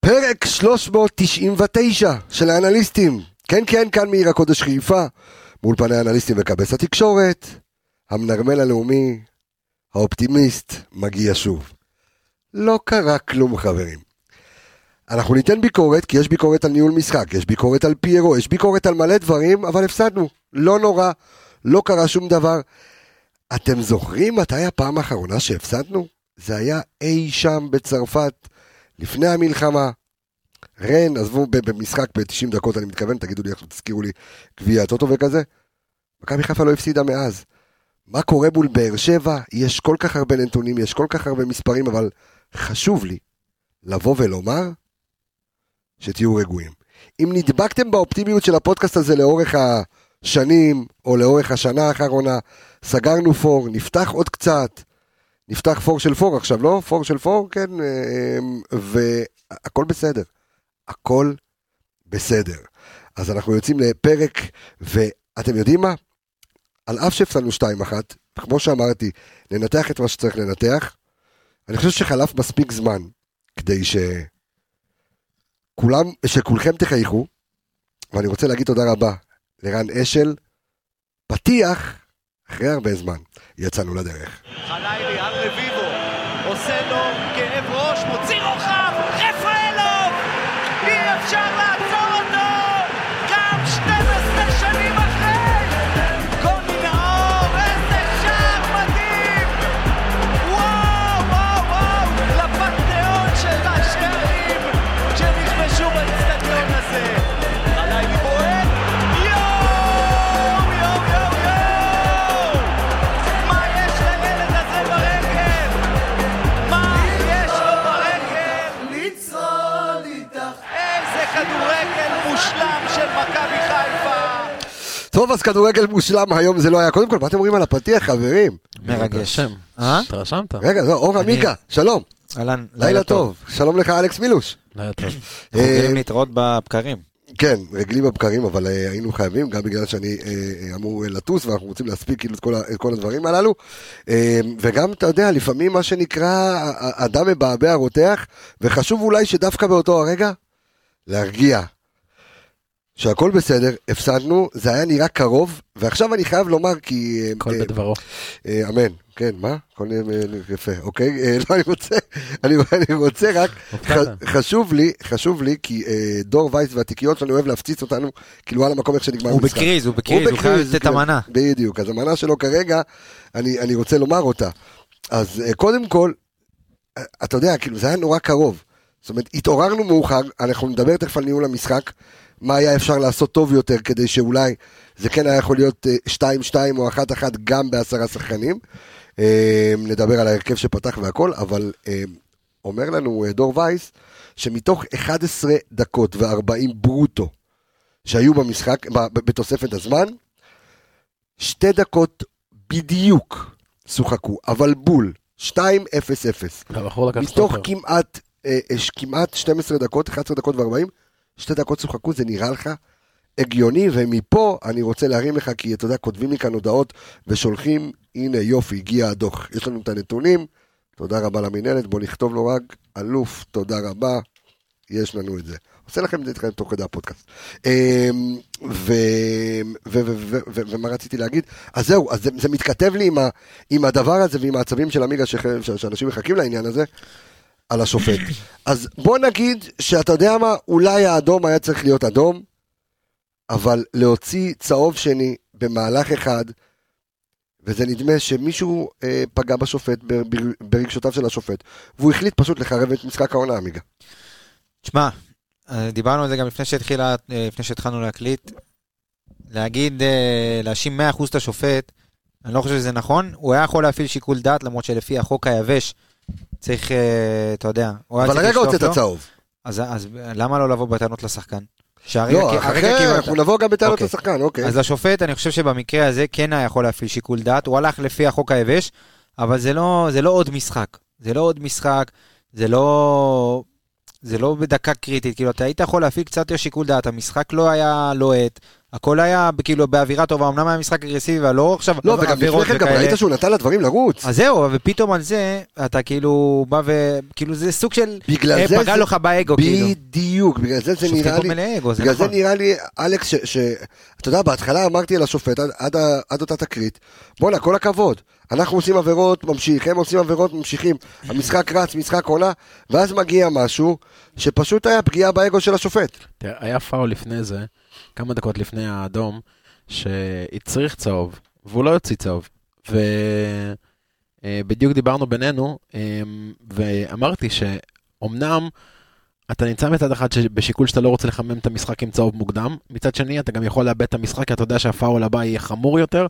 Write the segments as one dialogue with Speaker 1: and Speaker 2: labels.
Speaker 1: פרק 399 של האנליסטים. כן, כן, כאן מעיר הקודש חיפה, מאולפני האנליסטים וכבס התקשורת. המנרמל הלאומי, האופטימיסט, מגיע שוב. לא קרה כלום, חברים. אנחנו ניתן ביקורת, כי יש ביקורת על ניהול משחק, יש ביקורת על פיירו, יש ביקורת על מלא דברים, אבל הפסדנו. לא נורא, לא קרה שום דבר. אתם זוכרים מתי הפעם האחרונה שהפסדנו? זה היה אי שם בצרפת, לפני המלחמה. רן, עזבו ב- במשחק ב-90 דקות, אני מתכוון, תגידו לי איך תזכירו לי גביע הטוטו וכזה. מכבי חיפה לא הפסידה מאז. מה קורה מול באר שבע? יש כל כך הרבה נתונים, יש כל כך הרבה מספרים, אבל חשוב לי לבוא ולומר שתהיו רגועים. אם נדבקתם באופטימיות של הפודקאסט הזה לאורך השנים, או לאורך השנה האחרונה, סגרנו פור, נפתח עוד קצת, נפתח פור של פור עכשיו, לא? פור של פור, כן, אמ, והכל בסדר. הכל בסדר. אז אנחנו יוצאים לפרק, ואתם יודעים מה? על אף שהפסדנו 2-1, כמו שאמרתי, ננתח את מה שצריך לנתח. אני חושב שחלף מספיק זמן כדי ש... כולם, שכולכם תחייכו, ואני רוצה להגיד תודה רבה לרן אשל, פתיח אחרי הרבה זמן, יצאנו לדרך.
Speaker 2: חלילי על רביבו, עושה לו כאב ראש, מוציא רוחב, רפאלוב! אי אפשר לעצור אותו! גם 12 שנים אחרי! קוני נאור, איזה שער מדהים! וואו, וואו, וואו! לפנתיאון של השערים שנכבשו באצטדיון הזה! חלילי בועט! יואו, יואו, יואו, יואו! מה יש לילד הזה ברגל? מה יש לו ברגל? לצרול איתך. איזה כדורגל מושלם של מכבי חיפה.
Speaker 1: טוב, אז כדורגל מושלם היום זה לא היה. קודם כל, מה אתם אומרים על הפתיח, חברים?
Speaker 3: מרגש.
Speaker 4: התרשם.
Speaker 3: אה?
Speaker 4: התרשמת?
Speaker 1: רגע, זו אור עמיקה, שלום,
Speaker 3: אהלן,
Speaker 1: לילה טוב. שלום לך, אלכס מילוש.
Speaker 4: לא היה טוב.
Speaker 3: אנחנו
Speaker 1: אה,
Speaker 3: רגילים להתראות בבקרים.
Speaker 1: כן, רגלים בבקרים, אבל אה, היינו חייבים, גם בגלל שאני אה, אה, אמור אה, לטוס, ואנחנו רוצים להספיק כאילו את כל, ה- את כל הדברים הללו. אה, וגם, אתה יודע, לפעמים מה שנקרא, ה- ה- הדם מבעבע רותח, וחשוב אולי שדווקא באותו הרגע, להרגיע. שהכל בסדר, הפסדנו, זה היה נראה קרוב, ועכשיו אני חייב לומר כי... אה,
Speaker 4: הכל
Speaker 1: אה,
Speaker 4: בדברו.
Speaker 1: אה, אמן, כן, מה? הכל אה, יפה, אוקיי? אה, לא, אני רוצה, אני, אני רוצה רק,
Speaker 4: הופתעת.
Speaker 1: ח- חשוב לי, חשוב לי, כי אה, דור וייס והתיקיות שלנו אוהב להפציץ אותנו, כאילו על המקום איך שנגמר
Speaker 3: הוא
Speaker 1: המשחק.
Speaker 3: בקריז, הוא בקריז, הוא חייב לתת את
Speaker 1: כן,
Speaker 3: המנה.
Speaker 1: בדיוק, אז המנה שלו כרגע, אני, אני רוצה לומר אותה. אז אה, קודם כל, אה, אתה יודע, כאילו, זה היה נורא קרוב. זאת אומרת, התעוררנו מאוחר, אנחנו נדבר תכף על ניהול המשחק, מה היה אפשר לעשות טוב יותר כדי שאולי זה כן היה יכול להיות אה, 2-2 או 1-1 גם בעשרה שחקנים. אה, נדבר על ההרכב שפתח והכל, אבל אה, אומר לנו אה, דור וייס, שמתוך 11 דקות ו-40 ברוטו שהיו במשחק, ב- ב- בתוספת הזמן, שתי דקות בדיוק שוחקו, אבל בול, 2-0-0.
Speaker 4: הבחור לקח
Speaker 1: מתוך
Speaker 4: סטופר.
Speaker 1: כמעט, אה, אה, ש- כמעט 12 דקות, 11 דקות ו-40, שתי דקות שוחקו, זה נראה לך הגיוני, ומפה אני רוצה להרים לך, כי אתה יודע, כותבים לי כאן הודעות ושולחים, הנה יופי, הגיע הדוח, יש לנו את הנתונים, תודה רבה למינהלת, בוא נכתוב לו רק, אלוף, תודה רבה, יש לנו את זה. עושה לכם את זה איתכם תוך כדי הפודקאסט. אמ, ו- ו- ו- ו- ו- ומה רציתי להגיד? אז זהו, אז זה- זה מתכתב לי עם ה- עם הדבר הזה ועם העצבים של עמיגה שח- ש- שאנשים מחכים לעניין הזה, על השופט. אז בוא נגיד שאתה יודע מה, אולי האדום היה צריך להיות אדום, אבל להוציא צהוב שני במהלך אחד, וזה נדמה שמישהו אה, פגע בשופט, בר- בר- ברגשותיו של השופט, והוא החליט פשוט לחרב את משחק העונה, עמיגה.
Speaker 3: תשמע, אה, דיברנו על זה גם לפני שהתחילה, אה, לפני שהתחלנו להקליט. להגיד, אה, להאשים 100% את השופט, אני לא חושב שזה נכון. הוא היה יכול להפעיל שיקול דעת, למרות שלפי החוק היבש צריך, אה, אתה יודע, הוא היה
Speaker 1: אבל
Speaker 3: צריך
Speaker 1: הרגע
Speaker 3: לשלוף
Speaker 1: הוצאת
Speaker 3: לו.
Speaker 1: צהוב.
Speaker 3: אז אז למה לא לבוא בטענות לשחקן? שהרגע
Speaker 1: לא,
Speaker 3: כי- הרגע
Speaker 1: אחרי,
Speaker 3: קיבלת.
Speaker 1: אנחנו נבוא גם בטענות
Speaker 3: אוקיי.
Speaker 1: לשחקן, אוקיי.
Speaker 3: אז השופט, אני חושב שבמקרה הזה כן היה יכול להפעיל שיקול דעת, הוא הלך לפי החוק היבש, אבל זה לא, זה לא עוד משחק. זה לא עוד משחק, זה לא, זה לא בדקה קריטית. כאילו, אתה היית יכול להפעיל קצת יותר שיקול דעת, המשחק לא היה לוהט, הכל היה כאילו באווירה טובה, אמנם היה משחק אגרסיבי, אבל לא עכשיו
Speaker 1: לא, וגם לפני
Speaker 3: עבירות
Speaker 1: כן גם
Speaker 3: וכאלה.
Speaker 1: ראית שהוא נתן לדברים לרוץ.
Speaker 3: אז זהו, ופתאום על זה, אתה כאילו בא ו... כאילו זה סוג של...
Speaker 1: בגלל
Speaker 3: אה,
Speaker 1: זה
Speaker 3: פגע
Speaker 1: זה-
Speaker 3: לך באגו, כאילו.
Speaker 1: בדיוק, בגלל זה זה
Speaker 3: שופטים
Speaker 1: נראה
Speaker 3: פה
Speaker 1: לי...
Speaker 3: מלא אגו, זה
Speaker 1: בגלל זה
Speaker 3: נכון.
Speaker 1: נראה לי, אלכס, ש- ש... אתה יודע, בהתחלה אמרתי לשופט, עד- עד ה- עד אותה תקרית, בואנה, כל הכבוד. אנחנו עושים עבירות, ממשיך, הם עושים עבירות, ממשיכים. המשחק רץ, משחק עולה, ואז מגיע משהו שפשוט היה פגיעה באגו של השופט.
Speaker 5: תראה, היה פאול לפני זה, כמה דקות לפני האדום, שהצריך צהוב, והוא לא יוציא צהוב. ובדיוק דיברנו בינינו, אה, ואמרתי שאומנם אתה נמצא מצד אחד ש- בשיקול שאתה לא רוצה לחמם את המשחק עם צהוב מוקדם, מצד שני אתה גם יכול לאבד את המשחק, כי אתה יודע שהפאול הבא יהיה חמור יותר,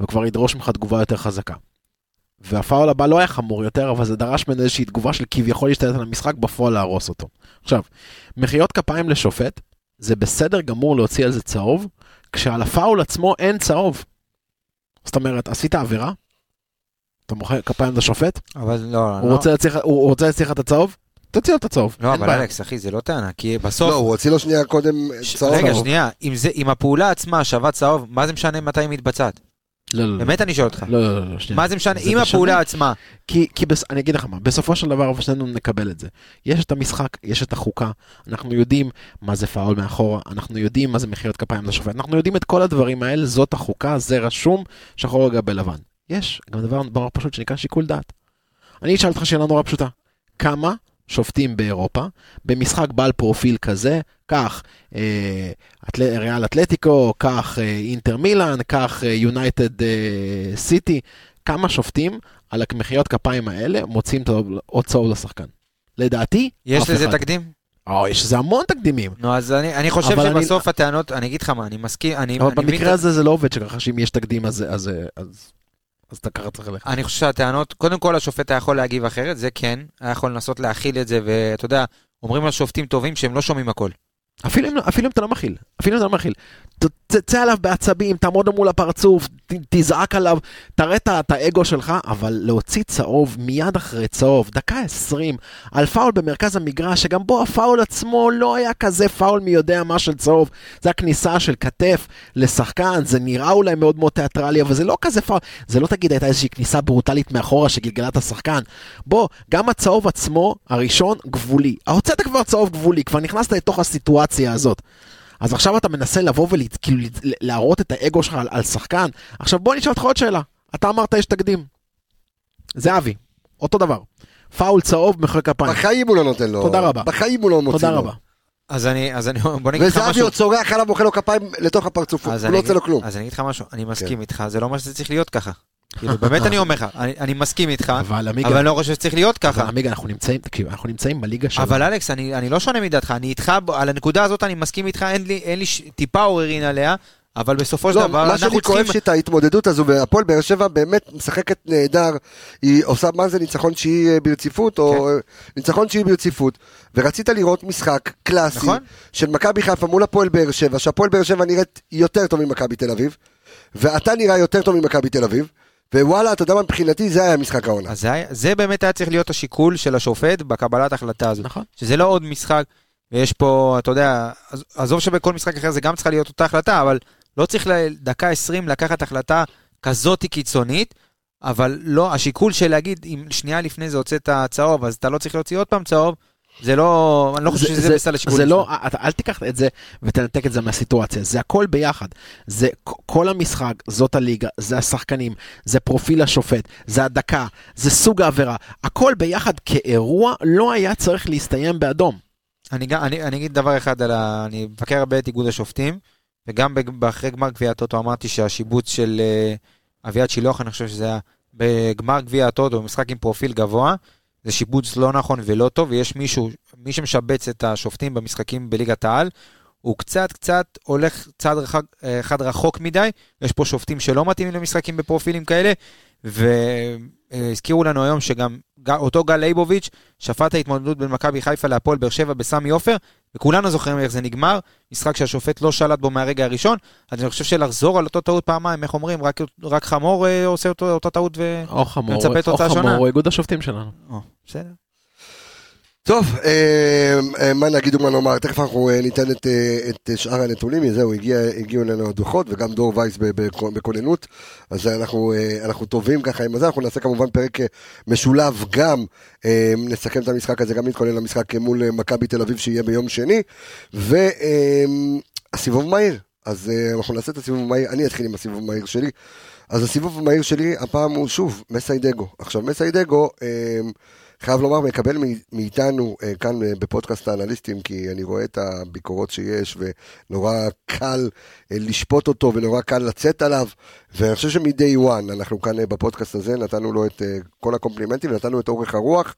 Speaker 5: וכבר ידרוש ממך תגובה יותר חזקה. והפאול הבא לא היה חמור יותר, אבל זה דרש ממנו איזושהי תגובה של כביכול להשתלט על המשחק, בפועל להרוס אותו. עכשיו, מחיאות כפיים לשופט, זה בסדר גמור להוציא על זה צהוב, כשעל הפאול עצמו אין צהוב. זאת אומרת, עשית עבירה? אתה מוחא כפיים לשופט?
Speaker 3: אבל לא,
Speaker 5: הוא
Speaker 3: לא.
Speaker 5: רוצה להצליח- הוא רוצה להצליח את הצהוב? תוציא לו את הצהוב.
Speaker 3: לא,
Speaker 5: אין
Speaker 3: אבל
Speaker 5: בעיה.
Speaker 3: אלכס, אחי, זה לא טענה, כי
Speaker 1: לא,
Speaker 3: בסוף...
Speaker 1: הוא הוציא לו שנייה קודם
Speaker 3: ש-
Speaker 1: צהוב.
Speaker 3: רגע, שנייה, אם זה- אם הפעולה עצמה שווה צהוב, מה זה משנה מתי היא מתבצעת?
Speaker 5: לא, לא, לא.
Speaker 3: באמת אני שואל אותך.
Speaker 5: לא, לא, לא, לא, שנייה.
Speaker 3: מה זה משנה?
Speaker 5: זה
Speaker 3: אם
Speaker 5: משנה.
Speaker 3: הפעולה עצמה...
Speaker 5: כי, כי בס... אני אגיד לך מה, בסופו של דבר שנינו נקבל את זה. יש את המשחק, יש את החוקה, אנחנו יודעים מה זה פאול מאחורה, אנחנו יודעים מה זה מחיאות כפיים לשופט, אנחנו יודעים את כל הדברים האלה, זאת החוקה, זה רשום, שחור על גבי לבן. יש גם דבר נורא פשוט שנקרא שיקול דעת. אני אשאל אותך שאלה נורא פשוטה, כמה שופטים באירופה, במשחק בעל פרופיל כזה, כך אה, אתל... ריאל אתלטיקו, כך אה, אינטר מילאן, כך אה, יונייטד אה, סיטי, כמה שופטים על המחיאות כפיים האלה מוצאים צהוב- עוד צהוב לשחקן. לדעתי, אף
Speaker 3: יש לזה
Speaker 5: אחד.
Speaker 3: תקדים?
Speaker 5: או, יש לזה המון תקדימים.
Speaker 3: נו, אז אני אני חושב
Speaker 5: אבל אני-
Speaker 3: שבסוף הטענות, אני אגיד לך מה, אני מסכים, אני
Speaker 5: אבל
Speaker 3: אני מבין את
Speaker 5: במקרה הזה זה לא עובד שככה שאם יש תקדים אז אז אז אז אתה ככה צריך ללכת.
Speaker 3: אני חושב שהטענות, קודם כל השופט היה יכול להגיב אחרת, זה כן, היה יכול לנסות להכיל את זה, ואתה יודע, אומרים לשופטים טובים שהם לא שומעים הכל.
Speaker 5: אפילו אם- אפילו אם אתה לא מכיל, אפילו אם אתה לא מכיל. ת- תצא עליו בעצבים, תעמוד לו מול הפרצוף, ת- תזעק עליו, תראה את ה- את האגו שלך, אבל להוציא צהוב מיד אחרי צהוב, דקה 20, על פאול במרכז המגרש, שגם בו הפאול עצמו לא היה כזה פאול מי יודע מה של צהוב. זה הכניסה של כתף לשחקן, זה נראה אולי מאוד מאוד תיאטרלי, אבל זה לא כזה פאול. זה לא תגיד הייתה איזושהי כניסה ברוטלית מאחורה שגלגלה את השחקן. בוא, גם הצהוב עצמו, הראשון, גבולי. הוצאת כבר צהוב גבולי, כבר נכנסת לתוך הסיטואציה הזאת. אז עכשיו אתה מנסה לבוא וכאילו להראות את האגו שלך על, על שחקן. עכשיו בוא נשאל אותך עוד שאלה. אתה אמרת יש תקדים. זהבי, אותו דבר. פאול צהוב מחוי כפיים.
Speaker 1: בחיים הוא לא נותן לו.
Speaker 5: תודה רבה.
Speaker 1: בחיים הוא לא מוציא לו.
Speaker 5: תודה רבה.
Speaker 3: אז אני, אז אני, בוא נגיד לך
Speaker 1: וזהבי
Speaker 3: משהו.
Speaker 1: עוד צורח עליו, אוכל לו כפיים לתוך הפרצוף,
Speaker 3: אז
Speaker 1: הוא
Speaker 3: אני
Speaker 1: לא
Speaker 3: אגיד-
Speaker 1: יוצא לו כלום.
Speaker 3: אז אני אגיד לך משהו,
Speaker 5: כן.
Speaker 3: אני מסכים איתך, זה לא מה שזה צריך להיות ככה. כאילו, באמת אני אומר לך, אני אני מסכים איתך,
Speaker 5: אבל עמיגה,
Speaker 3: אבל אני לא חושב שצריך להיות
Speaker 5: אבל
Speaker 3: ככה.
Speaker 5: עמיגה, אנחנו נמצאים, תקשיב, אנחנו נמצאים בליגה שלנו.
Speaker 3: אבל אלכס, אני אני לא שונה מדעתך, אני איתך, ב- על הנקודה הזאת אני מסכים איתך, אין לי- אין לי ש- טיפה עוררין עליה, אבל בסופו של
Speaker 1: לא,
Speaker 3: דבר
Speaker 1: מה
Speaker 3: אנחנו
Speaker 1: שאני כואב
Speaker 3: צריכים...
Speaker 1: שאת ההתמודדות הזו, והפועל באר שבע באמת משחקת נהדר, היא עושה מה זה ניצחון שהיא אה, ברציפות,
Speaker 3: כן.
Speaker 1: או אה, ניצחון שהיא ברציפות, ורצית לראות משחק קלאסי
Speaker 3: נכון.
Speaker 1: של מכבי חיפה מול הפועל באר שבע, שהפועל באר שבע נראית יותר טוב ממכבי תל אביב, ואתה נראה יותר טוב ממכבי תל אביב, ווואלה, אתה יודע מה, מבחינתי זה היה משחק העונה.
Speaker 3: אז זה היה- זה באמת היה צריך להיות השיקול של השופט בקבלת ההחלטה הזו.
Speaker 5: נכון.
Speaker 3: שזה לא עוד משחק, ויש פה, אתה יודע, עז- עזוב שבכל משחק אחר זה גם צריכה להיות אותה החלטה, אבל לא צריך לדקה 20 לקחת החלטה כזאת קיצונית, אבל לא, השיקול של להגיד, אם שנייה לפני זה הוצאת צהוב, אז אתה לא צריך להוציא עוד פעם צהוב, זה לא, אני לא חושב שזה בסל השיקולים.
Speaker 5: זה לא,
Speaker 3: שלך.
Speaker 5: אתה, אל תיקח את זה ותנתק את זה מהסיטואציה, זה הכל ביחד. זה כ- כל המשחק, זאת הליגה, זה השחקנים, זה פרופיל השופט, זה הדקה, זה סוג העבירה. הכל ביחד כאירוע לא היה צריך להסתיים באדום.
Speaker 3: אני, גם- אני, אני אגיד דבר אחד על ה... אני מבקר הרבה את איגוד השופטים, וגם בג- אחרי גמר גביע הטוטו אמרתי שהשיבוץ של אה, אביעד שילוח, אני חושב שזה היה בגמר גביע הטוטו, משחק עם פרופיל גבוה, זה שיבוץ לא נכון ולא טוב, ויש מישהו, מי שמשבץ את השופטים במשחקים בליגת העל, הוא קצת קצת הולך צעד רחק, אה, אחד רחוק מדי, יש פה שופטים שלא מתאימים למשחקים בפרופילים כאלה, והזכירו לנו היום שגם ג- אותו גל ליבוביץ' שפט ההתמודדות בין מכבי חיפה להפועל באר שבע בסמי עופר, וכולנו זוכרים איך זה נגמר, משחק שהשופט לא שלט בו מהרגע הראשון, אז אני חושב שלחזור על אותו טעות פעמיים, איך אומרים, רק, רק חמור אה, עושה אותו, אותה טעות ו...
Speaker 5: או חמור,
Speaker 3: מצפה
Speaker 5: או
Speaker 3: תוצאה שונה.
Speaker 5: חמור, הוא איגוד השופטים שלנו.
Speaker 3: או, בסדר.
Speaker 1: טוב, אה, אה, מה נגיד ומה נאמר, תכף אנחנו אה, ניתן את, אה, את אה, שאר הנתונים, זהו, הגיע, הגיעו אלינו הדוחות, וגם דור וייס ב- ב- בכוננות, אז אנחנו, אה, אנחנו טובים ככה עם זה, אנחנו נעשה כמובן פרק אה, משולב גם, אה, נסכם את המשחק הזה, גם נתכונן למשחק אה, מול אה, מכבי תל אביב שיהיה ביום שני, אה, והסיבוב מהיר, אז אה, אנחנו נעשה את הסיבוב המהיר, אני אתחיל עם הסיבוב המהיר שלי. אז הסיבוב המהיר שלי הפעם הוא שוב מסיידגו. עכשיו מסיידגו, אה, חייב לומר, מקבל מ- מאיתנו אה, כאן אה, בפודקאסט האנליסטים, כי אני רואה את הביקורות שיש, ונורא קל אה, לשפוט אותו, ונורא קל לצאת עליו, ואני חושב שמ-day one אנחנו כאן אה, בפודקאסט הזה, נתנו לו את אה, כל הקומפלימנטים, נתנו את אורך הרוח,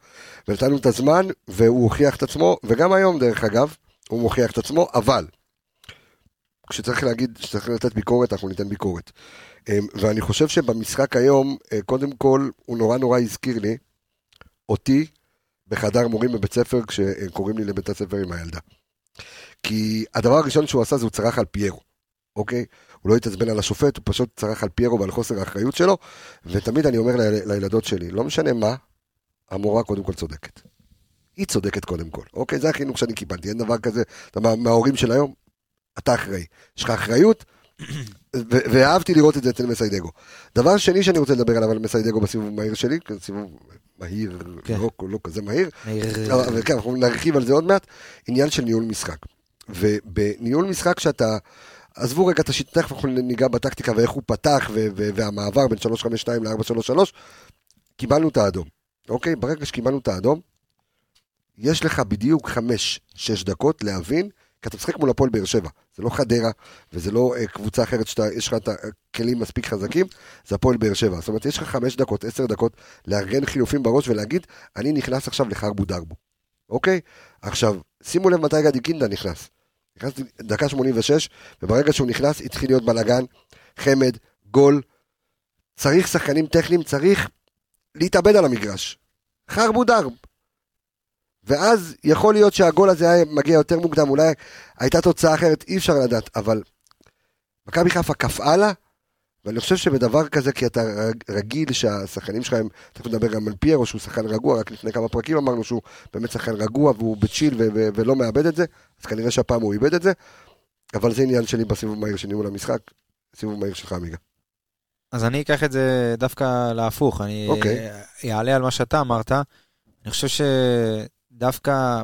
Speaker 1: ונתנו את הזמן, והוא הוכיח את עצמו, וגם היום דרך אגב, הוא מוכיח את עצמו, אבל כשצריך להגיד, כשצריך לתת ביקורת, אנחנו ניתן ביקורת. אמ, ואני חושב שבמשחק היום, אה, קודם כל, הוא נורא נורא הזכיר לי, אותי, בחדר מורים בבית ספר, כשקוראים לי לבית הספר עם הילדה. כי הדבר הראשון שהוא עשה זה הוא צרח על פיירו, אוקיי? הוא לא התעצבן על השופט, הוא פשוט צרח על פיירו ועל חוסר האחריות שלו, ותמיד אני אומר ליל- לילדות שלי, לא משנה מה, המורה קודם כל צודקת. היא צודקת קודם כל, אוקיי? זה החינוך שאני קיבלתי, אין דבר כזה, אתה מה- מההורים של היום, אתה אחראי. יש לך אחריות, ו- ואהבתי לראות את זה אצל מסיידגו. דבר שני שאני רוצה לדבר עליו על מסיידגו בסיבוב המהיר שלי, כי זה סיבוב מהיר,
Speaker 3: כן.
Speaker 1: לא, לא כזה מהיר,
Speaker 3: מהיר.
Speaker 1: אבל אבל כן, אנחנו נרחיב על זה עוד מעט, עניין של ניהול משחק. ובניהול משחק שאתה, עזבו רגע את השיטה, תכף אנחנו ניגע בטקטיקה ואיך הוא פתח, ו- ו- והמעבר בין 352 ל-433, קיבלנו את האדום. אוקיי? ברגע שקיבלנו את האדום, יש לך בדיוק 5-6 דקות להבין, כי אתה משחק מול הפועל באר שבע. זה לא חדרה, וזה לא אה, קבוצה אחרת שיש לך את הכלים מספיק חזקים, זה הפועל באר שבע. זאת אומרת, יש לך 5 דקות, 10 דקות, לארגן חילופים בראש ולהגיד, אני נכנס עכשיו לחרבו דרבו. אוקיי? עכשיו, שימו לב מתי גדי קינדה נכנס. נכנס דקה 86, וברגע שהוא נכנס, התחיל להיות בלאגן, חמד, גול. צריך שחקנים טכניים, צריך להתאבד על המגרש. חרבו דרב. ואז יכול להיות שהגול הזה היה מגיע יותר מוקדם, אולי הייתה תוצאה אחרת, אי אפשר לדעת, אבל מכבי חיפה קפאה לה, ואני חושב שבדבר כזה, כי אתה רג- רגיל שהשחקנים שלך הם, תכף נדבר גם על פיירו שהוא שחקן רגוע, רק לפני כמה פרקים אמרנו שהוא באמת שחקן רגוע והוא בצ'יל ו- ו- ולא מאבד את זה, אז כנראה שהפעם הוא איבד את זה, אבל זה עניין שלי בסיבוב מהיר של ניהול המשחק, סיבוב מהיר שלך עמיגה.
Speaker 3: אז אני אקח את זה דווקא להפוך, אני
Speaker 1: אוקיי.
Speaker 3: okay. אעלה על מה שאתה אמרת. אני חושב שדווקא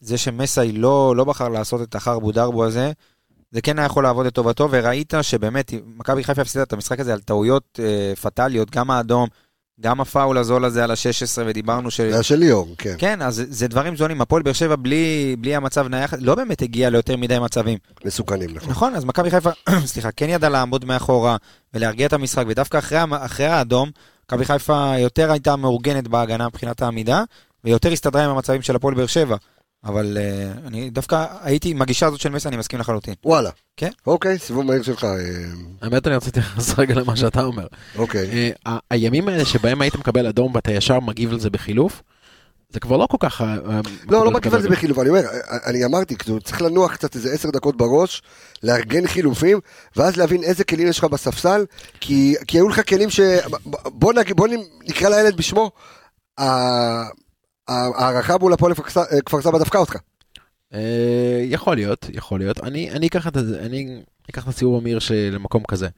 Speaker 3: זה שמסאי לא, לא בחר לעשות את החרבו דרבו הזה, זה כן היה יכול לעבוד לטובתו, וראית שבאמת, מכבי חיפה הפסידה את המשחק הזה על טעויות אה, פטאליות, גם האדום, גם הפאול הזול הזה על ה-16, ודיברנו ש...
Speaker 1: זה היה של ליאור, כן.
Speaker 3: כן, אז זה- זה דברים זולים. הפועל באר שבע בלי, בלי המצב נייח, לא באמת הגיע ליותר מדי מצבים.
Speaker 1: מסוכנים, נכון.
Speaker 3: נכון, אז מכבי חיפה, סליחה, כן ידעה לעמוד מאחורה ולהרגיע את המשחק, ודווקא אחרי, המ- אחרי האדום, מכבי חיפה יותר הייתה מאורגנת בהגנה מבחינת העמידה, ויותר הסתדרה עם המצבים של הפועל באר שבע. אבל uh, אני דווקא הייתי, עם הגישה הזאת של מסי, אני מסכים לחלוטין.
Speaker 1: וואלה.
Speaker 3: כן.
Speaker 1: אוקיי, סיבוב מהיר שלך, אה,
Speaker 5: האמת, אני רוצה להתייחס רגע למה שאתה אומר.
Speaker 1: אוקיי.
Speaker 5: אה, ה- הימים האלה שבהם היית מקבל אדום ואתה ישר מגיב על זה בחילוף, זה כבר לא כל כך... אה, אה,
Speaker 1: לא, לא
Speaker 5: מקובל
Speaker 1: מגיב על זה
Speaker 5: בכדורגל.
Speaker 1: בחילוף, אני אומר, אני אמרתי, כאילו, צריך לנוח קצת איזה עשר דקות בראש, לארגן חילופים, ואז להבין איזה כלים יש לך בספסל, כי, כי היו לך כלים ש... בוא, נג... בוא נקרא לילד בשמו, ה- ההערכה מול הפועל כפר ס- כפר סבא דפקה אותך.
Speaker 5: אה, יכול להיות, יכול להיות. אני אני אקח את זה, אני אקח את הסיבוב המהיר שלי למקום כזה.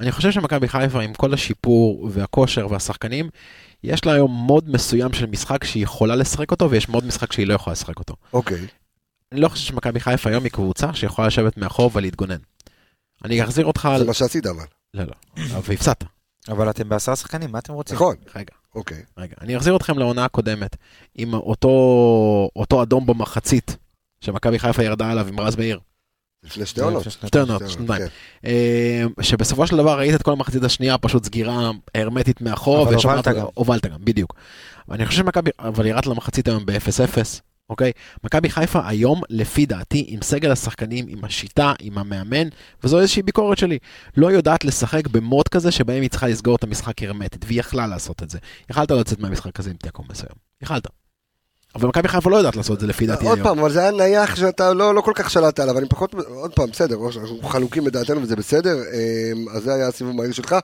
Speaker 5: אני חושב שמכבי חיפה עם כל השיפור והכושר והשחקנים, יש לה היום מוד מסוים של משחק שהיא יכולה לשחק אותו ויש מוד משחק שהיא לא יכולה לשחק אותו.
Speaker 1: אוקיי,
Speaker 5: אני לא חושב שמכבי חיפה היום היא קבוצה שיכולה לשבת מאחור ולהתגונן. אני אחזיר אותך
Speaker 1: זה
Speaker 5: על...
Speaker 1: מה שעשית אבל,
Speaker 5: לא, לא, אבל הפסדת.
Speaker 3: אבל אתם בעשרה שחקנים, מה אתם רוצים?
Speaker 1: נכון,
Speaker 5: רגע,
Speaker 1: אוקיי.
Speaker 5: רגע. אני אחזיר אתכם לעונה הקודמת, עם אותו, אותו אדום במחצית, שמכבי חיפה ירדה עליו עם רז מאיר.
Speaker 1: לפני שתי עונות.
Speaker 5: שתי עונות,
Speaker 1: שתי
Speaker 5: שנתיים.
Speaker 1: כן.
Speaker 5: אה, שבסופו של דבר ראית את כל המחצית השנייה, פשוט סגירה הרמטית מאחור.
Speaker 3: אבל
Speaker 5: ושם
Speaker 3: הובלת
Speaker 5: אנחנו-
Speaker 3: גם.
Speaker 5: הובלת גם, בדיוק. אני חושב שמכבי, אבל ירדת למחצית היום ב-0-0, אוקיי? מכבי חיפה היום, לפי דעתי, עם סגל השחקנים, עם השיטה, עם המאמן, וזו איזושהי ביקורת שלי, לא יודעת לשחק במוד כזה שבהם היא צריכה לסגור את המשחק הרמטית, והיא יכלה לעשות את זה. יכלת לצאת מהמשחק הזה עם תיקו מסוים, יכלת. אבל מכבי חיפה לא יודעת לעשות את זה לפי דעתי
Speaker 1: עוד
Speaker 5: היום.
Speaker 1: פעם, אבל זה היה נייח שאתה לא, לא כל כך שלטת עליו, אני פחות, עוד פעם, בסדר, אנחנו חלוקים בדעתנו אמ, וזה בסדר, אה, אז זה היה הסיבוב מהיר שלך.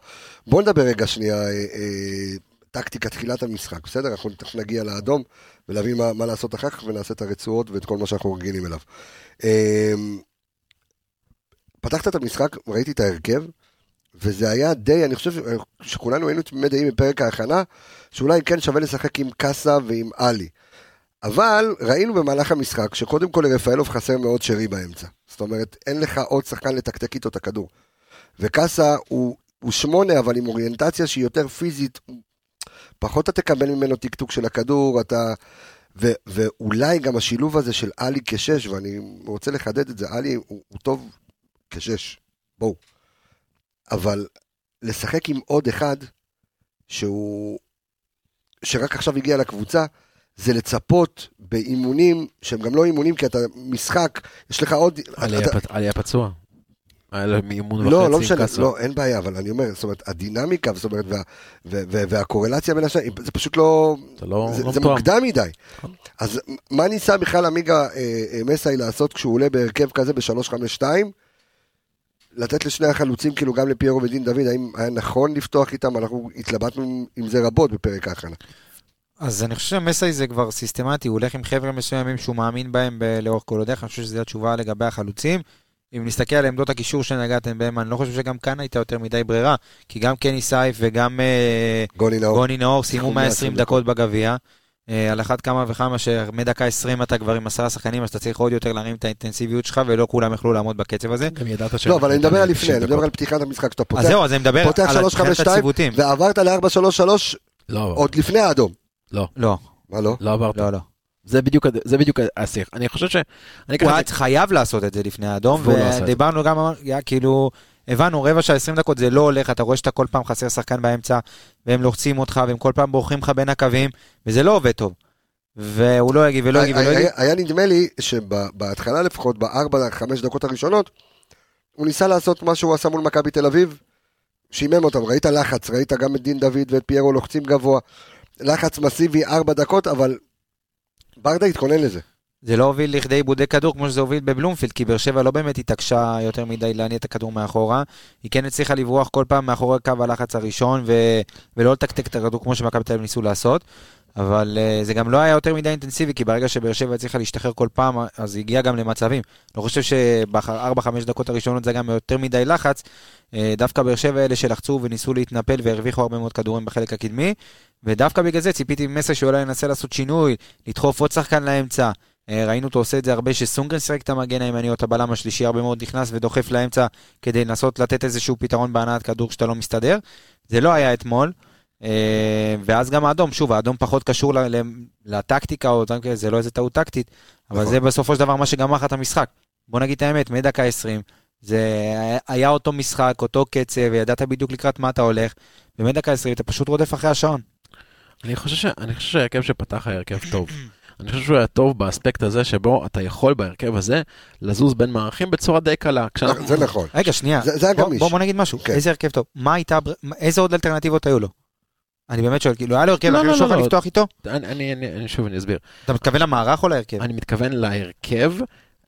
Speaker 1: בוא נדבר רגע שנייה אה, אה, טקטיקה תחילת המשחק, בסדר? אנחנו תכף נגיע לאדום ולהבין מה, מה לעשות אחר כך ונעשה את הרצועות ואת כל מה שאנחנו רגילים אליו. אמ, פתחת את המשחק, ראיתי את ההרכב, וזה היה די, אני חושב שכולנו היינו תמימי דעים בפרק ההכנה, שאולי כן שווה לשחק עם קאסה ועם עלי. אבל ראינו במהלך המשחק שקודם כל לרפאלוב חסר מאוד שרי באמצע. זאת אומרת, אין לך עוד שחקן לתקתק איתו את הכדור. וקאסה הוא, הוא שמונה, אבל עם אוריינטציה שהיא יותר פיזית, פחות אתה תקבל ממנו טקטוק של הכדור, אתה... ו, ואולי גם השילוב הזה של עלי כשש, ואני רוצה לחדד את זה, עלי הוא, הוא טוב כשש, בואו. אבל לשחק עם עוד אחד, שהוא... שרק עכשיו הגיע לקבוצה, זה לצפות באימונים, שהם גם לא אימונים, כי אתה משחק, יש לך עוד...
Speaker 5: עלי
Speaker 1: אתה-
Speaker 5: היה פצ- עלי היה פצוע. היה לו אימון וחצי
Speaker 1: לא, לא
Speaker 5: עם
Speaker 1: משנה,
Speaker 5: קאסו.
Speaker 1: לא, אין בעיה, אבל אני אומר, זאת אומרת, הדינמיקה, זאת אומרת, וה- ו- ו- והקורלציה בין השניים, זה פשוט לא...
Speaker 5: זה לא
Speaker 1: זה
Speaker 5: לא
Speaker 1: זה
Speaker 5: מתואם. כן.
Speaker 1: מוקדם מדי. אז מה ניסה בכלל עמיגה אה, אה, מסאי לעשות כשהוא עולה בהרכב כזה ב-352? לתת לשני החלוצים, כאילו גם לפיירו ודין דוד, האם היה נכון לפתוח איתם? אנחנו התלבטנו עם- עם זה רבות בפרק ההכנה.
Speaker 3: אז אני חושב שמסאי זה כבר סיסטמטי, הוא הולך עם חבר'ה מסוימים שהוא מאמין בהם ב- לאורך כל הדרך, אני חושב שזו התשובה לגבי החלוצים. אם נסתכל על עמדות הקישור שנגעתם בהם, אני לא חושב שגם כאן הייתה יותר מדי ברירה, כי גם קני סייף וגם אה,
Speaker 1: גולי נאור.
Speaker 3: גוני נאור סיימו
Speaker 1: שיחקו
Speaker 3: 120
Speaker 1: 120
Speaker 3: דקות בגביע. אה, על אחת כמה וכמה שמדקה 20 אתה כבר עם עשרה שחקנים, אז אתה צריך עוד יותר להרים את האינטנסיביות שלך, ולא כולם יכלו לעמוד בקצב הזה.
Speaker 4: גם ידעת ש...
Speaker 1: לא, אבל אני מדבר על לפני, אני מדבר על פתיחת המשחק שאתה
Speaker 3: אז
Speaker 1: פותח.
Speaker 3: זהו, אז אני מדבר
Speaker 1: פותח
Speaker 3: על מבחינת
Speaker 1: 352,
Speaker 3: הציוותים.
Speaker 1: ועברת ל-433
Speaker 5: לא,
Speaker 1: עוד לפני האדום.
Speaker 3: לא,
Speaker 1: מה לא?
Speaker 5: לא עברת.
Speaker 3: לא, לא.
Speaker 5: זה בדיוק הד- זה בדיוק השיח. אני חושב ש... אני אקח
Speaker 3: הוא
Speaker 5: את
Speaker 3: היה
Speaker 5: זה-
Speaker 3: חייב לעשות את זה לפני האדום,
Speaker 5: והוא לא עשה את זה.
Speaker 3: ודיברנו גם, אמר- היה כאילו, הבנו, רבע שעה 20 דקות זה לא הולך, אתה רואה שאתה כל פעם חסר שחקן באמצע, והם לוחצים אותך, והם כל פעם בורחים לך בין הקווים, וזה לא עובד טוב. והוא לא יגיב
Speaker 5: אה,
Speaker 3: ולא יגיב ולא
Speaker 1: היה-
Speaker 3: יגיב.
Speaker 1: היה נדמה לי שבהתחלה לפחות, בארבע, חמש דקות הראשונות, הוא ניסה לעשות מה שהוא עשה מול מכבי תל אביב, שימם אותם, ראית לחץ, ראית גם את דין דוד ואת פיירו לוחצים גבוה, לחץ מסיבי ארבע דקות, אבל ברדה התכונן לזה.
Speaker 3: זה לא הוביל לכדי איבודי כדור כמו שזה הוביל בבלומפילד, כי באר שבע לא באמת התעקשה יותר מדי להניע את הכדור מאחורה. היא כן הצליחה לברוח כל פעם מאחורי קו הלחץ הראשון, ו... ולא לתקתק את הכדור כמו שמכבי תל אביב ניסו לעשות. אבל אה, זה גם לא היה יותר מדי אינטנסיבי, כי ברגע שבאר שבע הצליחה להשתחרר כל פעם, אז היא הגיעה גם למצבים. לא חושב שבארבע-חמש דקות הראשונות זה גם יותר מדי לחץ. אה, דווקא באר שבע אלה שלחצו וניסו להתנפל והרוויחו הרבה מאוד כדורים בחלק הקדמי. ודווקא בגלל זה ציפיתי ממסר שאולי ינסה לעשות שינוי, לדחוף עוד שחקן לאמצע. אה, ראינו אותו עושה את זה הרבה, שסונגרן שיחק את המגן הימני או את הבלם השלישי, הרבה מאוד נכנס ודוחף לאמצע כדי לנסות לתת איזשהו פתרון בהנעת כדור שאתה לא מסתדר. זה לא היה אתמול. אה, ואז גם האדום, שוב, האדום פחות קשור ל- ל- לטקטיקה או דברים כאלה, זה לא איזה טעות טקטית, אבל
Speaker 1: נכון.
Speaker 3: זה בסופו של דבר מה שגמר לך את המשחק. בוא נגיד את האמת, מדקה 20, זה היה- היה אותו משחק, אותו קצב, וידעת בדיוק לקראת מה אתה הולך, ומדקה 20 אתה פשוט רודף אחרי השעון.
Speaker 5: אני חושב ש- אני חושב שההרכב שפתח היה הרכב טוב. אני חושב שהוא היה טוב באספקט הזה שבו אתה יכול בהרכב הזה לזוז בין מערכים בצורה די קלה. כשאנחנו-
Speaker 1: זה נכון.
Speaker 3: רגע, שנייה.
Speaker 1: זה- זה היה
Speaker 3: בוא-
Speaker 1: גמיש.
Speaker 3: בוא בוא נגיד משהו,
Speaker 1: כן.
Speaker 3: איזה הרכב טוב. מה הייתה, הבר- מה- איזה עוד אלטרנטיבות היו לו? אני באמת שואל, כאילו, היה לו הרכב
Speaker 5: לא,
Speaker 3: אחר
Speaker 5: לא,
Speaker 3: שיכול
Speaker 5: לא, לא.
Speaker 3: לפתוח איתו?
Speaker 5: אני- אני אני- אני- שוב, אני אסביר.
Speaker 3: אתה מתכוון למערך או להרכב?
Speaker 5: אני מתכוון להרכב,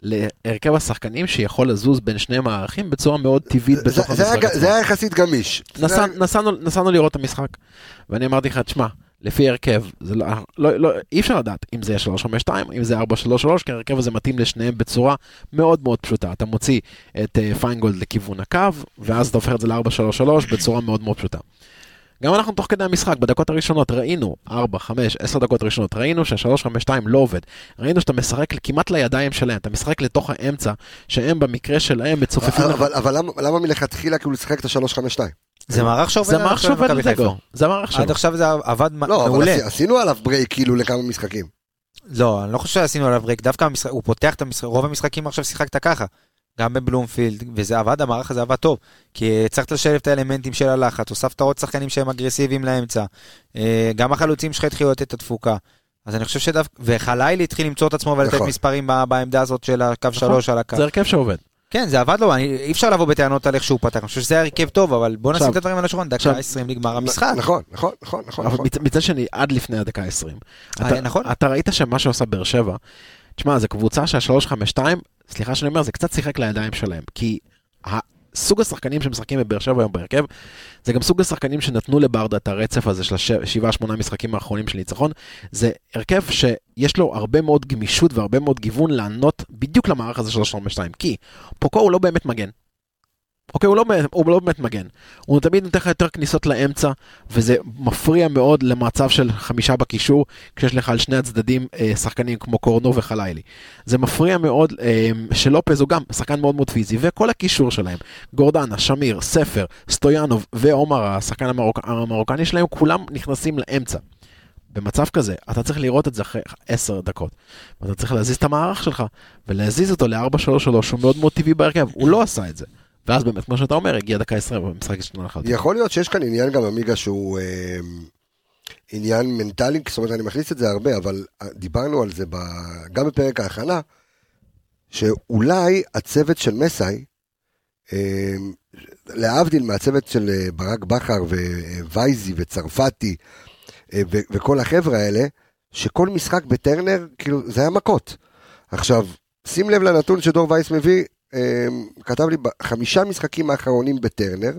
Speaker 5: להרכב השחקנים שיכול לזוז בין שני מערכים בצורה מאוד טבעית
Speaker 1: זה-
Speaker 5: בתוך
Speaker 1: זה היה
Speaker 5: המשחק
Speaker 1: ג-
Speaker 5: עצמו.
Speaker 1: זה היה יחסית גמיש.
Speaker 5: נסע, נסענו, נסענו לראות את המשחק, ואני אמרתי לך, תשמע, לפי הרכב, זה לא, לא, לא, אי אפשר לדעת אם זה 352, אם זה 433, כי ההרכב הזה מתאים לשניהם בצורה מאוד מאוד פשוטה. אתה מוציא את uh, פיינגולד לכיוון הקו, ואז אתה הופך את זה ל-433 בצורה מאוד מאוד פשוטה. גם אנחנו תוך כדי המשחק, בדקות הראשונות ראינו, 4, 5, 10 דקות ראשונות, ראינו שה-352 לא עובד. ראינו שאתה משחק כמעט לידיים שלהם, אתה משחק לתוך האמצע, שהם במקרה שלהם מצופפים
Speaker 1: אבל-
Speaker 5: לך
Speaker 1: אבל- אבל למה- למה מלכתחילה כאילו לשחק את ה-352?
Speaker 3: זה מערך שעובד
Speaker 5: זה
Speaker 3: עד
Speaker 5: מערך
Speaker 3: עכשיו
Speaker 5: שעובד
Speaker 3: במכבי חיפה.
Speaker 5: לדגו, זה מערך שלו.
Speaker 3: עד עכשיו זה עבד מ-
Speaker 1: לא, אבל
Speaker 3: מעולה.
Speaker 1: עשי- עשינו עליו ברייק כאילו לכמה משחקים.
Speaker 3: לא, אני לא חושב שעשינו עליו ריק, דווקא המשחק, הוא פותח את המשחק, רוב המשחקים עכשיו שיחקת ככה. גם בבלומפילד, וזה עבד, המערך הזה עבד טוב. כי אה, הצלחת לשלב את האלמנטים של הלחץ, הוספת עוד שחקנים שהם אגרסיביים לאמצע. אה, גם החלוצים שלך התחילו לתת את התפוקה. אז אני חושב שדווקא, וחלילי התחיל למצוא את עצמו ולתת
Speaker 1: נכון.
Speaker 3: מספרים ב- בעמדה הזאת של הקו
Speaker 5: נכון.
Speaker 3: שלוש על הקו.
Speaker 5: זה הרכב שעובד.
Speaker 3: כן, זה עבד לו, אני- אי אפשר לבוא בטענות על איך שהוא פתח, אני חושב שזה היה הרכב טוב, אבל בוא נשים
Speaker 5: עכשיו-
Speaker 3: את הדברים על השולחן, דקה
Speaker 5: עכשיו-
Speaker 3: 20 נגמר המשחק.
Speaker 1: נכון, נכון, נכון, נכון.
Speaker 5: אבל
Speaker 1: נכון.
Speaker 5: מצ- מצד שני, עד לפני הדקה ה-20.
Speaker 3: אה,
Speaker 5: אתה-
Speaker 3: נכון.
Speaker 5: אתה ראית שמה שעושה באר שבע, תשמע, זו קבוצה שה-352, סליחה שאני אומר, זה קצת שיחק לידיים שלהם, כי ה- סוג השחקנים שמשחקים בבאר שבע היום בהרכב, זה גם סוג השחקנים שנתנו לברדה את הרצף הזה של השבעה, שמונה משחקים האחרונים של ניצחון. זה הרכב שיש לו הרבה מאוד גמישות והרבה מאוד גיוון לענות בדיוק למערך הזה של 352, כי פוקו הוא לא באמת מגן. אוקיי, הוא לא, הוא לא באמת מגן. הוא תמיד נותן לך יותר כניסות לאמצע, וזה מפריע מאוד למצב של חמישה בקישור, כשיש לך על שני הצדדים אה, שחקנים כמו קורנו וחלילי. זה מפריע מאוד אה, שלופז הוא גם שחקן מאוד מאוד פיזי, וכל הקישור שלהם, גורדנה, שמיר, ספר, סטויאנוב ועומר, השחקן המרוק, המרוקני שלהם, כולם נכנסים לאמצע. במצב כזה, אתה צריך לראות את זה אחרי עשר דקות. ואתה צריך להזיז את המערך שלך, ולהזיז אותו ל-4-3-3, שהוא מאוד מאוד טבעי בהרכב, הוא לא עשה את זה. ואז באמת, כמו שאתה אומר, הגיע דקה 20 במשחק השני לחלוטין.
Speaker 1: יכול להיות שיש כאן עניין גם במיגה שהוא אה, עניין מנטלי, זאת אומרת, אני מכניס את זה הרבה, אבל אה, דיברנו על זה ב, גם בפרק ההכנה, שאולי הצוות של מסאי, אה, להבדיל מהצוות של אה, ברק בכר ווייזי וצרפתי אה, ו- וכל החבר'ה האלה, שכל משחק בטרנר, כאילו, זה היה מכות. עכשיו, שים לב לנתון שדור וייס מביא, אה, כתב לי, בחמישה משחקים האחרונים בטרנר,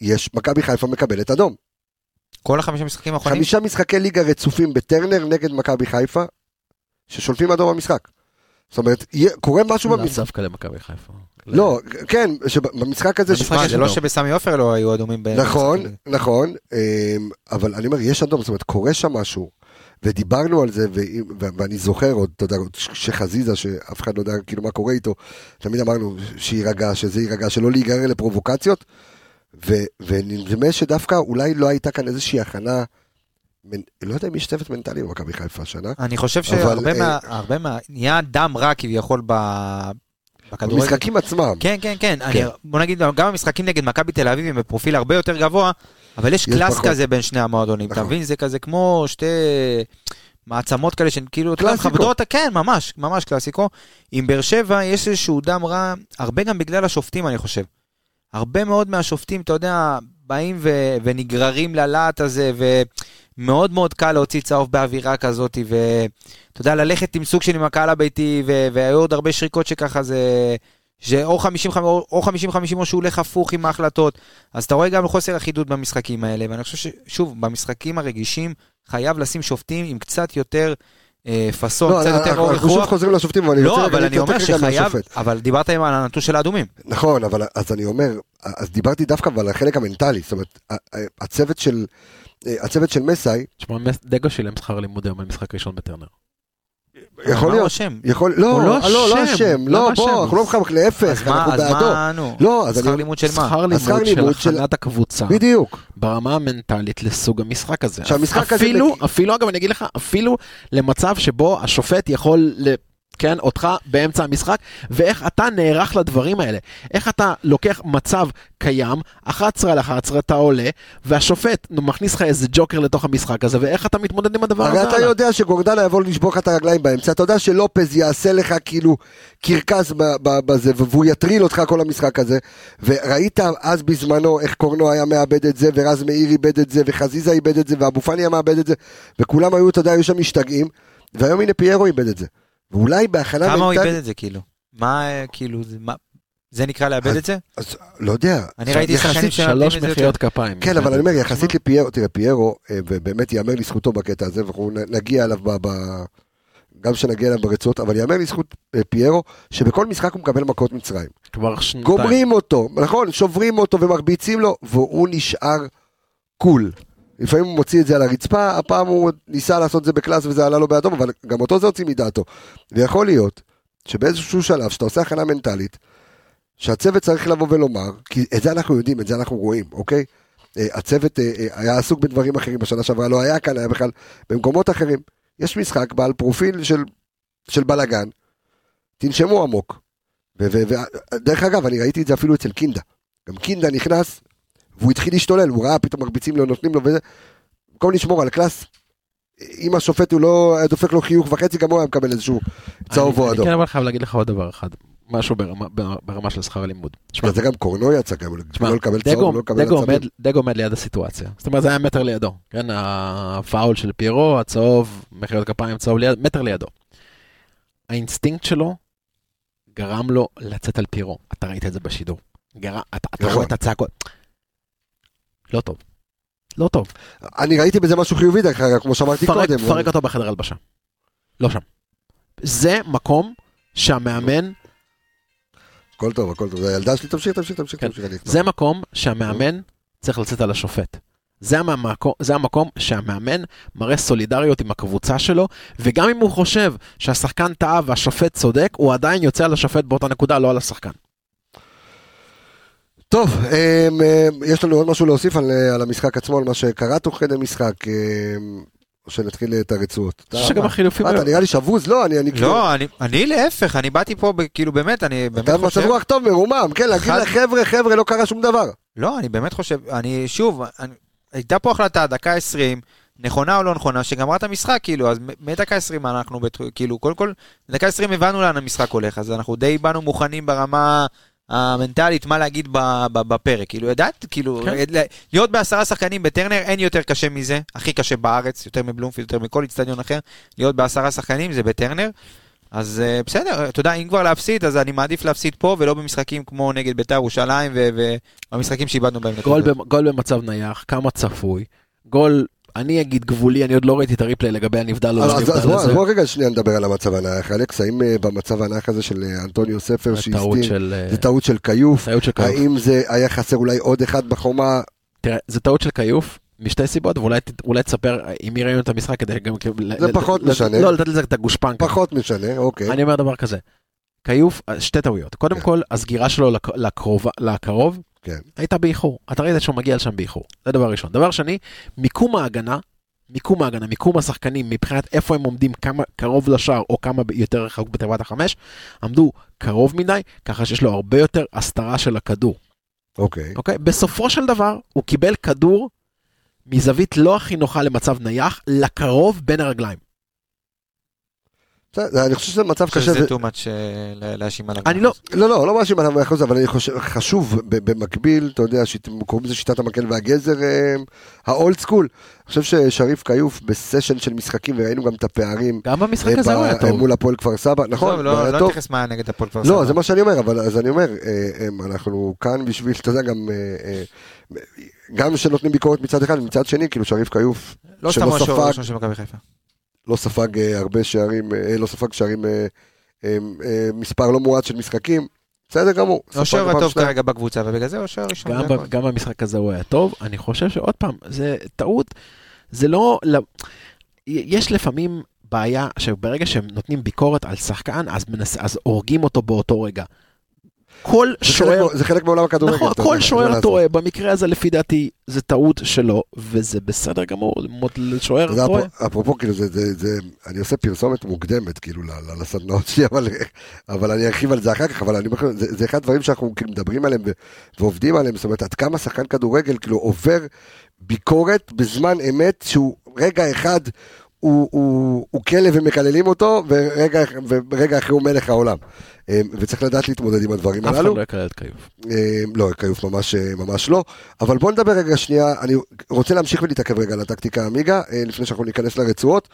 Speaker 1: יש, מכבי חיפה מקבלת אדום.
Speaker 3: כל החמישה משחקים האחרונים?
Speaker 1: חמישה משחקי ליגה רצופים בטרנר נגד מכבי חיפה, ששולפים אדום במשחק. זאת אומרת, יה- קורה משהו
Speaker 3: לא
Speaker 5: לאו
Speaker 1: במשחק.
Speaker 5: דווקא למכבי חיפה.
Speaker 1: לא, כן, במשחק הזה...
Speaker 3: במשחק הזה, זה לא שבסמי עופר לא היו אדומים. ב-
Speaker 1: נכון,
Speaker 3: במשחק הזה.
Speaker 1: נכון, אמ, אבל אני אומר, יש אדום, זאת אומרת, קורה שם משהו, ודיברנו על זה, ו- ו- ואני זוכר עוד, אתה יודע, עוד ש- שחזיזה, שאף אחד לא יודע כאילו מה קורה איתו, תמיד אמרנו ש- שיירגע, שזה יירגע, שלא להיגרר לפרובוקציות, ו- ונדמה שדווקא אולי לא הייתה כאן איזושהי הכנה, מנ- לא יודע אם יש צוות מנטלי במכבי חיפה השנה,
Speaker 3: אני חושב
Speaker 1: אבל,
Speaker 3: שהרבה מה...
Speaker 1: אה,
Speaker 3: הרבה מה... נהיה דם רע כביכול ב- בכדורגל.
Speaker 1: במשחקים עצמם,
Speaker 3: כן, כן, כן. אני, בוא נגיד, גם המשחקים נגד מכבי תל אביב הם בפרופיל הרבה יותר גבוה, אבל יש
Speaker 1: יש
Speaker 3: קלאס
Speaker 1: פחות.
Speaker 3: כזה בין שני המועדונים, אתה
Speaker 1: נכון.
Speaker 3: מבין? זה כזה כמו שתי מעצמות כאלה שהן כאילו... אתה יודע,
Speaker 1: קלאסיקו.
Speaker 3: מכבדות, כן, ממש, ממש קלאסיקו. עם באר שבע יש איזשהו דם רע, הרבה גם בגלל השופטים, אני חושב. הרבה מאוד מהשופטים, אתה יודע, באים ו- ונגררים ללהט הזה, ומאוד מאוד קל להוציא צהוב באווירה כזאת, ואתה יודע, ללכת עם סוג של עם הקהל הביתי, ו- והיו עוד הרבה שריקות שככה זה... שאו 50-50 או- או 50-50 או שהוא הולך הפוך עם ההחלטות. אז אתה רואה גם חוסר אחידות במשחקים האלה, ואני חושב ששוב, במשחקים הרגישים חייב לשים שופטים עם קצת יותר אה, פאסון,
Speaker 1: לא,
Speaker 3: קצת יותר
Speaker 1: אנחנו
Speaker 3: אורך
Speaker 1: אנחנו שוב
Speaker 3: רוח.
Speaker 1: חוזרים לשופטים, אבל אני רוצה
Speaker 3: לא,
Speaker 1: רגע
Speaker 3: אבל אני אומר
Speaker 1: להתנתק רגע
Speaker 3: שחייב,
Speaker 1: מהשופט.
Speaker 3: אבל דיברתם על הנתון של האדומים.
Speaker 1: נכון, אבל אז אני אומר, אז דיברתי דווקא אבל על החלק המנטלי, זאת אומרת, ה- ה- הצוות של, אה, הצוות של מסאי,
Speaker 5: תשמע, מס- דגו שילם שכר לימוד היום על משחק ראשון בטרנר.
Speaker 1: יכול
Speaker 3: מה הוא
Speaker 1: להיות,
Speaker 3: אה, אשם?
Speaker 1: יכול, לא,
Speaker 5: הוא לא
Speaker 1: אה, לא, לא
Speaker 5: אשם.
Speaker 1: אשם,
Speaker 5: למה
Speaker 1: לא,
Speaker 5: אשם?
Speaker 1: בוא, אנחנו לא מחמק,
Speaker 3: אז
Speaker 1: להפך,
Speaker 3: מה,
Speaker 1: אנחנו
Speaker 3: אז
Speaker 1: בעדו.
Speaker 3: מה, נו?
Speaker 1: לא, אז
Speaker 3: שכר
Speaker 1: אני,
Speaker 3: לימוד של מה?
Speaker 5: שכר
Speaker 1: השכר
Speaker 5: לימוד של
Speaker 1: לימוד של-
Speaker 5: הכנת הקבוצה
Speaker 1: בדיוק,
Speaker 5: ברמה המנטלית לסוג המשחק הזה.
Speaker 1: שהמשחק הזה
Speaker 5: אפילו,
Speaker 1: מגיע-
Speaker 5: אפילו, אגב, אני אגיד לך, אפילו למצב שבו השופט יכול... ל... כן, אותך באמצע המשחק, ואיך אתה נערך לדברים האלה. איך אתה לוקח מצב קיים, 11 על 11 אתה עולה, והשופט נו, מכניס לך איזה ג'וקר לתוך המשחק הזה, ואיך אתה מתמודד עם הדבר הזה.
Speaker 1: הרי אתה
Speaker 5: הלאה.
Speaker 1: יודע שגורדנה יבוא לשבור לך את הרגליים באמצע, אתה יודע שלופז יעשה לך כאילו קרקס ב- ב- בזה, והוא יטריל אותך כל המשחק הזה, וראית אז בזמנו איך קורנו היה מאבד את זה, ורז מאיר איבד את זה, וחזיזה איבד את זה, ואבו פאני היה מאבד את זה, וכולם היו, אתה יודע, היו שם משתגעים, והיום הנה פיירו איבד את זה. ואולי בהכנה
Speaker 3: כמה הוא
Speaker 1: מנטלית-
Speaker 3: איבד את זה, כאילו? מה, אה, כאילו, זה- מה- זה נקרא לאבד
Speaker 1: אז-
Speaker 3: את זה?
Speaker 1: אז לא יודע.
Speaker 3: אני ראיתי
Speaker 1: יחסית-
Speaker 3: שחקנים שמאבדים
Speaker 5: שלוש
Speaker 3: את זה יותר.
Speaker 5: מחיאות כפיים.
Speaker 1: כן, אבל אני אומר, יחסית לפיירו, תראה, פיירו, אה, ובאמת ייאמר לזכותו בקטע הזה, ואנחנו נ- נגיע אליו ב... ב... גם שנגיע אליו ברצועות, אבל ייאמר לזכות אה, פיירו, שבכל משחק הוא מקבל מכות מצרים.
Speaker 5: כבר שנתיים.
Speaker 1: גומרים אותו, נכון? שוברים אותו ומרביצים לו, והוא נשאר קול. לפעמים הוא מוציא את זה על הרצפה, הפעם הוא ניסה לעשות את זה בקלאס וזה עלה לו באדום, אבל גם אותו זה הוציא מדעתו. ויכול להיות שבאיזשהו שלב, שאתה עושה הכנה מנטלית, שהצוות צריך לבוא ולומר, כי את זה אנחנו יודעים, את זה אנחנו רואים, אוקיי? אה, הצוות אה, אה, היה עסוק בדברים אחרים בשנה שעברה, לא היה כאן, היה בכלל במקומות אחרים. יש משחק בעל פרופיל של, של בלאגן, תנשמו עמוק. ודרך אגב, אני ראיתי את זה אפילו אצל קינדה. גם קינדה נכנס, והוא התחיל להשתולל, הוא ראה פתאום מרביצים לו, נותנים לו וזה. במקום לשמור על קלאס, אם השופט הוא לא היה דופק לו חיוך וחצי, גם הוא היה מקבל איזשהו צהוב
Speaker 5: אני-
Speaker 1: או אדום.
Speaker 5: אני כן אבל חייב להגיד לך עוד דבר אחד. משהו ברמה- ברמה של שכר לימוד. תשמע,
Speaker 1: זה גם קורנו יצא, גם
Speaker 5: תשמע,
Speaker 1: לא לקבל
Speaker 5: דגו-
Speaker 1: צהוב, לא לקבל
Speaker 5: דגו
Speaker 1: עצבים.
Speaker 5: עומד- דגו עומד ליד הסיטואציה. זאת אומרת, זה היה מטר לידו. כן, הפאול של פיירו, הצהוב, מחיאות כפיים, צהוב ליד, מטר לידו. האינסטינקט שלו גרם לו לצאת על פירו. אתה ראית את זה בשידור. גר... אתה, אתה
Speaker 1: נכון.
Speaker 5: רואה את הצעקות. לא טוב. לא טוב.
Speaker 1: אני ראיתי בזה משהו חיובי דרך אגב, כמו שאמרתי
Speaker 5: פרק,
Speaker 1: קודם.
Speaker 5: פרק אותו בחדר הלבשה. לא שם. זה מקום שהמאמן,
Speaker 1: הכל טוב, הכל טוב. זה הילדה שלי, תמשיך, תמשיך, תמשיך.
Speaker 5: כן.
Speaker 1: תמשיך, אני אכתוב.
Speaker 5: זה מקום שהמאמן צריך לצאת על השופט. זה המקום, זה המקום שהמאמן מראה סולידריות עם הקבוצה שלו, וגם אם הוא חושב שהשחקן טעה והשופט צודק, הוא עדיין יוצא על השופט באותה נקודה, לא על השחקן.
Speaker 1: טוב, אמ, אמ, יש לנו עוד משהו להוסיף על אה, על המשחק עצמו, על מה שקרה תוך כדי משחק. אמ, או שנתחיל את הרצועות.
Speaker 5: אני חושב שגם החילופים...
Speaker 1: מה, אתה נראה לי שבוז? לא, אני... אני כאילו-
Speaker 3: לא, אני- אני להפך, אני באתי פה, ב- כאילו באמת, אני באמת
Speaker 1: אתה
Speaker 3: חושב...
Speaker 1: במצב רוח טוב, מרומם, כן, להגיד
Speaker 3: חד-
Speaker 1: לחבר'ה, חבר'ה, לא קרה שום דבר.
Speaker 3: לא, אני באמת חושב, אני שוב, אני, הייתה פה החלטה, דקה 20, נכונה או לא נכונה, שגמרה את המשחק, כאילו, אז מ- מדקה 20 אנחנו, בת, כאילו, קודם כל, דקה 20 הבנו לאן המשחק הולך, אז אנחנו די באנו מוכנים ברמה המנטלית, מה להגיד ב, ב, בפרק, כאילו, ידעת, כאילו,
Speaker 5: כן.
Speaker 3: כן. להיות בעשרה שחקנים בטרנר, אין יותר קשה מזה, הכי קשה בארץ, יותר מבלומפילד, יותר מכל איצטדיון אחר, להיות בעשרה שחקנים זה בטרנר. אז אה, בסדר, אתה יודע, אם כבר להפסיד, אז אני מעדיף להפסיד פה, ולא במשחקים כמו נגד בית"ר ירושלים, ו- ו- המשחקים שאיבדנו בהם
Speaker 5: גול, במ- גול במצב נייח, כמה צפוי, גול, אני אגיד גבולי, אני עוד לא ראיתי את הריפליי לגבי הנבדל או לא
Speaker 1: אז- אז
Speaker 5: נבדל
Speaker 1: בוא- אז
Speaker 5: הזה.
Speaker 1: בוא רגע שנייה נדבר על המצב הנייח. אלכס, האם אה, במצב הנייח הזה של אה, אנטוניו ספר
Speaker 5: טעות
Speaker 1: שהסתיר,
Speaker 5: של... אה,
Speaker 1: זה טעות של כיוף?
Speaker 5: טעות של כיוף.
Speaker 1: האם זה היה חסר אולי עוד אחד בחומה?
Speaker 5: תראה, זה טעות של כיוף, משתי סיבות, ואולי ת- אולי תספר אה, עם מי ראינו את המשחק כדי גם... כאילו ל-
Speaker 1: זה
Speaker 5: ל-
Speaker 1: פחות
Speaker 5: ל-
Speaker 1: משנה.
Speaker 5: לא, לתת לזה את הגושפנקה.
Speaker 1: פחות משנה, אוקיי.
Speaker 5: אני אומר דבר כזה, כיוף, אה, שתי טעויות. קודם
Speaker 1: כן.
Speaker 5: כל, הסגירה שלו לק- לקרוב- לקרוב,
Speaker 1: כן.
Speaker 5: הייתה באיחור. אתה ראית שהוא מגיע לשם באיחור. זה דבר ראשון. דבר שני, מיקום ההגנה, מיקום ההגנה, מיקום השחקנים, מבחינת איפה הם עומדים, כמה קרוב לשער או כמה ב- יותר רחוק בתיבת החמש, עמדו קרוב מדי, ככה שיש לו הרבה יותר הסתרה של הכדור.
Speaker 1: אוקיי.
Speaker 5: אוקיי? בסופו של דבר, הוא קיבל כדור מזווית לא הכי נוחה למצב נייח, לקרוב בין הרגליים.
Speaker 1: בסדר, אני חושב שזה מצב
Speaker 3: אני חושב
Speaker 1: קשה.
Speaker 3: שזה
Speaker 1: ו-
Speaker 3: too much אה, ל- להאשים עליו.
Speaker 5: אני לא,
Speaker 1: לא, לא, לא מאשים עליו מאה אחוז, אבל אני חושב, חשוב ב- במקביל, אתה יודע, שית- קוראים לזה שיטת המקל והגזר, אה, האולד סקול. אני חושב ששריף כיוף בסשן של משחקים, וראינו גם את הפערים.
Speaker 5: גם במשחק
Speaker 1: אה,
Speaker 5: הזה הוא היה
Speaker 1: ב-
Speaker 5: טוב.
Speaker 1: מול הפועל כפר סבא, נכון,
Speaker 3: נכון,
Speaker 1: הוא
Speaker 3: לא
Speaker 1: היה
Speaker 3: לא
Speaker 1: טוב.
Speaker 3: נתייחס מה נגד הפועל כפר סבא.
Speaker 1: לא, זה מה שאני אומר, אבל אז אני אומר, אה, הם, אנחנו כאן בשביל, אתה יודע, גם... אה, אה, גם שנותנים ביקורת מצד אחד, ומצד שני, כאילו שריף כיוף
Speaker 3: לא
Speaker 1: שלא
Speaker 3: סתם השוער
Speaker 1: ספג.
Speaker 3: הראשון של מכבי חיפה.
Speaker 1: לא ספג אה, הרבה שערים, אה, לא ספג שערים, אה, אה, אה, מספר לא מועט של משחקים, בסדר גמור. ספג
Speaker 3: השוער
Speaker 1: פעם
Speaker 3: הטוב
Speaker 1: שתיים.
Speaker 3: כרגע בקבוצה, ובגלל זה הוא השוער הראשון.
Speaker 5: גם,
Speaker 3: זה
Speaker 5: ב-
Speaker 3: הכל.
Speaker 5: גם במשחק הזה הוא היה טוב. אני חושב שעוד פעם, זה טעות, זה לא... ל- יש לפעמים בעיה שברגע שהם נותנים ביקורת על שחקן, אז, מנס, אז הורגים אותו באותו רגע. כל
Speaker 1: זה חלק
Speaker 5: שוער...
Speaker 1: מה- זה חלק מעולם הכדורגל.
Speaker 5: נכון,
Speaker 1: אתה יודע,
Speaker 5: כל
Speaker 1: אין מה
Speaker 5: שוער
Speaker 1: לעשות.
Speaker 5: טועה, במקרה הזה לפי דעתי זה טעות שלו, וזה בסדר גמור, מות-
Speaker 1: אתה
Speaker 5: שוער
Speaker 1: יודע,
Speaker 5: טועה.
Speaker 1: אפרופו- אפרופו, כאילו, זה, זה, זה, אני עושה פרסומת מוקדמת, כאילו, ל- ל- לסדנאות שלי, אבל, אבל אני ארחיב על זה אחר כך, אבל אני אומר, לך, זה, זה אחד הדברים שאנחנו כאילו מדברים עליהם ו, ועובדים עליהם, זאת אומרת, עד כמה שחקן כדורגל, כאילו, עובר ביקורת בזמן אמת, שהוא רגע אחד הוא, הוא, הוא כלב ומקללים אותו, ורגע, ורגע אחרי הוא מלך העולם. אה, וצריך לדעת להתמודד עם הדברים
Speaker 5: אף אחד
Speaker 1: הללו.
Speaker 5: לא יקרא את כיוף.
Speaker 1: אה, לא, כיוף ממש, אה, ממש לא. אבל בוא נדבר רגע שנייה, אני רוצה להמשיך ולהתעכב רגע על הטקטיקה עמיגה, אה, לפני שאנחנו ניכנס לרצועות.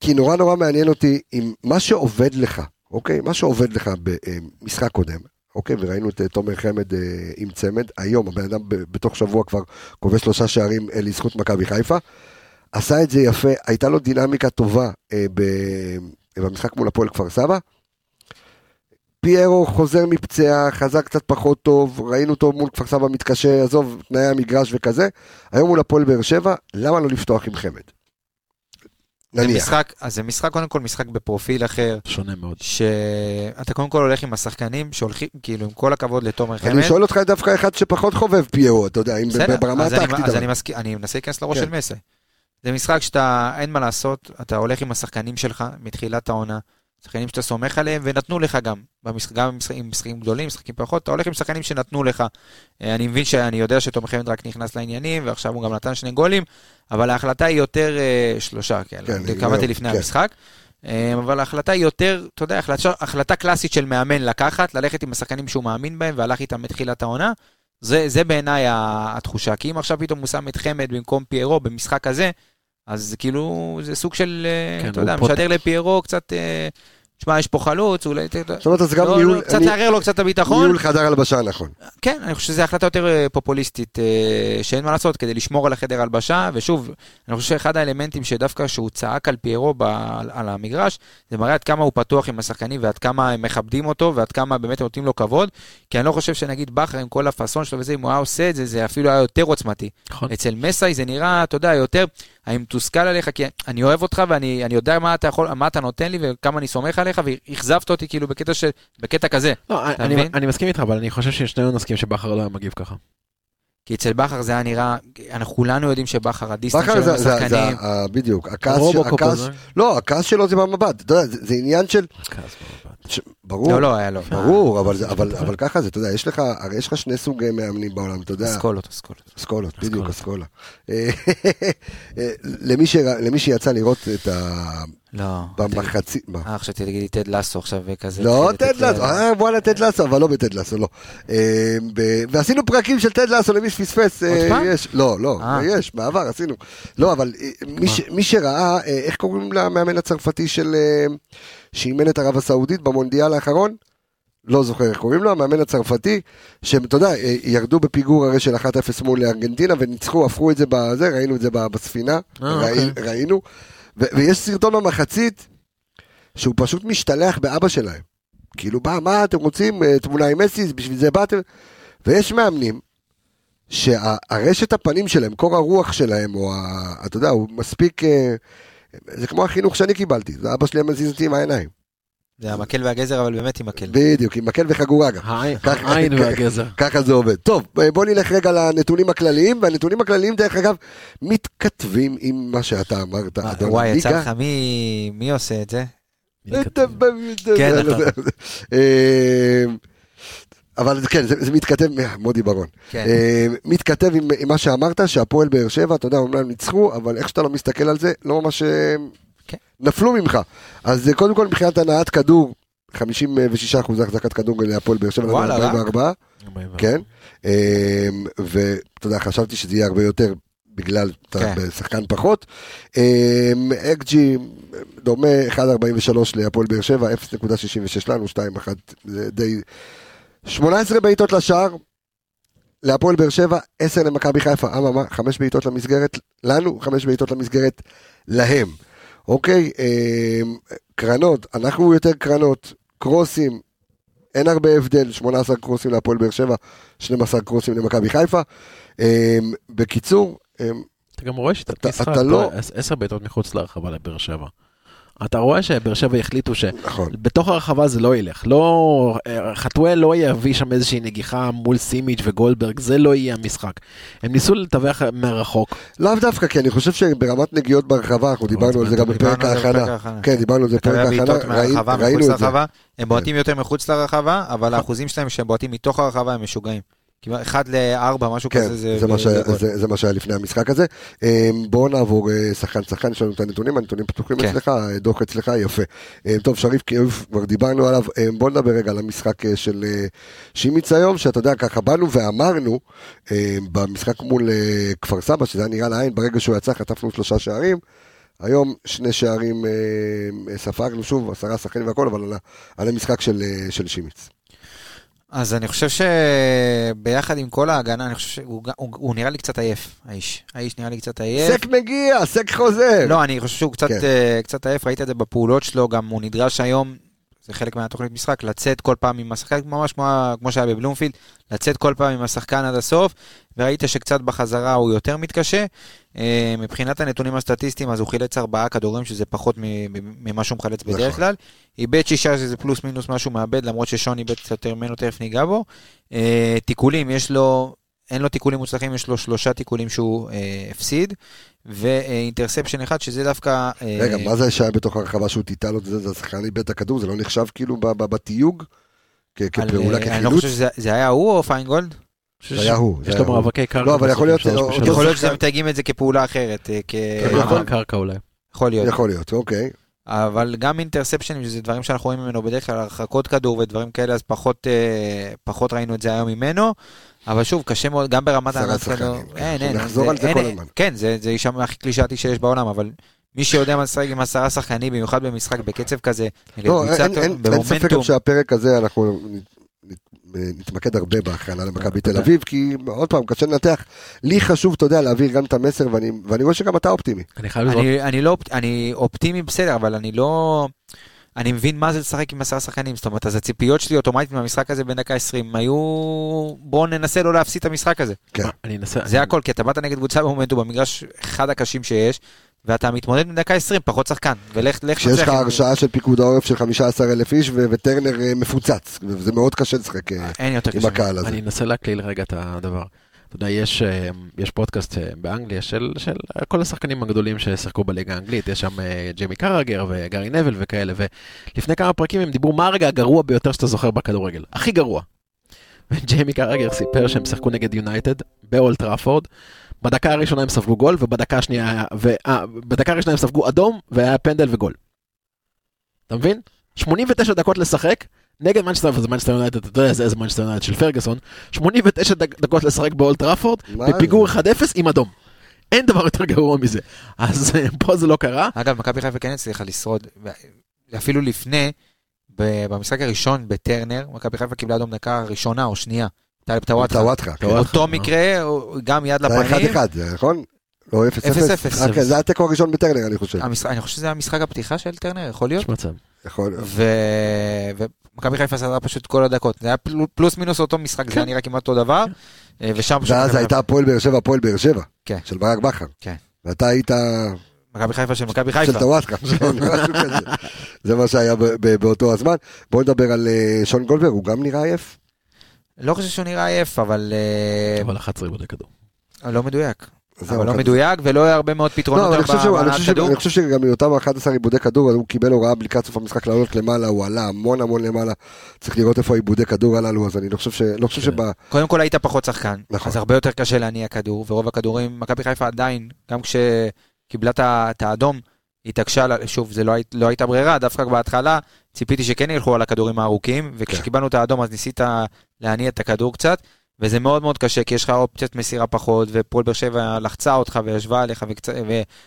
Speaker 1: כי נורא נורא מעניין אותי אם מה שעובד לך, אוקיי? מה שעובד לך במשחק קודם, אוקיי? וראינו את אה, תומר חמד אה, עם צמד, היום הבן אדם ב- בתוך שבוע כבר כובש שלושה שערים אה, לזכות מכבי חיפה. עשה את זה יפה, הייתה לו דינמיקה טובה אה, ב- אה, במשחק מול הפועל כפר סבא. פיירו חוזר מפציעה, חזר קצת פחות טוב, ראינו אותו מול כפר סבא מתקשה, עזוב, תנאי המגרש וכזה. היום מול הפועל באר שבע, למה לא לפתוח עם חמד?
Speaker 3: זה
Speaker 1: נניח.
Speaker 3: משחק- אז זה משחק, קודם כל משחק בפרופיל אחר,
Speaker 5: שונה מאוד.
Speaker 3: שאתה קודם כל הולך עם השחקנים שהולכים, כאילו, עם כל הכבוד לתומר חמד.
Speaker 1: אני שואל אותך דווקא אחד שפחות חובב פיירו, אתה יודע, אם זה
Speaker 3: בסדר,
Speaker 1: ברמה
Speaker 3: אז אני-
Speaker 1: הטקטית.
Speaker 3: אז
Speaker 1: אבל-
Speaker 3: אני מסכים- אני מנסה להיכנס לראש
Speaker 1: כן.
Speaker 3: של מסי. זה משחק שאתה, אין מה לעשות, אתה הולך עם השחקנים שלך מתחילת העונה, שחקנים שאתה סומך עליהם ונתנו לך גם, במשחק, גם במשחק- עם משחקים גדולים, משחקים פחות, אתה הולך עם שחקנים שנתנו לך. אה, אני מבין שאני יודע שתומר חמד רק נכנס לעניינים, ועכשיו הוא גם נתן שני גולים, אבל ההחלטה היא יותר אה, שלושה, כאלה,
Speaker 1: כן,
Speaker 3: אני
Speaker 1: זהו,
Speaker 3: קבעתי לפני
Speaker 1: כן.
Speaker 3: המשחק. אה, אבל ההחלטה היא יותר, אתה יודע, החלטה, החלטה קלאסית של מאמן לקחת, ללכת עם השחקנים שהוא מאמין בהם והלך איתם מתחילת העונה. זה, זה בעיניי ה- התחושה, כי אם עכשיו פתאום הוא שם את חמד במקום פיירו במשחק הזה, אז זה כאילו, זה סוג של, כן,
Speaker 5: כן,
Speaker 3: אתה
Speaker 5: הוא
Speaker 3: יודע,
Speaker 5: פות-
Speaker 3: משדר לפיירו קצת אה, תשמע, יש פה חלוץ, אולי...
Speaker 1: זאת אומרת, זה גם
Speaker 3: לא,
Speaker 1: ניהול-
Speaker 3: לא, קצת
Speaker 1: אני-
Speaker 3: לערער לו קצת את הביטחון.
Speaker 1: ניהול חדר הלבשה נכון.
Speaker 3: כן, אני חושב שזו החלטה יותר אה, פופוליסטית, אה, שאין מה לעשות, כדי לשמור על החדר הלבשה, ושוב, אני חושב שאחד האלמנטים שדווקא שהוא צעק על פיירו ב, על, על המגרש, זה מראה עד כמה הוא פתוח עם השחקנים, ועד כמה הם מכבדים אותו, ועד כמה באמת נותנים לו כבוד, כי אני לא חושב שנגיד בכר עם כל הפאסון שלו וזה, אם הוא היה עושה את זה, זה אפילו היה יותר עוצמתי.
Speaker 5: נכון.
Speaker 3: אצל מסאי זה נראה, אתה יודע, יותר, אני מתוסכל עליך, כי אני אוהב אותך ואני אני יודע מה אתה יכול, מה אתה נותן לי וכמה אני סומך עליך, ואכזבת אותי כאילו בקטע, של, בקטע כזה.
Speaker 5: לא,
Speaker 3: אתה
Speaker 5: אני-
Speaker 3: מבין?
Speaker 5: אני מסכים איתך, אבל אני חושב ששנינו נסכים שבכר לא היה מגיב ככה.
Speaker 3: כי אצל בכר זה היה נראה, אנחנו כולנו יודעים שבכר הדיסטנט
Speaker 1: בכר
Speaker 3: שלו
Speaker 1: זה, זה, זה,
Speaker 3: לשחקנים, אה?
Speaker 1: ה- בדיוק, הכעס, של-
Speaker 5: רובוקופ
Speaker 1: הכעס,
Speaker 5: הזה.
Speaker 1: לא, הכעס שלו זה במבט, אתה יודע, זה, זה עניין של, ש, ברור,
Speaker 3: לא, לא היה לו,
Speaker 1: ברור, אבל, זה- אבל, אבל ככה זה, אתה יודע, יש לך, הרי יש לך שני סוגי מאמנים בעולם, אתה יודע,
Speaker 3: אסכולות, אסכולות.
Speaker 1: אסכולות, בדיוק, אסכולה. אה, למי ש- למי שיצא לראות את ה...
Speaker 3: לא.
Speaker 1: במחצית, מה?
Speaker 3: אה, עכשיו תגידי לי טד לסו עכשיו כזה.
Speaker 1: לא
Speaker 3: לתת
Speaker 1: טד
Speaker 3: ל-
Speaker 1: לסו, אה, וואלה טד לסו, אבל לא בטד לסו, לא. אה, ב- ועשינו פרקים של טד לסו למי שפספס.
Speaker 3: עוד
Speaker 1: אה,
Speaker 3: פעם?
Speaker 1: יש, לא, לא,
Speaker 3: אה.
Speaker 1: יש, בעבר עשינו. לא, אבל אה, מי ש- מי שראה, אה, איך קוראים למאמן הצרפתי של... אה, שאימן את ערב הסעודית במונדיאל האחרון? לא זוכר איך קוראים לו, המאמן הצרפתי, שהם, אתה יודע, אה, ירדו בפיגור הרי של 1-0 מול ארגנטינה וניצחו, הפכו את זה בזה, ראינו את זה ב- בספינה,
Speaker 5: אה,
Speaker 1: ראי-
Speaker 3: אוקיי.
Speaker 1: ראינו, ו- ויש סרטון במחצית שהוא פשוט משתלח באבא שלהם. כאילו, מה, מה אתם רוצים, אה, תמונה עם מסי, בשביל זה באתם? ויש מאמנים שהרשת הפנים שלהם, קור הרוח שלהם, או ה... אתה יודע, הוא מספיק... אה, זה כמו החינוך שאני קיבלתי, זה אבא שלי היה מזיז אותי עם העיניים.
Speaker 3: זה המקל והגזר, אבל באמת עם מקל.
Speaker 1: בדיוק, עם מקל וחגורה
Speaker 3: אה.
Speaker 1: גם.
Speaker 5: העין
Speaker 1: ככה-
Speaker 5: העין
Speaker 1: ככה-
Speaker 5: והגזר.
Speaker 1: ככה זה עובד. טוב, אה, בוא נלך רגע לנתונים הכלליים, והנתונים הכלליים, דרך אגב, מתכתבים עם מה שאתה אמרת,
Speaker 3: מה,
Speaker 1: אדון
Speaker 3: אה, וואי, יצא
Speaker 1: הליגה.
Speaker 3: לך מי מי עושה את זה? כן,
Speaker 1: כן,
Speaker 3: נכון.
Speaker 1: אה, אבל כן, זה זה מתכתב, מודי ברון.
Speaker 3: כן.
Speaker 1: אה, מתכתב עם עם מה שאמרת, שהפועל באר שבע, אתה יודע, אומנם ניצחו, אבל איך שאתה לא מסתכל על זה, לא ממש אה,
Speaker 3: כן.
Speaker 1: נפלו ממך. אז אה, קודם כל, מבחינת הנעת כדור, 56 אחוז החזקת כדור להפועל באר שבע,
Speaker 3: וואלה, רק?
Speaker 1: 44, כן. אה, ואתה יודע, חשבתי שזה יהיה הרבה יותר. בגלל אתה
Speaker 3: כן.
Speaker 1: שחקן פחות. אמ, אקג'י דומה 1.43 להפועל באר שבע, 0.66 לנו, 2.1 זה די... 18 בעיטות לשער, להפועל באר שבע, 10 למכבי חיפה, אממה, 5 בעיטות למסגרת לנו, 5 בעיטות למסגרת להם. אוקיי, אה, קרנות, אנחנו יותר קרנות, קרוסים, אין הרבה הבדל, 18 קרוסים להפועל באר שבע, 12 קרוסים למכבי חיפה. אה, בקיצור, אה,
Speaker 5: אתה גם רואה שאתה
Speaker 1: אתה-
Speaker 5: תשחק
Speaker 1: אתה לא-
Speaker 5: עשר בעיטות מחוץ לרחבה לבאר שבע. אתה רואה שבאר שבע החליטו ש...
Speaker 1: נכון.
Speaker 5: בתוך הרחבה זה לא ילך, לא, אה, חתואל לא יביא שם איזושהי נגיחה מול סימיץ' וגולדברג, זה לא יהיה המשחק. הם ניסו לתווך מרחוק,
Speaker 1: לאו דווקא, כי אני חושב שברמת נגיעות ברחבה, אנחנו דיברנו על זה גם בפרק
Speaker 3: דיברנו על זה בפרק
Speaker 1: ההכנה.
Speaker 3: ההכנה.
Speaker 1: כן, דיברנו על זה
Speaker 3: אתה
Speaker 1: בפרק
Speaker 3: רואה בעיטות
Speaker 1: ההכנה, ראי-
Speaker 3: מהרחבה, מחוץ
Speaker 1: ראינו את זה. כן.
Speaker 3: לרחבה, הם בועטים יותר מחוץ לרחבה, אבל האחוזים שלהם שהם בועטים מתוך הרחבה הם משוגעים. כמעט אחד לארבע, משהו
Speaker 1: כן,
Speaker 3: כזה.
Speaker 1: זה, מה שהיה,
Speaker 3: גול.
Speaker 1: זה, זה מה שהיה לפני המשחק הזה. אה, בואו נעבור אה, שחקן שחקן, יש לנו את הנתונים, הנתונים פתוחים
Speaker 3: כן.
Speaker 1: אצלך, אה, דוח אצלך, יפה. אה, טוב, שריף כאוב, כבר דיברנו עליו, אה, בואו נדבר רגע על המשחק אה, של אה, שימיץ היום, שאתה יודע, ככה באנו ואמרנו אה, במשחק מול אה, כפר סבא, שזה היה נראה לעין, ברגע שהוא יצא חטפנו שלושה שערים. היום שני שערים אה, אה, ספגנו שוב, עשרה שחקנים והכל, אבל על, ה- על המשחק של, אה, של שימיץ.
Speaker 3: אז אני חושב שביחד עם כל ההגנה, אני חושב שהוא גם- הוא- הוא נראה לי קצת עייף, האיש. האיש נראה לי קצת עייף.
Speaker 1: סק מגיע, סק חוזר.
Speaker 3: לא, אני חושב שהוא קצת,
Speaker 1: כן.
Speaker 3: אה, קצת עייף, ראית את זה בפעולות שלו, גם הוא נדרש היום, זה חלק מהתוכנית משחק, לצאת כל פעם עם השחקן, ממש כמו, ה- כמו שהיה בבלומפילד, לצאת כל פעם עם השחקן עד הסוף, וראית שקצת בחזרה הוא יותר מתקשה. אה, מבחינת הנתונים הסטטיסטיים, אז הוא חילץ ארבעה כדורים, שזה פחות מ- מ- ממה שהוא מחלץ בדרך
Speaker 1: נכון.
Speaker 3: כלל. איבד שישה, שזה פלוס מינוס מה שהוא מאבד, למרות ששון איבד קצת יותר ממנו, תכף ניגע בו. אה, תיקולים, יש לו... אין לו תיקולים מוצלחים, יש לו שלושה תיקולים שהוא אה, הפסיד, ואינטרספשן אחד, שזה דווקא... אה,
Speaker 1: רגע, מה זה שהיה בתוך הרחבה שהוא טיטל לו את זה? זה השחקן איבד את הכדור, זה לא נחשב כאילו ב- ב- בתיוג? כ-
Speaker 3: על,
Speaker 1: כפעולה,
Speaker 3: אה, אני לא
Speaker 1: כחילוץ?
Speaker 3: חושב שזה זה היה הוא או פיינגולד?
Speaker 1: זה היה הוא. זה
Speaker 5: יש
Speaker 1: היה
Speaker 5: לו
Speaker 1: הוא.
Speaker 5: מאבקי קרקע.
Speaker 1: לא, אבל יכול להיות
Speaker 5: בסוף, שלוש
Speaker 1: שלא-
Speaker 5: בשלוש.
Speaker 3: יכול להיות
Speaker 1: שחקן.
Speaker 3: שאתם מתייגים את זה כפעולה אחרת, אה, כ...
Speaker 5: מאבק קרקע אולי.
Speaker 3: יכול להיות.
Speaker 1: יכול להיות, אוקיי.
Speaker 3: אבל גם אינטרספשנים, שזה דברים שאנחנו רואים ממנו בדרך כלל, הרחקות כדור ודברים כאלה, אז פחות, אה, פחות ראינו את זה היום ממנו. אבל שוב, קשה מאוד, גם ברמת
Speaker 1: עשרה
Speaker 3: ההנעת
Speaker 1: שחקנים,
Speaker 3: כדור.
Speaker 1: כן,
Speaker 3: אין, אין.
Speaker 1: נחזור
Speaker 3: זה-
Speaker 1: על זה
Speaker 3: אין,
Speaker 1: כל
Speaker 3: אין,
Speaker 1: הזמן.
Speaker 3: כן, זה זה יישמע הכי קלישאתי שיש בעולם, אבל מי שיודע מה לשחק עם עשרה שחקנים, במיוחד במשחק בקצב כזה, נגד
Speaker 1: לא,
Speaker 3: קבוצה
Speaker 1: אין-
Speaker 3: טוב-
Speaker 1: אין- אין ספק
Speaker 3: במומנטום,
Speaker 1: גם שהפרק הזה אנחנו נ- נ- נתמקד הרבה בהכנה
Speaker 3: אה,
Speaker 1: למכבי תל אביב, כי עוד פעם, קשה לנתח. לי חשוב, אתה יודע, להעביר גם את המסר, ואני ואני רואה שגם אתה אופטימי.
Speaker 5: אני חייב לזרוק.
Speaker 3: אני, אני לא, אופ- אני אופטימי בסדר, אבל אני לא... אני מבין מה זה לשחק עם עשרה שחקנים, זאת אומרת, אז הציפיות שלי אוטומטית מהמשחק הזה בין דקה 20 היו... בואו ננסה לא להפסיד את המשחק הזה.
Speaker 1: כן.
Speaker 5: אני אנסה...
Speaker 3: זה הכל, כי אתה באת נגד קבוצה במומנטום במגרש אחד הקשים שיש, ואתה מתמודד מדקה 20, פחות שחקן, ולך לך
Speaker 1: כשיש לך
Speaker 3: תצליח עם-
Speaker 1: הרשעה של פיקוד העורף של 15 אלף איש, ו- וטרנר אה, מפוצץ, וזה מאוד קשה לשחק אה,
Speaker 3: אין יותר
Speaker 1: עם
Speaker 3: קשה.
Speaker 1: הקהל הזה.
Speaker 5: אני אנסה להקליל רגע את הדבר. אתה יודע, יש, אה, יש פודקאסט אה, באנגליה של, של כל השחקנים הגדולים ששיחקו בליגה האנגלית, יש שם אה, ג'יימי קרגר וגארי נבל וכאלה, ולפני כמה פרקים הם דיברו מה הרגע הגרוע ביותר שאתה זוכר בכדורגל, הכי גרוע. וג'יימי קרגר סיפר שהם שיחקו נגד יונייטד באולט טראפורד, בדקה הראשונה הם ספגו גול, ובדקה השנייה היה... ו... אה, בדקה הראשונה הם ספגו אדום, והיה פנדל וגול. אתה מבין? 89 דקות לשחק, נגד מנצ'סטר, וזה מנצ'סטר יונייטד, אתה יודע, זה זה מנצ'סטר יונייטד של פרגוסון, 89 דק- דקות לשחק באולט טראפורד,
Speaker 1: מה
Speaker 5: בפיגור
Speaker 1: זה?
Speaker 5: 1-0 עם אדום. אין דבר יותר גרוע מזה. אז אה, פה זה לא קרה.
Speaker 3: אגב, מכבי חיפה כן הצליחה לשרוד, ו- אפילו לפני, ב- במשחק הראשון בטרנר, מכבי חיפה קיבלה אדום דקה ראשונה או שנייה, טלב טוואטחה.
Speaker 1: טוואטחה. כן.
Speaker 3: אותו
Speaker 5: טוואטחה,
Speaker 3: מקרה, הוא- גם יד
Speaker 1: זה
Speaker 3: לפנים.
Speaker 1: היה 1-1, זה נכון? לא
Speaker 3: 0-0.
Speaker 1: 0-0. אה, כן, זה היה התיקו הראשון בטרנר, אני חושב.
Speaker 3: המשחק- אני חושב שזה היה משחק הפתיחה של טרנר, יכול
Speaker 1: כן.
Speaker 3: להיות.
Speaker 5: יש מצב.
Speaker 1: יכול
Speaker 3: אמ,
Speaker 1: להיות.
Speaker 3: ו- ומכבי חיפה סדרה פשוט כל הדקות. זה היה פל- פלוס מינוס אותו משחק, זה היה נראה כמעט אותו דבר. אה, ושם פשוט...
Speaker 1: כן. ואז הייתה הפועל באר שבע, הפועל באר שבע.
Speaker 3: כן.
Speaker 1: של ברק בכר.
Speaker 3: כן.
Speaker 1: ואתה היית
Speaker 3: מכבי חיפה של מכבי
Speaker 1: של
Speaker 3: חיפה.
Speaker 1: טוואטחה. כן, משהו כזה. זה מה שהיה ב- ב- באותו הזמן. בואו נדבר על אה, שון גולדברג, הוא גם נראה עייף.
Speaker 3: לא חושב שהוא נראה עייף, אבל אה,
Speaker 5: אבל 11 ריבודי כדור.
Speaker 3: לא מדויק.
Speaker 1: זהו,
Speaker 3: אבל לא
Speaker 1: אחד-
Speaker 3: מדויק, ולא היה הרבה מאוד
Speaker 1: לא,
Speaker 3: פתרונות
Speaker 1: אבל אני
Speaker 3: ב-
Speaker 1: חושב שהוא- אני
Speaker 3: בהנעת
Speaker 1: חושב שהוא-
Speaker 3: כדור.
Speaker 1: אני חושב שגם מאותם 11 עיבודי כדור, אז הוא קיבל הוראה בלי קצוף המשחק לעלות למעלה, הוא עלה המון המון למעלה. צריך לראות איפה העיבודי כדור הללו, אז אני לא חושב ש... לא חושב
Speaker 5: כן.
Speaker 1: שב...
Speaker 3: קודם כל היית פחות שחקן,
Speaker 1: נכון.
Speaker 3: אז הרבה יותר קשה להניע כדור, ורוב הכדורים, מכבי חיפה עדיין, גם כשקיבלה את ה- את האדום, התעקשה, לה- שוב, זה לא, היית, לא הייתה ברירה, דווקא בהתחלה ציפיתי שכן ילכו על הכדורים הארוכים, וכשקיבלנו את האדום אז ניסית להניע את הכדור קצת, וזה מאוד מאוד קשה, כי יש לך אופציית מסירה פחות, ופועל באר שבע לחצה אותך וישבה עליך, וקצת,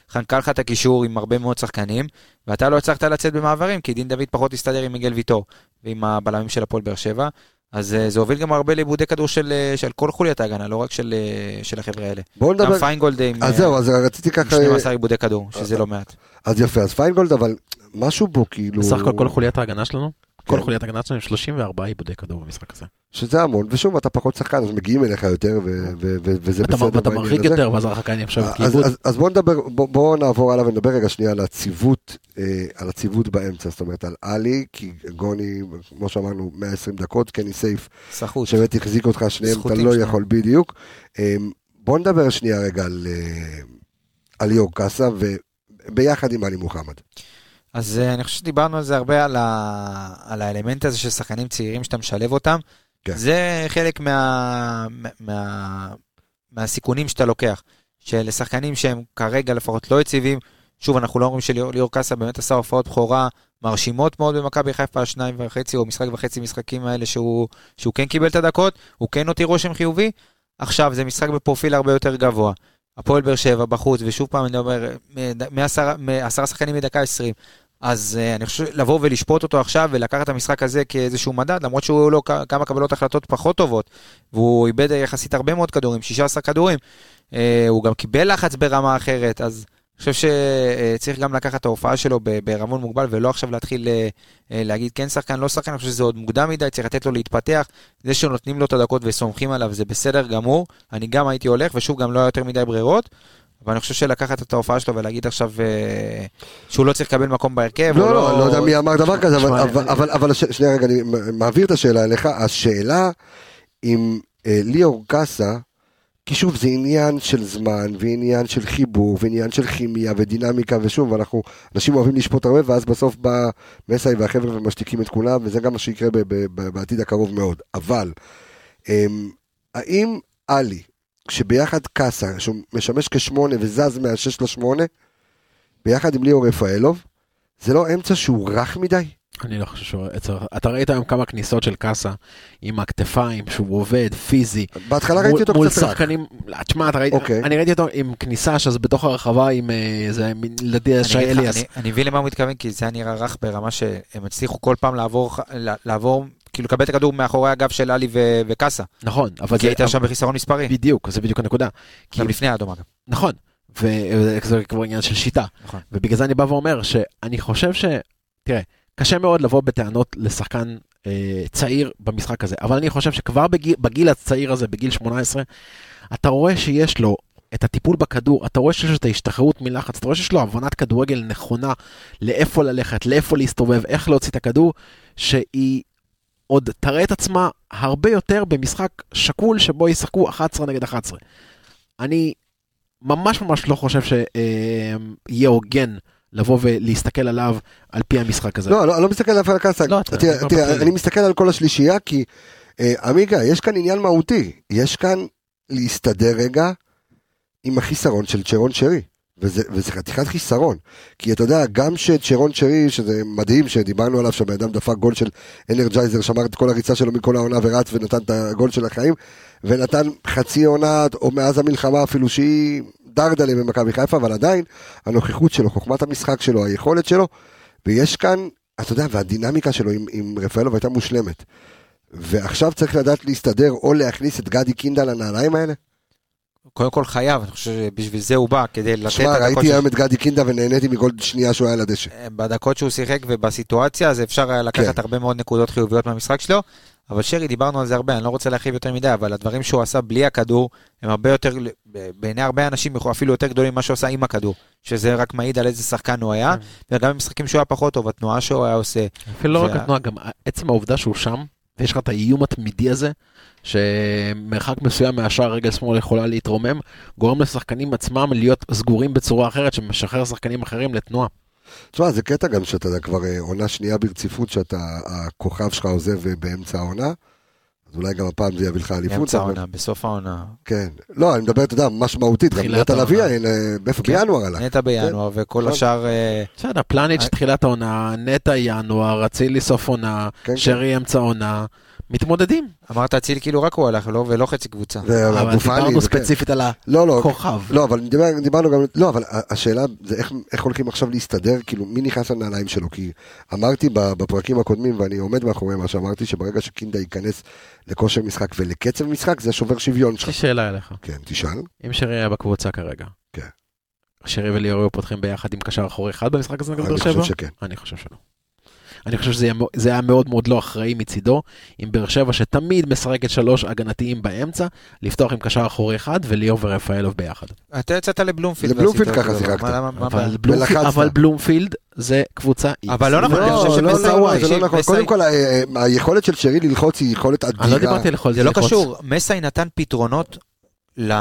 Speaker 3: וחנקה לך את הקישור עם הרבה מאוד שחקנים, ואתה לא הצלחת לצאת במעברים, כי דין דוד פחות הסתדר עם מיגל ויטור, ועם הבלמים של הפועל באר שבע. אז אה, זה הוביל גם הרבה לאיבודי כדור של, אה, של כל חוליית ההגנה, לא רק של, אה, של החבר'ה האלה.
Speaker 1: בואו
Speaker 3: גם
Speaker 1: נדבר...
Speaker 3: פיינגולד עם
Speaker 1: אז
Speaker 3: אה,
Speaker 1: זהו, אה, אז רציתי
Speaker 3: עם
Speaker 1: ככה...
Speaker 3: 12 עיבודי כדור, שזה לא מעט.
Speaker 1: אז יפה, אז פיינגולד, אבל משהו בו כאילו...
Speaker 5: בסך הכל כל חוליית ההגנה שלנו, כל
Speaker 1: כן.
Speaker 5: חוליית ההגנה שלנו עם 34 עיבודי כדור במשחק הזה.
Speaker 1: שזה המון, ושוב, אתה פחות שחקן, אז מגיעים אליך יותר, ו- ו- ו- וזה
Speaker 5: אתה-
Speaker 1: בסדר.
Speaker 5: אתה
Speaker 1: בעניין
Speaker 5: מרחיק
Speaker 1: הזה.
Speaker 5: יותר, ואז הרחקה אני עכשיו כאילו-
Speaker 1: אז,
Speaker 5: כיבוד.
Speaker 1: אז, אז בואו נדבר, בואו בוא נעבור הלאה ונדבר רגע שנייה על הציוות, אה, על הציוות באמצע, זאת אומרת על עלי, כי גוני, כמו שאמרנו, 120 דקות, קני סייף,
Speaker 3: סחוט.
Speaker 1: שבאמת החזיק אותך שניהם, אתה
Speaker 3: זכותים
Speaker 1: לא
Speaker 3: שניהם.
Speaker 1: יכול בדיוק. אה, בואו נדבר שנייה רגע על, אה, על ליאור קאסה, וביחד עם עלי מוחמד.
Speaker 3: אז אה, אני חושב שדיברנו על זה הרבה, על, ה... על האלמנט הזה של שחקנים צעירים שאתה משלב אותם.
Speaker 1: כן.
Speaker 3: זה חלק מה... מה- מה... מהסיכונים שאתה לוקח. שלשחקנים שהם כרגע לפחות לא יציבים, שוב, אנחנו לא אומרים שליאור קאסה באמת עשה הופעות בכורה מרשימות מאוד במכבי חיפה, שניים וחצי או משחק וחצי משחקים האלה שהוא, שהוא כן קיבל את הדקות, הוא כן הותיר רושם חיובי. עכשיו, זה משחק בפרופיל הרבה יותר גבוה. הפועל באר שבע בחוץ, ושוב פעם אני אומר, מ- מעשרה- מעשרה שחקנים מדקה 20. אז אה, אני חושב לבוא ולשפוט אותו עכשיו ולקחת את המשחק הזה כאיזשהו מדד, למרות שהוא היו לו כ- כמה קבלות החלטות פחות טובות, והוא איבד יחסית הרבה מאוד כדורים, 16 כדורים. אה, הוא גם קיבל לחץ ברמה אחרת, אז אני חושב שצריך גם לקחת את ההופעה שלו ב- בערבון מוגבל, ולא עכשיו להתחיל אה, אה, להגיד כן שחקן, לא שחקן, אני חושב שזה עוד מוקדם מדי, צריך לתת לו להתפתח. זה שנותנים לו את הדקות וסומכים עליו זה בסדר גמור, אני גם הייתי הולך, ושוב, גם לא היה יותר מדי ברירות. אבל אני חושב שלקחת את ההופעה שלו ולהגיד עכשיו אה, שהוא לא צריך לקבל מקום בהרכב,
Speaker 1: לא,
Speaker 3: או
Speaker 1: לא, אני לא יודע מי אמר דבר כזה, אבל-
Speaker 5: תשמע,
Speaker 1: אבל-
Speaker 5: אני-
Speaker 1: אבל- אבל ש- שנייה רגע, אני מ- מעביר את השאלה אליך. השאלה אם אה, ליאור קאסה, כי שוב, זה עניין של זמן, ועניין של חיבור, ועניין של כימיה, ודינמיקה, ושוב, אנחנו, אנשים אוהבים לשפוט הרבה, ואז בסוף בא מסאי והחבר'ה ומשתיקים את כולם, וזה גם מה שיקרה ב- ב- ב- בעתיד הקרוב מאוד. אבל, אמ, האם עלי, כשביחד קאסה, שהוא משמש כשמונה וזז מהשש לשמונה, ביחד עם ליאור רפאלוב, זה לא אמצע שהוא רך מדי?
Speaker 5: אני לא חושב שהוא... אתה ראית היום כמה כניסות של קאסה עם הכתפיים, שהוא עובד, פיזי.
Speaker 1: בהתחלה
Speaker 5: מול-
Speaker 1: ראיתי אותו
Speaker 5: מול
Speaker 1: קצת רע.
Speaker 5: שחקנים, תשמע, אתה ראית-
Speaker 1: אוקיי.
Speaker 5: אני ראיתי אותו עם כניסה שזה בתוך הרחבה עם אה, איזה, מין- לדעתי, שי
Speaker 3: אני אגיד לך,
Speaker 5: אליאס.
Speaker 3: אני- אני מבין למה הוא מתכוון, כי זה היה נראה רך ברמה שהם הצליחו כל פעם לעבור, ל- לעבור, כאילו לקבל את הכדור מאחורי הגב של עלי ו- וקאסה.
Speaker 5: נכון, אבל
Speaker 3: כי
Speaker 5: זה...
Speaker 3: הייתה שם בחיסרון מספרי.
Speaker 5: בדיוק, זה בדיוק הנקודה. כי-
Speaker 3: גם לפני האדום אגב.
Speaker 5: נכון, וזה כבר עניין של שיטה.
Speaker 3: נכון.
Speaker 5: ובגלל זה אני בא ואומר שאני חושב ש... תראה, קשה מאוד לבוא בטענות לשחקן אה, צעיר במשחק הזה, אבל אני חושב שכבר בגיל, בגיל הצעיר הזה, בגיל 18, אתה רואה שיש לו את הטיפול בכדור, אתה רואה שיש לו את ההשתחררות מלחץ, אתה רואה שיש לו הבנת כדורגל נכונה לאיפה ללכת, לאיפה להסתובב, איך להוציא את הכדור, שהיא עוד תראה את עצמה הרבה יותר במשחק שקול שבו ישחקו 11 נגד 11. אני ממש ממש לא חושב שיהיה הוגן לבוא ולהסתכל עליו על פי המשחק הזה.
Speaker 1: לא, לא, אני לא מסתכל עליו על הקאסה.
Speaker 5: לא, אתה-
Speaker 1: תראה,
Speaker 5: אתה
Speaker 1: תראה,
Speaker 5: בכללי.
Speaker 1: אני מסתכל על כל השלישייה, כי אה, עמיגה, יש כאן עניין מהותי. יש כאן להסתדר רגע עם החיסרון של צ'רון שרי. וזה, וזה חתיכת חיסרון. כי אתה יודע, גם שצ'רון שרי, שזה מדהים שדיברנו עליו, שהבן אדם דפק גול של אנרג'ייזר, שמר את כל הריצה שלו מכל העונה ורץ ונתן את הגול של החיים, ונתן חצי עונה, או מאז המלחמה אפילו, שהיא דרדלה במכבי חיפה, אבל עדיין, הנוכחות שלו, חוכמת המשחק שלו, היכולת שלו, ויש כאן, אתה יודע, והדינמיקה שלו עם, עם רפאלוב הייתה מושלמת. ועכשיו צריך לדעת להסתדר או להכניס את גדי קינדה לנעליים האלה.
Speaker 3: קודם כל חייב, אני חושב שבשביל זה הוא בא, כדי לתת את
Speaker 1: שמע,
Speaker 3: הדקות
Speaker 1: ראיתי
Speaker 3: ש-
Speaker 1: היום את גדי קינדה ונהניתי מכל שנייה שהוא היה על הדשא.
Speaker 3: בדקות שהוא שיחק ובסיטואציה, אז אפשר היה לקחת
Speaker 1: כן.
Speaker 3: הרבה מאוד נקודות חיוביות מהמשחק שלו. אבל שרי, דיברנו על זה הרבה, אני לא רוצה להרחיב יותר מדי, אבל הדברים שהוא עשה בלי הכדור, הם הרבה יותר, בעיני הרבה אנשים, יכול- אפילו יותר גדולים ממה שהוא עשה עם הכדור. שזה רק מעיד על איזה שחקן הוא היה,
Speaker 1: כן.
Speaker 3: וגם במשחקים שהוא היה פחות טוב, התנועה שהוא היה עושה.
Speaker 5: אפילו לא רק
Speaker 3: זה-
Speaker 5: התנועה, גם עצם העובדה שהוא שם, ויש לך את האיום התמידי הזה, שמרחק מסוים מהשער רגל שמאל יכולה להתרומם, גורם לשחקנים עצמם להיות סגורים בצורה אחרת, שמשחרר שחקנים אחרים לתנועה.
Speaker 1: תשמע, זה קטע גם שאתה כבר אה, עונה שנייה ברציפות, שאתה, הכוכב שלך עוזב אה, באמצע העונה, אז אולי גם הפעם זה יביא לך אליפות.
Speaker 3: באמצע
Speaker 1: אבל-
Speaker 3: העונה, בסוף העונה.
Speaker 1: כן. לא, אני מדבר, אתה יודע, ממש מהותית, גם
Speaker 5: תחילת
Speaker 1: נטע לביא,
Speaker 5: העונה.
Speaker 1: אה, באיפה?
Speaker 3: כן.
Speaker 1: בינואר עלה.
Speaker 3: נטע בינואר, וכל
Speaker 1: נכון.
Speaker 3: השאר... אה,
Speaker 5: בסדר, פלניץ'
Speaker 3: אני-
Speaker 5: תחילת העונה, נטע ינואר, אצילי סוף עונה,
Speaker 1: כן,
Speaker 5: שרי אמצע עונה, מתמודדים.
Speaker 3: אמרת אציל כאילו רק הוא הלך, לא- ולא חצי קבוצה.
Speaker 5: אבל
Speaker 1: ואבו פאני,
Speaker 5: דיברנו
Speaker 1: וכן.
Speaker 5: ספציפית על
Speaker 1: לא, לא,
Speaker 5: הכוכב.
Speaker 1: לא, אבל דיבר, דיברנו גם, לא, אבל ה- השאלה זה איך, איך הולכים עכשיו להסתדר, כאילו, מי נכנס לנעליים שלו? כי אמרתי ב- בפרקים הקודמים, ואני עומד מאחורי מה שאמרתי, שברגע שקינדה ייכנס לכושר משחק ולקצב משחק, זה שובר שוויון
Speaker 5: יש
Speaker 1: שלך.
Speaker 5: לי שאלה אליך.
Speaker 1: כן, תשאל.
Speaker 5: אם שרי היה בקבוצה כרגע,
Speaker 1: כן.
Speaker 5: שרי וליאור היו פותחים ביחד עם קשר אחורי אחד במשחק הזה נגד באר
Speaker 1: אני חושב
Speaker 5: שבע?
Speaker 1: שכן.
Speaker 5: אני חושב שלא. אני חושב שזה היה, מאו- זה היה מאוד מאוד לא אחראי מצידו, עם באר שבע שתמיד משחקת שלוש הגנתיים באמצע, לפתוח עם קשר אחורי אחד וליאור ורפאלוב ביחד.
Speaker 3: אתה יצאת לבלומפילד.
Speaker 1: לבלומפילד
Speaker 3: ועשית
Speaker 1: ככה
Speaker 3: אותו דבר.
Speaker 1: שיחקת.
Speaker 3: מה- למה- מה הבעיה?
Speaker 5: אבל, בלומפילד,
Speaker 1: ולחצת.
Speaker 5: אבל בלומפילד זה קבוצה איקס.
Speaker 3: אבל לא נכון, אני
Speaker 1: לא,
Speaker 3: חושב
Speaker 1: לא,
Speaker 3: שבסאי-
Speaker 1: לא, לא, זה
Speaker 3: תקשיב,
Speaker 1: לא נכון.
Speaker 3: בסאי-
Speaker 1: קודם כל, ה- ה- היכולת של שרי ללחוץ היא יכולת אדירה.
Speaker 5: אני לא דיברתי על יכולת
Speaker 3: זה לא
Speaker 5: ללחוץ.
Speaker 3: קשור, מסאי נתן פתרונות ל-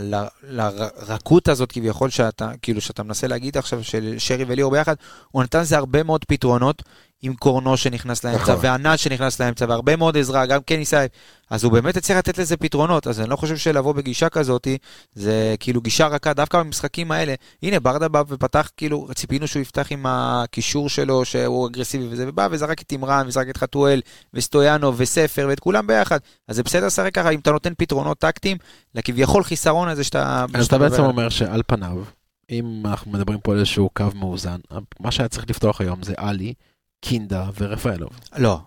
Speaker 3: ל- לרכות הזאת כביכול שאתה, כאילו שאתה מנסה להגיד עכשיו של שרי וליאור ביחד, הוא נתן לזה הרבה מאוד פתרונות עם קורנו שנכנס לאמצע,
Speaker 1: נכון.
Speaker 3: וענת שנכנס לאמצע, והרבה מאוד עזרה, גם כן ניסה, אז הוא באמת הצליח לתת לזה פתרונות, אז אני לא חושב שלבוא בגישה כזאת, זה כאילו גישה רכה, דווקא במשחקים האלה, הנה ברדה בא ופתח, כאילו, ציפינו שהוא יפתח עם הקישור שלו, שהוא אגרסיבי וזה, ובא וזרק את אימרן, וזרק את חתואל, וסטויאנו, וספר, ואת כולם ביחד, אז זה בסדר לשחק ככה, אם אתה נותן פתרונות טקטיים, לכביכול חיסרון הזה שאתה...
Speaker 5: אז
Speaker 3: שאתה
Speaker 5: אתה בעצם
Speaker 3: מדבר
Speaker 5: אומר שעל פניו, אם אנחנו מדברים פה על איזשהו קו מאוזן, מה שהיה צריך לפתוח היום זה עלי, קינדה ורפאלוב.
Speaker 3: עליו. לא,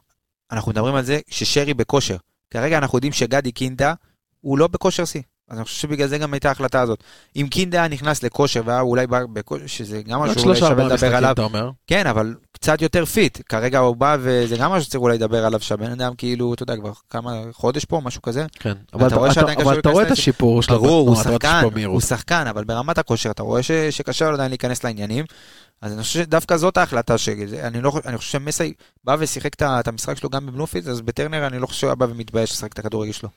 Speaker 3: אנחנו מדברים על זה ששרי בכושר. כרגע אנחנו יודעים שגדי קינדה, הוא לא בכושר שיא. אז אני חושב שבגלל זה גם הייתה ההחלטה הזאת. אם קינדה היה נכנס לכושר והיה אולי בא בכושר, שזה גם
Speaker 5: עוד
Speaker 3: משהו אולי
Speaker 5: שלושה
Speaker 3: שווה
Speaker 5: ארבעה
Speaker 3: לדבר
Speaker 5: משחקים,
Speaker 3: עליו,
Speaker 5: אתה אומר?
Speaker 3: כן, אבל קצת יותר פיט. כרגע הוא בא, וזה גם משהו שצריך אולי לדבר עליו, שהבן אדם כאילו, אתה יודע, כבר כמה, חודש פה, משהו כזה.
Speaker 5: כן. אבל
Speaker 3: רואה
Speaker 5: אתה-
Speaker 3: שעדיין קשה
Speaker 5: אבל אתה רואה את
Speaker 3: להיכנס
Speaker 5: השיפור שלו
Speaker 3: ברור, הוא
Speaker 5: בתנועה, אתה רואה את
Speaker 3: שחקן,
Speaker 5: השיפור
Speaker 3: הוא
Speaker 5: במהירות.
Speaker 3: שחקן, אבל ברמת הכושר, אתה רואה ש- שקשה לו עדיין להיכנס לעניינים. אז אני חושב שדווקא זאת ההחלטה שלי. אני, לא, חושב- אני חושב שמסי בא ושיחק את ה- את המשחק שלו גם בבלומפילד, אז בטרנר אני לא חושב שהוא היה בא ומתבייש לשחק את הכדורגל שלו.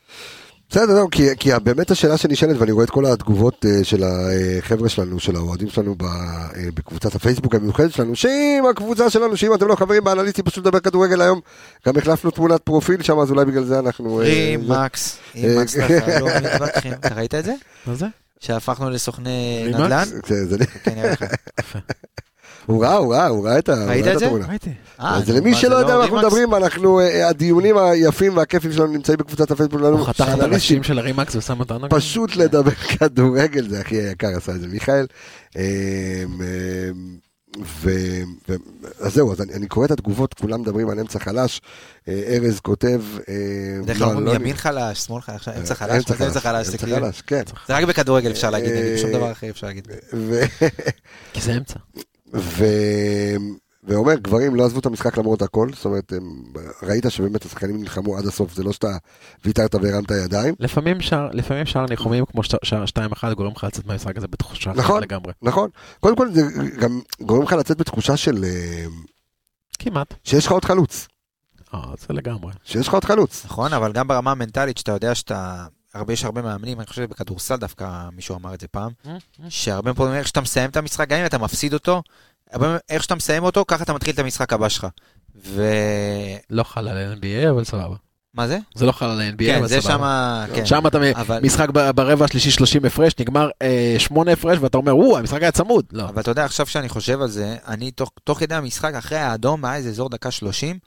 Speaker 1: בסדר, לא, כי, כי באמת השאלה שנשאלת, ואני רואה את כל התגובות אה, של החבר'ה שלנו, של האוהדים שלנו ב, אה, בקבוצת הפייסבוק המיוחדת שלנו, שאם הקבוצה שלנו, שאם אתם לא חברים באנליסטים, פשוט לדבר כדורגל היום, גם החלפנו תמונת פרופיל שם, אז אולי בגלל זה אנחנו... אה,
Speaker 3: רים,
Speaker 1: זה-
Speaker 3: מקס, עם מקס ככה, לא מתווכחים. אתה ראית את זה?
Speaker 5: מה זה?
Speaker 3: שהפכנו לסוכני
Speaker 5: רימקס?
Speaker 3: נדל"ן?
Speaker 1: זה- זה-
Speaker 3: כן, נראה לך.
Speaker 1: הוא ראה, הוא ראה, הוא ראה את ה- הוא
Speaker 3: ראית
Speaker 1: ראה
Speaker 3: את זה?
Speaker 1: התמונה.
Speaker 5: ראיתי.
Speaker 3: אה,
Speaker 1: אז
Speaker 3: נו,
Speaker 1: למי
Speaker 3: מה, זה
Speaker 1: שלא יודע
Speaker 3: לא
Speaker 1: מה אנחנו
Speaker 3: רימקס?
Speaker 1: מדברים, אנחנו, אה, הדיונים היפים והכיפים שלנו נמצאים בקבוצת הפייסבוק שלנו.
Speaker 5: הוא חתך את
Speaker 1: שאנליסטים
Speaker 5: הנשים של הרימקס ושם אותנו. גם.
Speaker 1: פשוט לדבר כדורגל, זה הכי יקר עשה את זה מיכאל. אמ, אמ, ו... ו... אז זהו, אז אני, אני קורא את התגובות, כולם מדברים על אמצע חלש. אה, ארז כותב... אה,
Speaker 3: בדרך
Speaker 1: לא,
Speaker 3: כלל אומרים
Speaker 1: לא
Speaker 3: ימין חלש, שמאל חלש, אמצע
Speaker 1: אה,
Speaker 3: חלש, מה זה אמצע חלש, זה
Speaker 1: אמצע
Speaker 3: כאילו...
Speaker 1: חלש, אה. כן.
Speaker 3: זה רק בכדורגל אפשר להגיד,
Speaker 1: אה,
Speaker 3: נגיד, שום דבר אחר אי אפשר להגיד.
Speaker 1: ו...
Speaker 5: כי זה אמצע.
Speaker 1: ו... ואומר, גברים לא עזבו את המשחק למרות הכל, זאת אומרת, הם... ראית שבאמת השחקנים נלחמו עד הסוף, זה לא שאתה ויתרת והרמת ידיים.
Speaker 5: לפעמים שער- לפעמים שער ניחומים כמו ש- שער 2-1 גורם לך לצאת מהמשחק הזה בתחושה אחרת
Speaker 1: נכון.
Speaker 5: לגמרי.
Speaker 1: נכון, קודם כל זה גם גורם לך לצאת בתחושה של אה,
Speaker 5: כמעט.
Speaker 1: שיש לך עוד חלוץ,
Speaker 5: אה, זה לגמרי.
Speaker 1: שיש לך עוד חלוץ.
Speaker 3: נכון, אבל גם ברמה המנטלית, שאתה יודע שאתה... הרבה, יש הרבה מאמנים, אני חושב שבכדורסל דווקא מישהו אמר את זה פעם,
Speaker 5: אה.
Speaker 3: שהרבה פעמים איך שאתה מסיים את המשחק, גם אם אתה מפסיד אותו, הרבה- איך שאתה מסיים אותו, ככה אתה מתחיל את המשחק הבא שלך. ו...
Speaker 5: לא חל על NBA אבל סבבה.
Speaker 3: מה זה?
Speaker 5: זה לא חל על NBA
Speaker 3: כן,
Speaker 5: אבל
Speaker 3: זה
Speaker 5: סבבה.
Speaker 3: שמה... כן.
Speaker 5: שם אתה מ-
Speaker 3: אבל-
Speaker 5: משחק ב- ברבע השלישי 30 הפרש, נגמר 8 הפרש ואתה אומר, וואו, המשחק היה צמוד. לא.
Speaker 3: אבל אתה יודע, עכשיו שאני חושב על זה, אני תוך, תוך כדי המשחק, אחרי האדום, היה איזה אזור דקה 30,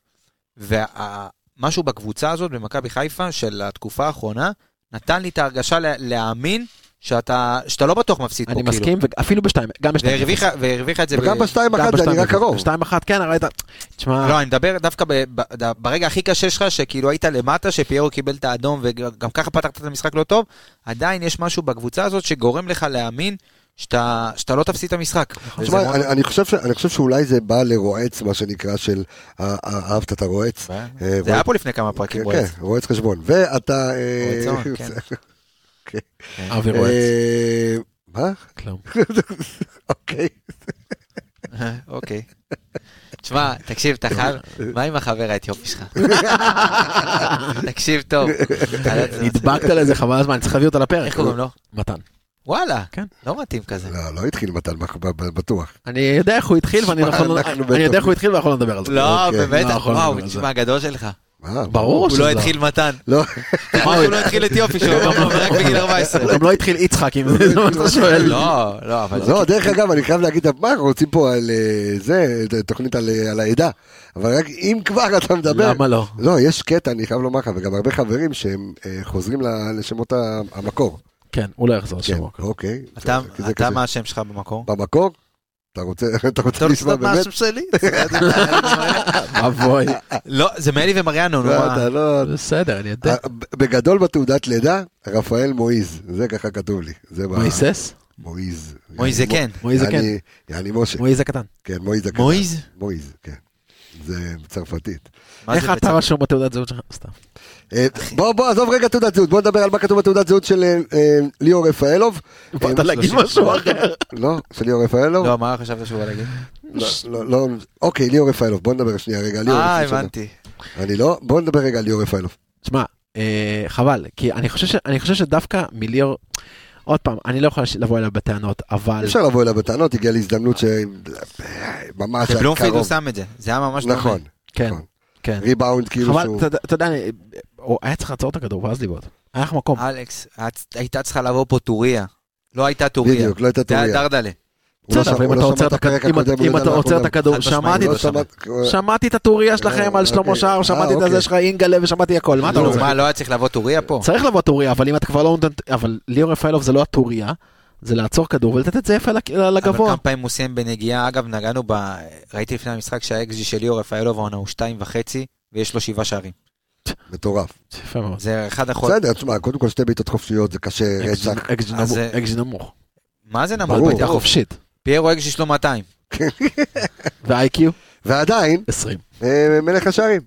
Speaker 3: ומשהו בקבוצה הזאת, במכבי חיפה, של התקופה האחרונה, נתן לי את ההרגשה לה, להאמין שאתה, שאתה לא בטוח מפסיד פה,
Speaker 5: אני
Speaker 3: כאילו.
Speaker 5: מסכים, ואפילו בשתיים, גם בשתיים.
Speaker 3: והרוויחה, והרוויחה את זה...
Speaker 1: וגם
Speaker 3: ב-
Speaker 1: בשתיים
Speaker 5: גם
Speaker 1: אחת זה
Speaker 5: בשתיים
Speaker 1: נראה
Speaker 5: אפס.
Speaker 1: קרוב.
Speaker 5: בשתיים אחת, כן, ראית. תשמע,
Speaker 3: לא, אני מדבר דווקא ב, ב, ד- ברגע הכי קשה שלך, שכאילו היית למטה, שפיירו קיבל את האדום, וגם ככה פתחת את המשחק לא טוב, עדיין יש משהו בקבוצה הזאת שגורם לך להאמין שאתה, שאתה לא תפסיד את המשחק. וזה
Speaker 1: תשמע,
Speaker 3: מאוד-
Speaker 1: אני, אני, חושב ש, אני חושב שאולי זה בא לרועץ, מה שנקרא, של אה, אה, אהבת את הרועץ.
Speaker 3: זה
Speaker 1: אה,
Speaker 3: היה
Speaker 1: רועץ-
Speaker 3: פה לפני כמה פרקים,
Speaker 1: כן,
Speaker 3: רועץ.
Speaker 1: כן, רועץ חשבון. ואתה... אה,
Speaker 3: רועץ ההון, כן.
Speaker 5: אבי רועץ.
Speaker 1: אה, מה?
Speaker 5: כלום.
Speaker 1: אוקיי.
Speaker 3: אוקיי. תשמע, תקשיב, אתה חייב, מה עם החבר האתיופי שלך? תקשיב טוב.
Speaker 5: נדבקת לזה חבל הזמן, צריך להביא אותה לפרק.
Speaker 3: איך קוראים לו?
Speaker 5: מתן.
Speaker 3: וואלה,
Speaker 5: כן.
Speaker 3: לא מתאים כזה.
Speaker 1: לא, לא התחיל מתן בח- ב- ב- בטוח.
Speaker 5: אני יודע איך הוא התחיל
Speaker 1: שמע,
Speaker 5: ואני יכול-
Speaker 1: אנחנו
Speaker 5: אני יודע
Speaker 1: בטח-
Speaker 5: איך הוא התחיל ואנחנו לא נדבר על זה.
Speaker 3: לא,
Speaker 1: אוקיי,
Speaker 3: באמת,
Speaker 5: לא יכול
Speaker 3: וואו,
Speaker 5: לדבר על
Speaker 3: תשמע, גדול שלך.
Speaker 1: מה?
Speaker 5: ברור
Speaker 3: הוא
Speaker 5: שזה
Speaker 3: לא התחיל מתן.
Speaker 1: אה, לא,
Speaker 3: מה הוא לא התחיל אתיופי, שהוא אמר לו רק בגיל 14.
Speaker 5: הוא לא- גם לא התחיל יצחק אם זה מה שאתה שואל.
Speaker 3: לא, לא, אבל...
Speaker 1: לא, דרך אגב, אני חייב להגיד, מה, אנחנו רוצים פה על אה, זה, תוכנית על אה, על העדה. אבל רק אם כבר אתה מדבר...
Speaker 5: למה לא?
Speaker 1: לא, יש קטע, אני חייב לומר לך, וגם הרבה חברים שהם אה, חוזרים ל- לשמות ה- המקור.
Speaker 5: כן, הוא לא יחזור
Speaker 1: כן,
Speaker 5: לשמור.
Speaker 1: אוקיי.
Speaker 3: אתה-
Speaker 1: כי זה
Speaker 3: אתה,
Speaker 1: כזה.
Speaker 3: מה השם שלך במקור?
Speaker 1: במקור? אתה רוצה אתה
Speaker 3: אתה
Speaker 1: רוצה
Speaker 3: רוצה
Speaker 1: לשמוע
Speaker 3: לדעת מה
Speaker 1: באמת?
Speaker 3: השם שלי?
Speaker 5: אבוי.
Speaker 3: לא, זה מלי ומריאנו, נו,
Speaker 1: לא,
Speaker 3: מה?
Speaker 1: אתה לא...
Speaker 5: בסדר, אני יודע.
Speaker 1: אה, ב- בגדול בתעודת לידה, רפאל מועיז, זה ככה כתוב לי. זה ב-
Speaker 5: מויסס?
Speaker 1: מועיז.
Speaker 3: מויז זה כן.
Speaker 5: אה? מויז זה כן.
Speaker 1: יעני- יעני משה,
Speaker 5: מויז זה קטן.
Speaker 1: כן, מועיז הקטן.
Speaker 3: מויז?
Speaker 1: מועיז, כן. זה בצרפתית.
Speaker 3: מה
Speaker 5: איך
Speaker 3: זה
Speaker 5: אתה
Speaker 3: בצרפת?
Speaker 5: רשום בתעודת זהות שלך? סתם.
Speaker 1: אה, בוא, בוא, עזוב רגע תעודת זהות, בוא נדבר על מה כתוב בתעודת זהות של אה, אה, ליאור רפאלוב.
Speaker 5: באת
Speaker 1: אה,
Speaker 5: להגיד משהו אחר.
Speaker 1: לא, של ליאור רפאלוב.
Speaker 3: לא, מה חשבת שהוא בא להגיד?
Speaker 1: לא, לא, לא, אוקיי, ליאור רפאלוב, בוא נדבר שנייה רגע על ליאור.
Speaker 3: אה,
Speaker 1: לפני שאתה-
Speaker 3: הבנתי.
Speaker 1: אני לא, בוא נדבר רגע על ליאור רפאלוב.
Speaker 5: תשמע, אה, חבל, כי אני חושב, ש, אני חושב שדווקא מליאור, עוד פעם, אני לא יכול לש- לבוא אליו בטענות, אבל...
Speaker 1: אי אפשר לבוא אליו בטענות, הגיעה לי הזדמנות שממש היה
Speaker 3: בבלומפילד הוא
Speaker 1: קרוב.
Speaker 3: שם את זה, זה היה ממש דומה.
Speaker 1: נכון,
Speaker 5: כן,
Speaker 1: נכון.
Speaker 5: כן.
Speaker 1: ריבאונד כאילו
Speaker 5: חבל,
Speaker 1: שהוא...
Speaker 5: אתה יודע- אתה יודע, אני- הוא היה צריך לעצור את הכדור ואז לבעוט. היה לך
Speaker 1: אה,
Speaker 5: מקום.
Speaker 3: אלכס, את- הייתה צריכה לבוא פה טוריה. לא הייתה טוריה.
Speaker 1: בדיוק, לא הייתה
Speaker 3: זה היה
Speaker 1: טוריה.
Speaker 3: דרדלה.
Speaker 1: הוא לא
Speaker 5: בסדר,
Speaker 1: שמע-
Speaker 5: אבל אם
Speaker 1: הוא לא
Speaker 5: אתה
Speaker 1: שמע
Speaker 5: עוצר את
Speaker 1: הפרק
Speaker 5: הכ- אם-
Speaker 1: הקודם, הוא
Speaker 5: אם
Speaker 1: לא
Speaker 5: אתה
Speaker 1: יודע מה
Speaker 5: עוצר את
Speaker 1: קודם.
Speaker 5: הכדור,
Speaker 3: חד משמעית,
Speaker 5: שמעתי
Speaker 3: הוא
Speaker 5: את
Speaker 1: לא
Speaker 3: אתה-
Speaker 1: שמע-
Speaker 5: שמעתי את הטוריה שלכם
Speaker 1: אה,
Speaker 5: על שלמה
Speaker 1: אוקיי.
Speaker 5: שער, שמעתי
Speaker 1: אה,
Speaker 5: את הזה
Speaker 1: אוקיי.
Speaker 5: שלך אינגלה ושמעתי הכל, מה אתה
Speaker 1: לא,
Speaker 5: רוצה?
Speaker 3: מה, לא היה צריך לבוא טוריה פה?
Speaker 5: צריך לבוא טוריה, אבל אם אתה כבר לא נותן... אבל ליאור רפאלוב זה לא הטוריה, זה לעצור כדור ולתת את זה יפה לק-
Speaker 3: אבל
Speaker 5: לגבוה.
Speaker 3: כמה פעמים הוא סיים בנגיעה, אגב, נגענו ב... ראיתי לפני המשחק שהאקזי של ליאור רפאלוב העונה הוא שתיים וחצי, ויש לו שבעה שערים.
Speaker 1: מטורף.
Speaker 5: יפה מאוד.
Speaker 3: זה אחד החול...
Speaker 1: בסדר, תשמע, קודם כל שתי בעיטות חופשיות זה קשה רצח.
Speaker 5: אקז
Speaker 3: אז
Speaker 5: נמוך,
Speaker 3: זה-
Speaker 5: אקז נמוך.
Speaker 3: מה זה נמל?
Speaker 1: ברור.
Speaker 5: בעיטה
Speaker 3: בטירוף.
Speaker 5: חופשית.
Speaker 3: פיירו אקזי שלו 200.
Speaker 5: ו-IQ?
Speaker 1: ועדיין,
Speaker 5: 20.
Speaker 1: אה, מלך השערים.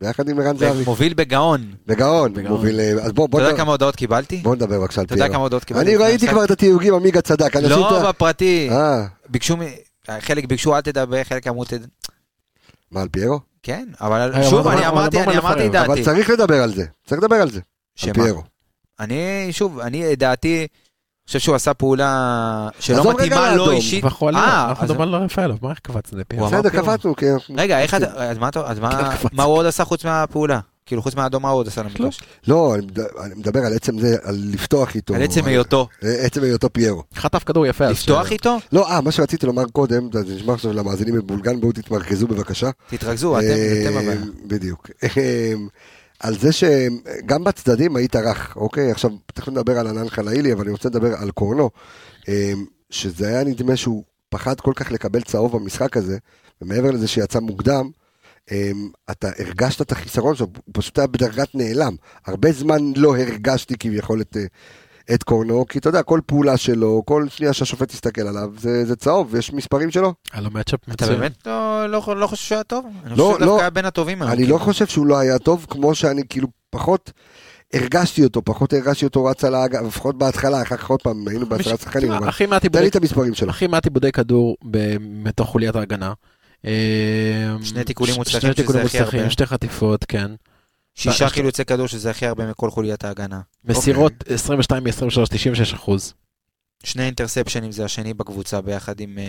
Speaker 1: ביחד עם ערן זהבי.
Speaker 3: מוביל בגאון.
Speaker 1: בגאון,
Speaker 5: בגאון.
Speaker 1: מוביל... אה, אז בוא-
Speaker 3: אתה
Speaker 1: בוא
Speaker 3: יודע
Speaker 1: נדבר-
Speaker 3: כמה הודעות קיבלתי?
Speaker 1: בוא נדבר בבקשה על
Speaker 3: אתה יודע
Speaker 1: פיירו.
Speaker 3: כמה הודעות קיבלתי?
Speaker 1: אני
Speaker 3: לפני
Speaker 1: ראיתי
Speaker 3: המשחק?
Speaker 1: כבר את התיוגים, עמיגה צדק. אנשים
Speaker 3: לא,
Speaker 1: אתה-
Speaker 3: בפרטי.
Speaker 1: אה,
Speaker 3: ביקשו, מ- חלק ביקשו אל תדבר, חלק אמרו תדבר.
Speaker 1: מה, על פיירו?
Speaker 3: כן, אבל
Speaker 5: אה,
Speaker 3: שוב,
Speaker 5: אבל-
Speaker 3: אני
Speaker 5: אבל
Speaker 3: אמרתי,
Speaker 5: אמרנו
Speaker 3: אני אמרתי את
Speaker 5: לפנינו,
Speaker 1: אבל
Speaker 3: דעתי.
Speaker 1: צריך לדבר על זה. צריך לדבר על זה. על
Speaker 3: שמה?
Speaker 1: פיירו.
Speaker 3: אני, שוב, אני, דעתי, חושב שהוא עשה פעולה שלא
Speaker 1: עזוב רגע לא,
Speaker 3: מתאימה לו
Speaker 1: לאדום.
Speaker 3: לא, אישית.
Speaker 5: יכול להיות,
Speaker 3: אה,
Speaker 5: אנחנו
Speaker 3: אז-
Speaker 5: מדברים על רפאלוב, מה איך קפצנו לפי?
Speaker 3: הוא אמר
Speaker 1: בסדר,
Speaker 3: פיירו.
Speaker 1: קפצנו, כי... אנחנו-
Speaker 3: רגע, איך אתה, אז מה אתה- אז מה-
Speaker 5: כן, קפץ.
Speaker 3: מה הוא עוד עשה חוץ מהפעולה? כאילו, חוץ מהאדום, מה הוא עוד עשה למגרש?
Speaker 1: לא, אני מד- אני מדבר על עצם זה, על לפתוח איתו.
Speaker 3: על עצם היותו.
Speaker 1: אה, עצם היותו פיירו.
Speaker 5: חטף כדור יפה. אז
Speaker 3: לפתוח
Speaker 5: ש-
Speaker 3: איתו?
Speaker 1: לא, אה, מה שרציתי לומר קודם, זה נשמע עכשיו למאזינים בבולגן, בואו תתמרכזו בבקשה.
Speaker 3: תתרכזו, אתם,
Speaker 1: אה,
Speaker 3: אתם הבעיה.
Speaker 1: בדיוק. אה, על זה שגם בצדדים היית רך, אוקיי? עכשיו, תכף נדבר על ענן חלאילי, אבל אני רוצה לדבר על קורנו, אה, שזה היה נדמה שהוא פחד כל כך לקבל צהוב במשחק הזה, ומעבר לזה שיצא מוקדם, אה, אתה הרגשת את החיסרון שלו, הוא פשוט היה בדרגת נעלם. הרבה זמן לא הרגשתי כביכול את... אה, את קורנו, כי אתה יודע, כל פעולה שלו, כל שנייה שהשופט יסתכל עליו, זה, זה צהוב, יש מספרים שלו.
Speaker 5: היה לו מאצ'אפ
Speaker 3: אתה
Speaker 5: מצוין.
Speaker 3: באמת לא- לא לא חושב שהוא היה טוב? אני
Speaker 1: לא,
Speaker 3: חושב שהוא
Speaker 1: לא.
Speaker 3: דווקא היה בין הטובים היום. כאילו.
Speaker 1: אני לא חושב שהוא לא היה טוב, כמו שאני כאילו פחות הרגשתי אותו, פחות הרגשתי אותו רץ על האגף, לפחות בהתחלה, אחר כך עוד פעם היינו בעשרה שחקנים, אבל
Speaker 5: הכי מעט
Speaker 1: תן לי
Speaker 5: עיבודי-
Speaker 1: את המספרים שלו.
Speaker 5: הכי מעט עיבודי כדור ב- מתוך חוליית ההגנה. אה,
Speaker 3: שני תיקולים
Speaker 5: ש-
Speaker 3: מוצלחים,
Speaker 5: שני
Speaker 3: שזה
Speaker 5: תיקולים
Speaker 3: הכי
Speaker 5: מוצלחים,
Speaker 3: הרבה.
Speaker 5: שתי חטיפות,
Speaker 1: אוקיי.
Speaker 5: כן.
Speaker 3: שישה
Speaker 5: יש-
Speaker 3: חילוצי כדור, שזה הכי הרבה מכל חוליית ההגנה.
Speaker 5: מסירות 22 מ-23, 96 אחוז.
Speaker 3: שני אינטרספשנים זה השני בקבוצה ביחד עם, אה,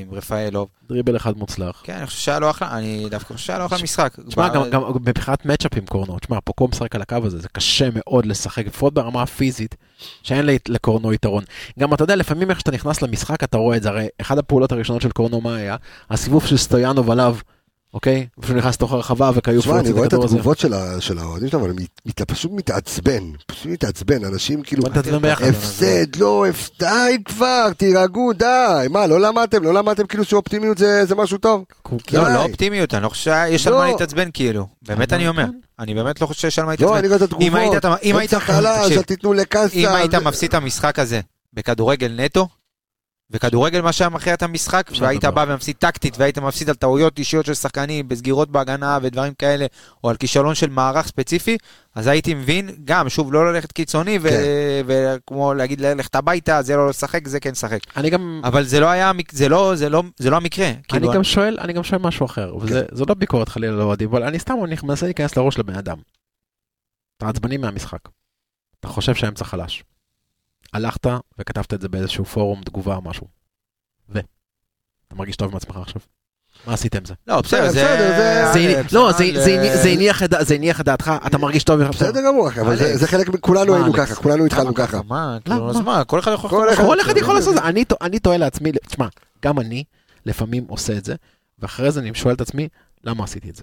Speaker 3: עם רפאלוב.
Speaker 5: דריבל אחד מוצלח.
Speaker 3: כן, אני חושב שהיה לו אחלה, אני דווקא חושב שהיה לו אחלה
Speaker 5: ש-
Speaker 3: משחק.
Speaker 5: תשמע,
Speaker 3: ב-
Speaker 5: גם, גם מבחינת מצ'אפים קורנו, תשמע, פוקו משחק על הקו הזה, זה קשה מאוד לשחק, לפחות ברמה הפיזית, שאין ל- לקורנו יתרון. גם אתה יודע, לפעמים איך שאתה נכנס למשחק אתה רואה את זה, הרי אחת הפעולות הראשונות של קורנו מה היה? הסיבוב של סטויאנוב עליו, אוקיי? פשוט נכנס לתוך הרחבה וכיוף
Speaker 1: תשמע,
Speaker 5: הוא
Speaker 1: אני
Speaker 5: הוציא
Speaker 1: רואה את
Speaker 5: הכדור הזה.
Speaker 1: התגובות של ה- של האוהדים שלו, אבל אני מת- פשוט מתעצבן, פשוט מתעצבן, אנשים כאילו,
Speaker 5: בוא נתעצבן ביחד.
Speaker 1: הפסד, לא, הפס- די כבר, תירגעו, די, מה, לא למדתם, לא למדתם כאילו שאופטימיות זה זה משהו טוב?
Speaker 3: לא,
Speaker 1: די.
Speaker 3: לא אופטימיות, אני לא חושב שיש על
Speaker 1: לא.
Speaker 3: מה להתעצבן כאילו. באמת אני אומר. אני באמת לא חושב שיש על מה
Speaker 1: לא,
Speaker 3: להתעצבן.
Speaker 1: אני רואה את התגובות,
Speaker 3: אם היית- אם היית-
Speaker 1: אמצע חלש,
Speaker 3: תקשיב.
Speaker 1: אל תיתנו לקאסה,
Speaker 3: אם היית
Speaker 1: זה-
Speaker 3: מפסיד את המשחק הזה בכדורגל נטו, וכדורגל מה שהיה מכריע את המשחק,
Speaker 5: אפשר
Speaker 3: והיית
Speaker 5: לדבר.
Speaker 3: בא ומפסיד טקטית, והיית מפסיד על טעויות אישיות של שחקנים, בסגירות בהגנה ודברים כאלה, או על כישלון של מערך ספציפי, אז הייתי מבין, גם, שוב, לא ללכת קיצוני, ו-
Speaker 1: כן.
Speaker 3: וכמו להגיד ללכת הביתה, זה לא לשחק, זה כן לשחק.
Speaker 5: אני גם...
Speaker 3: אבל זה לא היה, המק- זה לא, זה לא, זה לא המקרה.
Speaker 5: אני
Speaker 3: כאילו, כן.
Speaker 5: גם שואל, אני גם שואל משהו אחר, וזה זו לא ביקורת חלילה לאוהדים, אבל אני סתם אני מנסה להיכנס לראש לבן אדם. אתה עצבני מהמשחק. אתה חושב שהאמצע חלש. הלכת וכתבת את זה באיזשהו פורום, תגובה או משהו. ו? אתה מרגיש טוב עם עצמך עכשיו? מה עשית עם זה?
Speaker 3: לא, בסדר, זה...
Speaker 1: בסדר, זה-
Speaker 5: זה הני- לא, זה-
Speaker 3: אבל,
Speaker 5: זה
Speaker 3: אה,
Speaker 5: הני- זה הניח את דע- זה הניח את דעתך, אתה מרגיש טוב עם עצמך.
Speaker 1: בסדר גמור, אחי, אבל זה-
Speaker 3: אלכס.
Speaker 1: זה חלק, מ- כולנו
Speaker 5: מה,
Speaker 1: היינו
Speaker 5: אלכס?
Speaker 1: ככה, כולנו התחלנו
Speaker 3: למה
Speaker 1: ככה.
Speaker 3: מה,
Speaker 5: למה?
Speaker 3: כאילו, אז מה, כל אחד יכול...
Speaker 1: לא, כל אחד-
Speaker 5: כל אחד יכול לעשות את זה. אני טוע- אני טועה לעצמי, תשמע, גם אני לפעמים עושה את זה, ואחרי זה אני שואל את עצמי, למה עשיתי את זה?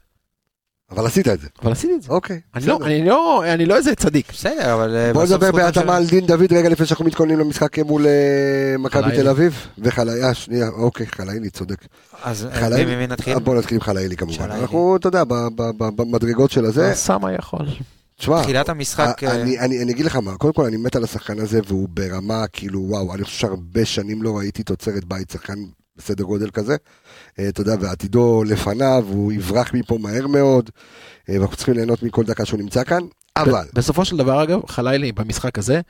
Speaker 1: אבל עשית את זה,
Speaker 5: אבל עשיתי את זה.
Speaker 1: אוקיי.
Speaker 5: אני
Speaker 1: בסדר.
Speaker 5: לא- אני לא- אני לא איזה צדיק.
Speaker 3: בסדר, אבל... אה,
Speaker 1: בוא
Speaker 3: בסוף
Speaker 1: נדבר
Speaker 3: זכותם של-
Speaker 1: בהתאמה על דין דוד רגע לפני שאנחנו מתכוננים למשחק מול אה, מכבי
Speaker 5: חלילי.
Speaker 1: תל אביב. וחלאילי, שנייה, אוקיי, חלאילי, צודק.
Speaker 3: אז אה,
Speaker 1: חלאילי.
Speaker 3: מי- ממי נתחיל?
Speaker 1: אה, בוא נתחיל עם חלאילי כמובן.
Speaker 3: חלאילי.
Speaker 1: אנחנו, אתה יודע, ב- ב- ב- במדרגות של הזה,
Speaker 5: סמה יכול.
Speaker 1: תשמע,
Speaker 3: תחילת
Speaker 1: ה-
Speaker 3: המשחק... אה,
Speaker 1: אני אני- אני אגיד לך מה, קודם כל אני מת על השחקן הזה והוא ברמה, כאילו, וואו, אני חושב שהרבה שנים לא ראיתי תוצרת בית, שחקן בסדר גודל כזה. אה, אתה יודע, ועתידו לפניו, הוא יברח מפה מהר מאוד, אה, ואנחנו צריכים ליהנות מכל דקה שהוא נמצא כאן, אבל...
Speaker 5: ב- בסופו של דבר, אגב, חלילי במשחק הזה,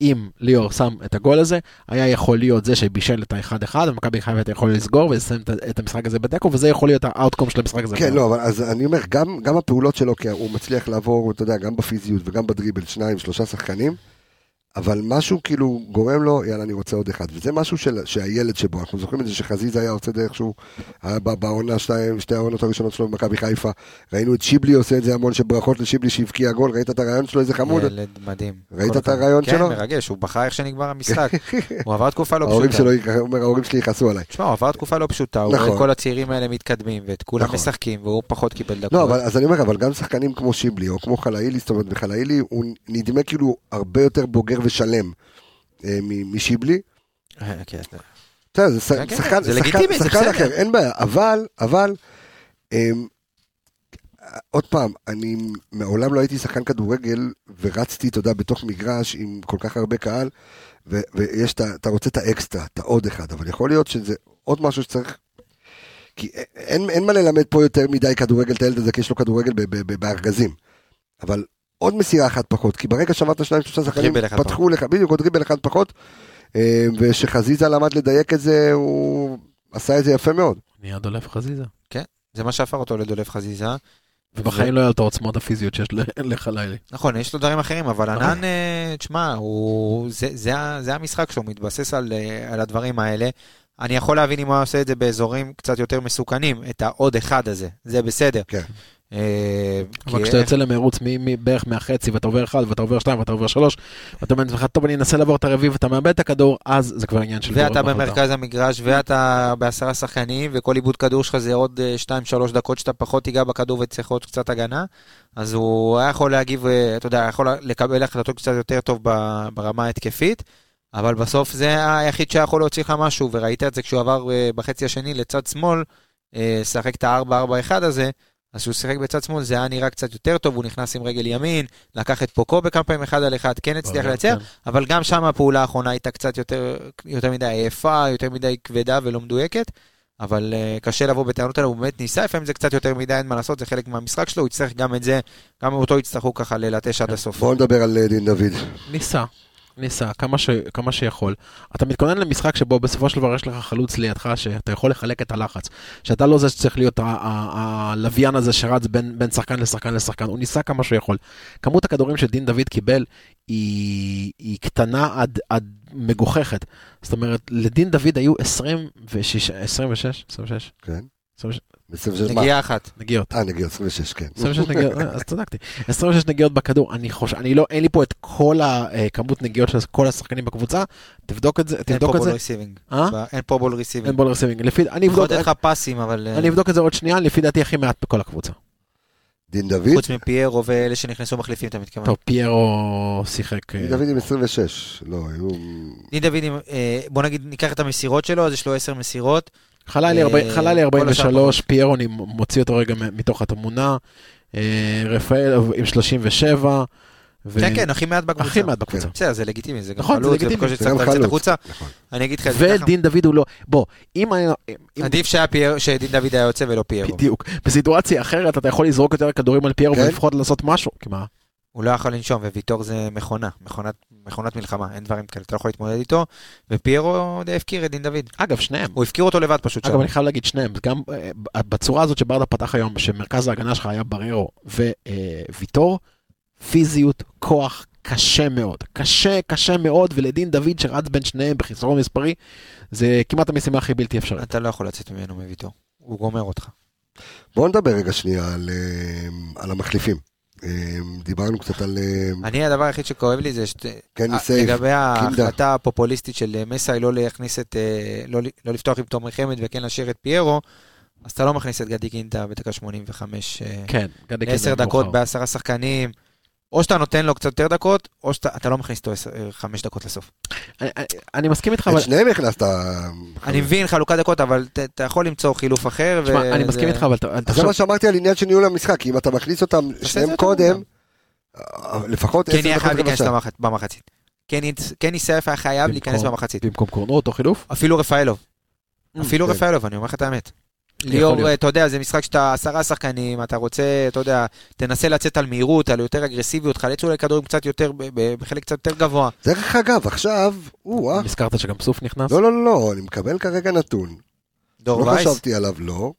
Speaker 5: אם ליאור שם את הגול הזה, היה יכול להיות זה שבישל את ה-1-1, ומכבי חיפה הייתה יכולה לסגור ולסיים את- את המשחק הזה בתיקו, וזה יכול להיות האאוטקום של המשחק הזה.
Speaker 1: כן, לא, אבל אז אני אומר, גם, גם הפעולות שלו, כי הוא מצליח לעבור, אתה יודע, גם בפיזיות וגם בדריבל, שניים, שלושה שחקנים, אבל משהו כאילו גורם לו, יאללה, אני רוצה עוד אחד. וזה משהו של, שהילד שבו, אנחנו זוכרים את זה שחזיזה היה עושה את זה איכשהו, היה בא- בעונה, שתי, שתי העונות הראשונות שלו במכבי חיפה, ראינו את שיבלי עושה את זה המון, שברכות לשיבלי שהבקיע גול, ראית את הרעיון שלו, איזה חמוד.
Speaker 3: ילד מדהים.
Speaker 1: ראית
Speaker 3: כל
Speaker 1: את
Speaker 3: הכבוד.
Speaker 1: הרעיון שלו?
Speaker 3: כן, מרגש, הוא בכה איך שנגמר המשחק. הוא עבר תקופה לא
Speaker 1: ההורים
Speaker 3: פשוטה.
Speaker 1: שלו, יכ- הוא אומר, ההורים שלי יכעסו עליי.
Speaker 3: תשמע, הוא עבר תקופה לא פשוטה, הוא
Speaker 1: נכון.
Speaker 3: רואה כל הצעירים האלה מתקדמים, ואת כולם
Speaker 1: נכון.
Speaker 3: משחקים, והוא פחות קיבל דקות.
Speaker 1: לא, אבל אז אני אומר, אבל גם שחקנים כמו שיבלי, או כמו חלאילי, זאת אומרת, וחלאילי הוא נדמה כאילו הרבה יותר בוגר ושלם אה, מ- משיבלי.
Speaker 3: אה, כן, זה-
Speaker 1: אתה יודע, זה ש-
Speaker 3: כן, כן,
Speaker 1: שחקן,
Speaker 3: זה
Speaker 1: שחקן,
Speaker 3: לגיטימי, זה
Speaker 1: שחקן
Speaker 3: בסדר.
Speaker 1: אחר, אין בעיה, אבל, אבל, אמ, עוד פעם, אני מעולם לא הייתי שחקן כדורגל, ורצתי, אתה יודע, בתוך מגרש עם כל כך הרבה קהל, ו- ויש את ה... אתה רוצה את האקסטרה, את העוד אחד, אבל יכול להיות שזה עוד משהו שצריך... כי א- אין, אין מה ללמד פה יותר מדי כדורגל את הילד הזה, כי יש לו כדורגל ב- ב- ב- בארגזים. אבל עוד מסירה אחת פחות, כי ברגע שעברת שניים שלושה שחקנים,
Speaker 3: דריבל אחד
Speaker 1: פתחו לך, בדיוק, עוד ריבל אחד פחות, אה, ושחזיזה למד לדייק את זה, הוא עשה את זה יפה מאוד.
Speaker 5: נהיה דולף חזיזה.
Speaker 3: זה מה שהפך אותו לדולף חזיזה.
Speaker 5: ובחיים לא היה לו את העוצמות הפיזיות שיש ל- לחלילי.
Speaker 3: נכון, יש לו דברים אחרים, אבל
Speaker 5: נכון.
Speaker 3: ענן, אה, תשמע, הוא- זה- זה ה- זה המשחק שהוא מתבסס על אה, על הדברים האלה. אני יכול להבין אם הוא היה עושה את זה באזורים קצת יותר מסוכנים, את העוד אחד הזה, זה בסדר.
Speaker 1: כן.
Speaker 3: אה,
Speaker 5: אבל
Speaker 3: כי-
Speaker 5: כשאתה יוצא למרוץ מ- מ- בערך מהחצי ואתה עובר אחד ואתה עובר שתיים ואתה עובר שלוש ואתה אומר לעצמך טוב אני אנסה לעבור את הרביעי ואתה מאבד את הכדור אז זה כבר עניין של כן. גורם
Speaker 3: ואתה
Speaker 5: החלטה.
Speaker 3: במרכז המגרש, ואתה בעשרה שחקנים, וכל עיבוד כדור שלך זה עוד 2-3 דקות שאתה פחות תיגע בכדור וצריך עוד קצת הגנה, אז הוא היה יכול להגיב, אה, אתה יודע, היה יכול לקבל החלטות קצת יותר טוב ב- ברמה ההתקפית, אבל בסוף זה היחיד שהיה יכול להוציא לך משהו, וראית את זה כשהוא עבר אה, בחצי השני לצד שמאל, אה, לשחק את ה-4-4-1 הזה. אז כשהוא שיחק בצד שמאל זה היה נראה קצת יותר טוב, הוא נכנס עם רגל ימין, לקח את פוקו בכמה פעמים אחד על אחד, כן הצליח
Speaker 5: ברור,
Speaker 3: לייצר,
Speaker 5: כן.
Speaker 3: אבל גם שם הפעולה האחרונה הייתה קצת יותר, יותר מדי עייפה, יותר מדי כבדה ולא מדויקת, אבל uh, קשה לבוא בטענות עליו, הוא באמת ניסה, לפעמים זה קצת יותר מדי, אין מה לעשות, זה חלק מהמשחק שלו, הוא יצטרך גם את זה, גם אותו יצטרכו ככה ללטש
Speaker 1: כן,
Speaker 3: עד הסוף.
Speaker 1: בואו נדבר על אה, דין דוד.
Speaker 5: ניסה, ניסה, כמה, ש, כמה שיכול. אתה מתכונן למשחק שבו בסופו של דבר יש לך חלוץ לידך שאתה יכול לחלק את הלחץ. שאתה לא זה שצריך להיות ה- ה- ה- הלוויין הזה שרץ בין, בין שחקן לשחקן לשחקן, הוא ניסה כמה שיכול. כמות הכדורים שדין דוד קיבל היא, היא קטנה עד, עד מגוחכת. זאת אומרת, לדין דוד היו 26, 26, 26,
Speaker 1: כן.
Speaker 5: 26
Speaker 1: 26 מה?
Speaker 3: נגיעה אחת.
Speaker 5: נגיעות.
Speaker 1: אה, נגיע 26, כן.
Speaker 5: 26 נגיעות, אה, אז צדקתי. 26 נגיעות בכדור, אני חושב, אני לא, אין לי פה את כל הכמות נגיעות של כל השחקנים בקבוצה, תבדוק את זה,
Speaker 3: אין פה
Speaker 5: תבדוק את
Speaker 3: בול
Speaker 5: זה.
Speaker 3: ריסיבינג.
Speaker 5: אה?
Speaker 3: אין פה בול
Speaker 5: אין
Speaker 3: ריסיבינג.
Speaker 5: בול רסיבינג, לפי, אני
Speaker 3: יכול
Speaker 5: אבדוק,
Speaker 3: לתת לך פסים, אבל אה,
Speaker 5: אני אבדוק את זה עוד שנייה, לפי דעתי הכי מעט בכל הקבוצה.
Speaker 1: דין דוד?
Speaker 3: חוץ מפיירו ואלה שנכנסו מחליפים, אתה מתכוון.
Speaker 5: טוב, פיירו שיחק, אה,
Speaker 1: דין דוד עם 26. לא, היו...
Speaker 3: דין דוד, עם, אה, בוא נגיד, ניקח את המסירות שלו, אז יש לו 10 מסירות.
Speaker 5: חללי
Speaker 3: אה,
Speaker 5: ארבע- חללי
Speaker 3: כל השאר
Speaker 5: 43, פיירו, אני מוציא אותו רגע מ- מתוך התמונה, אה, רפאל עם 37, ו-
Speaker 3: כן, כן, הכי כן, מעט בקבוצה.
Speaker 5: הכי מעט בקבוצה.
Speaker 3: בסדר, זה לגיטימי, זה גם
Speaker 5: נכון, זה
Speaker 3: חלוץ, זה
Speaker 5: לגיטימי.
Speaker 3: בקושי
Speaker 1: זה
Speaker 3: צריך
Speaker 1: גם
Speaker 3: לצאת
Speaker 1: חלוץ.
Speaker 3: החוצה.
Speaker 1: נכון.
Speaker 3: אני אגיד לך, את זה כן, ככה.
Speaker 5: ודין דוד הוא לא, בוא, אם היה, אם-
Speaker 3: עדיף שהיה פייר, שדין דוד היה יוצא ולא פיירו.
Speaker 5: בדיוק. בסיטואציה אחרת אתה יכול לזרוק יותר כדורים על פיירו
Speaker 1: כן.
Speaker 5: ולפחות לעשות משהו. כי מה?
Speaker 3: הוא לא יכול לנשום, וויטור זה מכונה, מכונת, מכונת מלחמה, אין דברים כאלה, אתה לא יכול להתמודד איתו, ופיירו די הפקיר את דין דוד.
Speaker 5: אגב, שניהם.
Speaker 3: הוא הפקיר אותו לבד פשוט
Speaker 5: אגב,
Speaker 3: שם.
Speaker 5: אני חייב להגיד שניהם. גם אה, בצורה הזאת שברדה פתח היום, שמרכז ההגנה שלך היה בררו וויטור, פיזיות, כוח. קשה מאוד, קשה, קשה מאוד, ולדין דוד שרץ בין שניהם בחיסרון מספרי, זה כמעט המשימה הכי בלתי אפשרית.
Speaker 3: אתה לא יכול לצאת ממנו מוויטור, הוא גומר אותך.
Speaker 1: בואו נדבר רגע שנייה על, אה, על המחליפים. אה, דיברנו קצת על... אה,
Speaker 3: אני, הדבר היחיד שכואב לי זה שת-
Speaker 1: כן,
Speaker 3: אה,
Speaker 1: סייב.
Speaker 3: לגבי
Speaker 1: קינדה.
Speaker 3: ההחלטה הפופוליסטית של אה, מסאי לא להכניס את, אה, לא ל- לא לפתוח עם תומר חמד וכן להשאיר את פיירו, אז אתה לא מכניס את גדי קינדה בדקה 85. אה,
Speaker 5: כן, גדי קינן
Speaker 3: לעשר
Speaker 5: מאוחר.
Speaker 3: דקות בעשרה שחקנים, או שאתה נותן לו קצת יותר דקות, או שאתה אתה לא מכניס אותו עשר- אה, חמש דקות לסוף.
Speaker 5: אני- אני- אני מסכים איתך, אבל
Speaker 1: את שניהם הכנסת.
Speaker 3: אני מבין חלוקת דקות, אבל ת- אתה יכול למצוא חילוף אחר.
Speaker 5: תשמע,
Speaker 3: וזה-
Speaker 5: אני מסכים איתך, אבל ת-
Speaker 1: זה
Speaker 5: תחשוב,
Speaker 1: מה שאמרתי על עניין של ניהול המשחק, כי אם אתה מכניס אותם שניהם
Speaker 3: יותר
Speaker 1: קודם,
Speaker 3: מוקדם.
Speaker 1: אה, לפחות
Speaker 3: כן
Speaker 1: עשר
Speaker 3: יהיה
Speaker 1: דקות
Speaker 3: חייב להיכנס
Speaker 1: רבע שעה.
Speaker 3: למח- במחצית. כן יצ- כן יסייף היה חייב להיכנס
Speaker 5: במקום-
Speaker 3: במחצית.
Speaker 5: במקום קורנות או חילוף,
Speaker 3: אפילו רפאלוב. אפילו
Speaker 1: כן.
Speaker 3: רפאלוב, אני אומר לך את האמת.
Speaker 5: Mm. יכול
Speaker 3: ליאור,
Speaker 5: להיות.
Speaker 3: אתה יודע, זה משחק שאתה עשרה שחקנים, אתה רוצה, אתה יודע, תנסה לצאת על מהירות, על יותר אגרסיביות, חלץ אולי כדורים קצת יותר, ב- ב- בחלק קצת יותר גבוה.
Speaker 1: דרך אגב, עכשיו, או אה.
Speaker 5: הזכרת שגם סוף נכנס,
Speaker 1: לא, לא, לא, לא, אני מקבל כרגע נתון.
Speaker 3: דור
Speaker 1: לא
Speaker 3: וייס,
Speaker 1: חשבתי עליו, לא.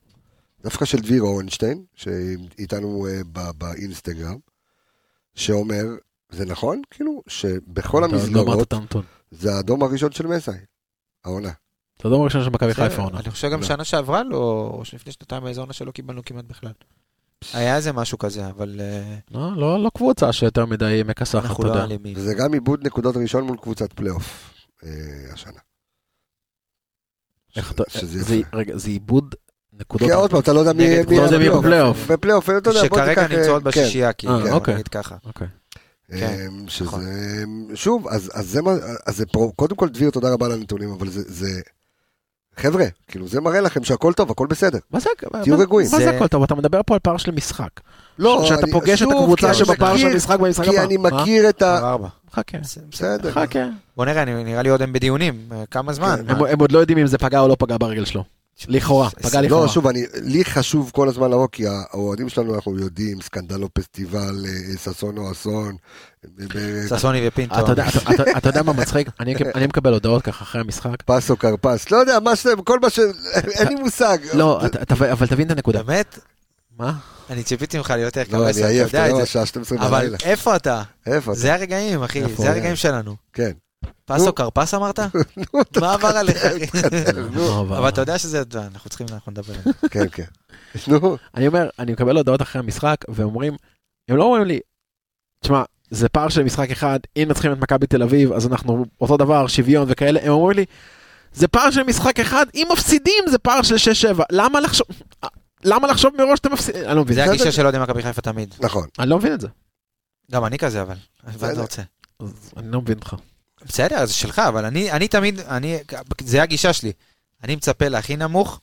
Speaker 1: דווקא של דביר אורנשטיין, שאיתנו אה, ב- באינסטגרם, שאומר, זה נכון, כאילו, שבכל
Speaker 5: אתה לא אמרת
Speaker 1: המסגרות,
Speaker 5: את הנתון.
Speaker 1: זה האדום הראשון של מסאי, העונה.
Speaker 5: את האדום הראשון של מכבי
Speaker 3: בסדר,
Speaker 5: חיפה עונה.
Speaker 3: אני חושב גם
Speaker 1: לא.
Speaker 3: שנה שעברה לא, או שלפני שנתיים באיזו עונה שלא קיבלנו כמעט בכלל. היה איזה משהו כזה, אבל אה,
Speaker 5: לא, לא, לא קבוצה שיותר מדי מכסחת,
Speaker 3: אנחנו
Speaker 5: אתה
Speaker 3: לא
Speaker 5: יודע.
Speaker 3: אלימים.
Speaker 1: וזה גם עיבוד נקודות ראשון מול קבוצת פלייאוף אה, השנה.
Speaker 5: איך אתה-
Speaker 1: ש- שזה
Speaker 5: זה-
Speaker 1: יפה.
Speaker 5: רגע, זה עיבוד נקודות.
Speaker 1: כי עוד פעם, אתה לא יודע מי
Speaker 3: נגד
Speaker 1: מי
Speaker 5: אתה לא יודע מי
Speaker 1: בפלייאוף.
Speaker 5: בפלייאוף.
Speaker 1: בפלייאוף, אתה יודע, בוא
Speaker 3: שכרגע
Speaker 1: תיקח... אה,
Speaker 3: נמצאות
Speaker 1: כן.
Speaker 3: בשלישייה, כי
Speaker 5: אה, אוקיי.
Speaker 3: נגיד ככה.
Speaker 5: אוקיי.
Speaker 1: אה,
Speaker 3: נכון.
Speaker 1: שזה, שוב, אז, אז זה מה, אז זה פרו, קודם כל דביר, תודה רבה על הנתונים, אבל זה, זה, חבר'ה, כאילו זה מראה לכם שהכל טוב, הכל בסדר.
Speaker 5: מה זה,
Speaker 1: תהיו
Speaker 5: מה-
Speaker 1: רגועים.
Speaker 5: מה זה
Speaker 3: זה-
Speaker 5: הכל טוב? אתה מדבר פה על פער של משחק.
Speaker 1: לא,
Speaker 5: שאתה
Speaker 1: אני-
Speaker 5: פוגש את
Speaker 1: שוב,
Speaker 5: הקבוצה
Speaker 1: כי אני
Speaker 5: שבפער של
Speaker 1: מכיר-
Speaker 5: המשחק במשחק הבא.
Speaker 1: כי אני
Speaker 5: אה?
Speaker 1: מכיר את ה...
Speaker 3: ארבע, ארבע.
Speaker 5: חכה,
Speaker 1: בסדר.
Speaker 5: חכה.
Speaker 3: בוא נראה, אני- נראה לי עוד הם בדיונים, אה, כמה זמן.
Speaker 1: כן.
Speaker 5: הם- הם עוד לא יודעים אם זה פגע או לא פגע ברגל שלו. לכאורה, פגע לכאורה.
Speaker 1: לא, שוב, אני, לי חשוב כל הזמן לבוא, כי האוהדים שלנו, אנחנו יודעים, סקנדלו פסטיבל, אה, ששון או אסון, אה, ב-
Speaker 3: ששוני
Speaker 1: לא,
Speaker 3: ופינטו.
Speaker 5: אתה יודע- אתה- אתה- אתה יודע מה מצחיק? אני אני מקבל הודעות ככה אחרי המשחק.
Speaker 1: פס או כרפס, לא יודע, מה שאתם, כל מה ש... אין לי מושג.
Speaker 5: לא, אתה- אתה- אבל תבין את הנקודה.
Speaker 3: באמת?
Speaker 5: מה?
Speaker 3: אני ציפיתי ממך להיות יותר
Speaker 1: לא,
Speaker 3: כבש,
Speaker 1: אני
Speaker 3: אתה
Speaker 1: עייף, אתה
Speaker 3: יודע את
Speaker 1: יודע,
Speaker 3: זה.
Speaker 1: השעה 12
Speaker 3: אבל
Speaker 1: בלילה. אוקיי.
Speaker 3: איפה אתה?
Speaker 1: איפה אתה?
Speaker 3: זה הרגעים, אחי,
Speaker 5: איפה
Speaker 3: זה
Speaker 5: הוא?
Speaker 3: הרגעים שלנו.
Speaker 1: כן.
Speaker 3: פסו כרפס אמרת? מה עבר עליך? אבל
Speaker 5: אבל
Speaker 3: אתה יודע שזה, אנחנו צריכים, אנחנו נדבר על זה.
Speaker 1: כן, כן. נו,
Speaker 5: אני אומר, אני מקבל הודעות אחרי המשחק, ואומרים, הם לא אומרים לי, תשמע, זה פער של משחק אחד, אם נצחים את מכבי תל אביב, אז אנחנו אותו דבר, שוויון וכאלה, הם אומרים לי, זה פער של משחק אחד, אם מפסידים זה פער של 6-7, למה לחשוב, למה לחשוב מראש שאתם מפסידים? אני לא מבין,
Speaker 3: זה
Speaker 1: בסדר.
Speaker 3: הגישה של אוהדי מכבי חיפה תמיד.
Speaker 1: נכון.
Speaker 5: אני לא מבין את זה,
Speaker 3: גם אני כזה, אבל. מה אתה רוצה?
Speaker 5: אז אני לא מבין אותך.
Speaker 3: בסדר, זה שלך, אבל אני, אני תמיד, אני, זה הגישה שלי. אני מצפה להכי נמוך,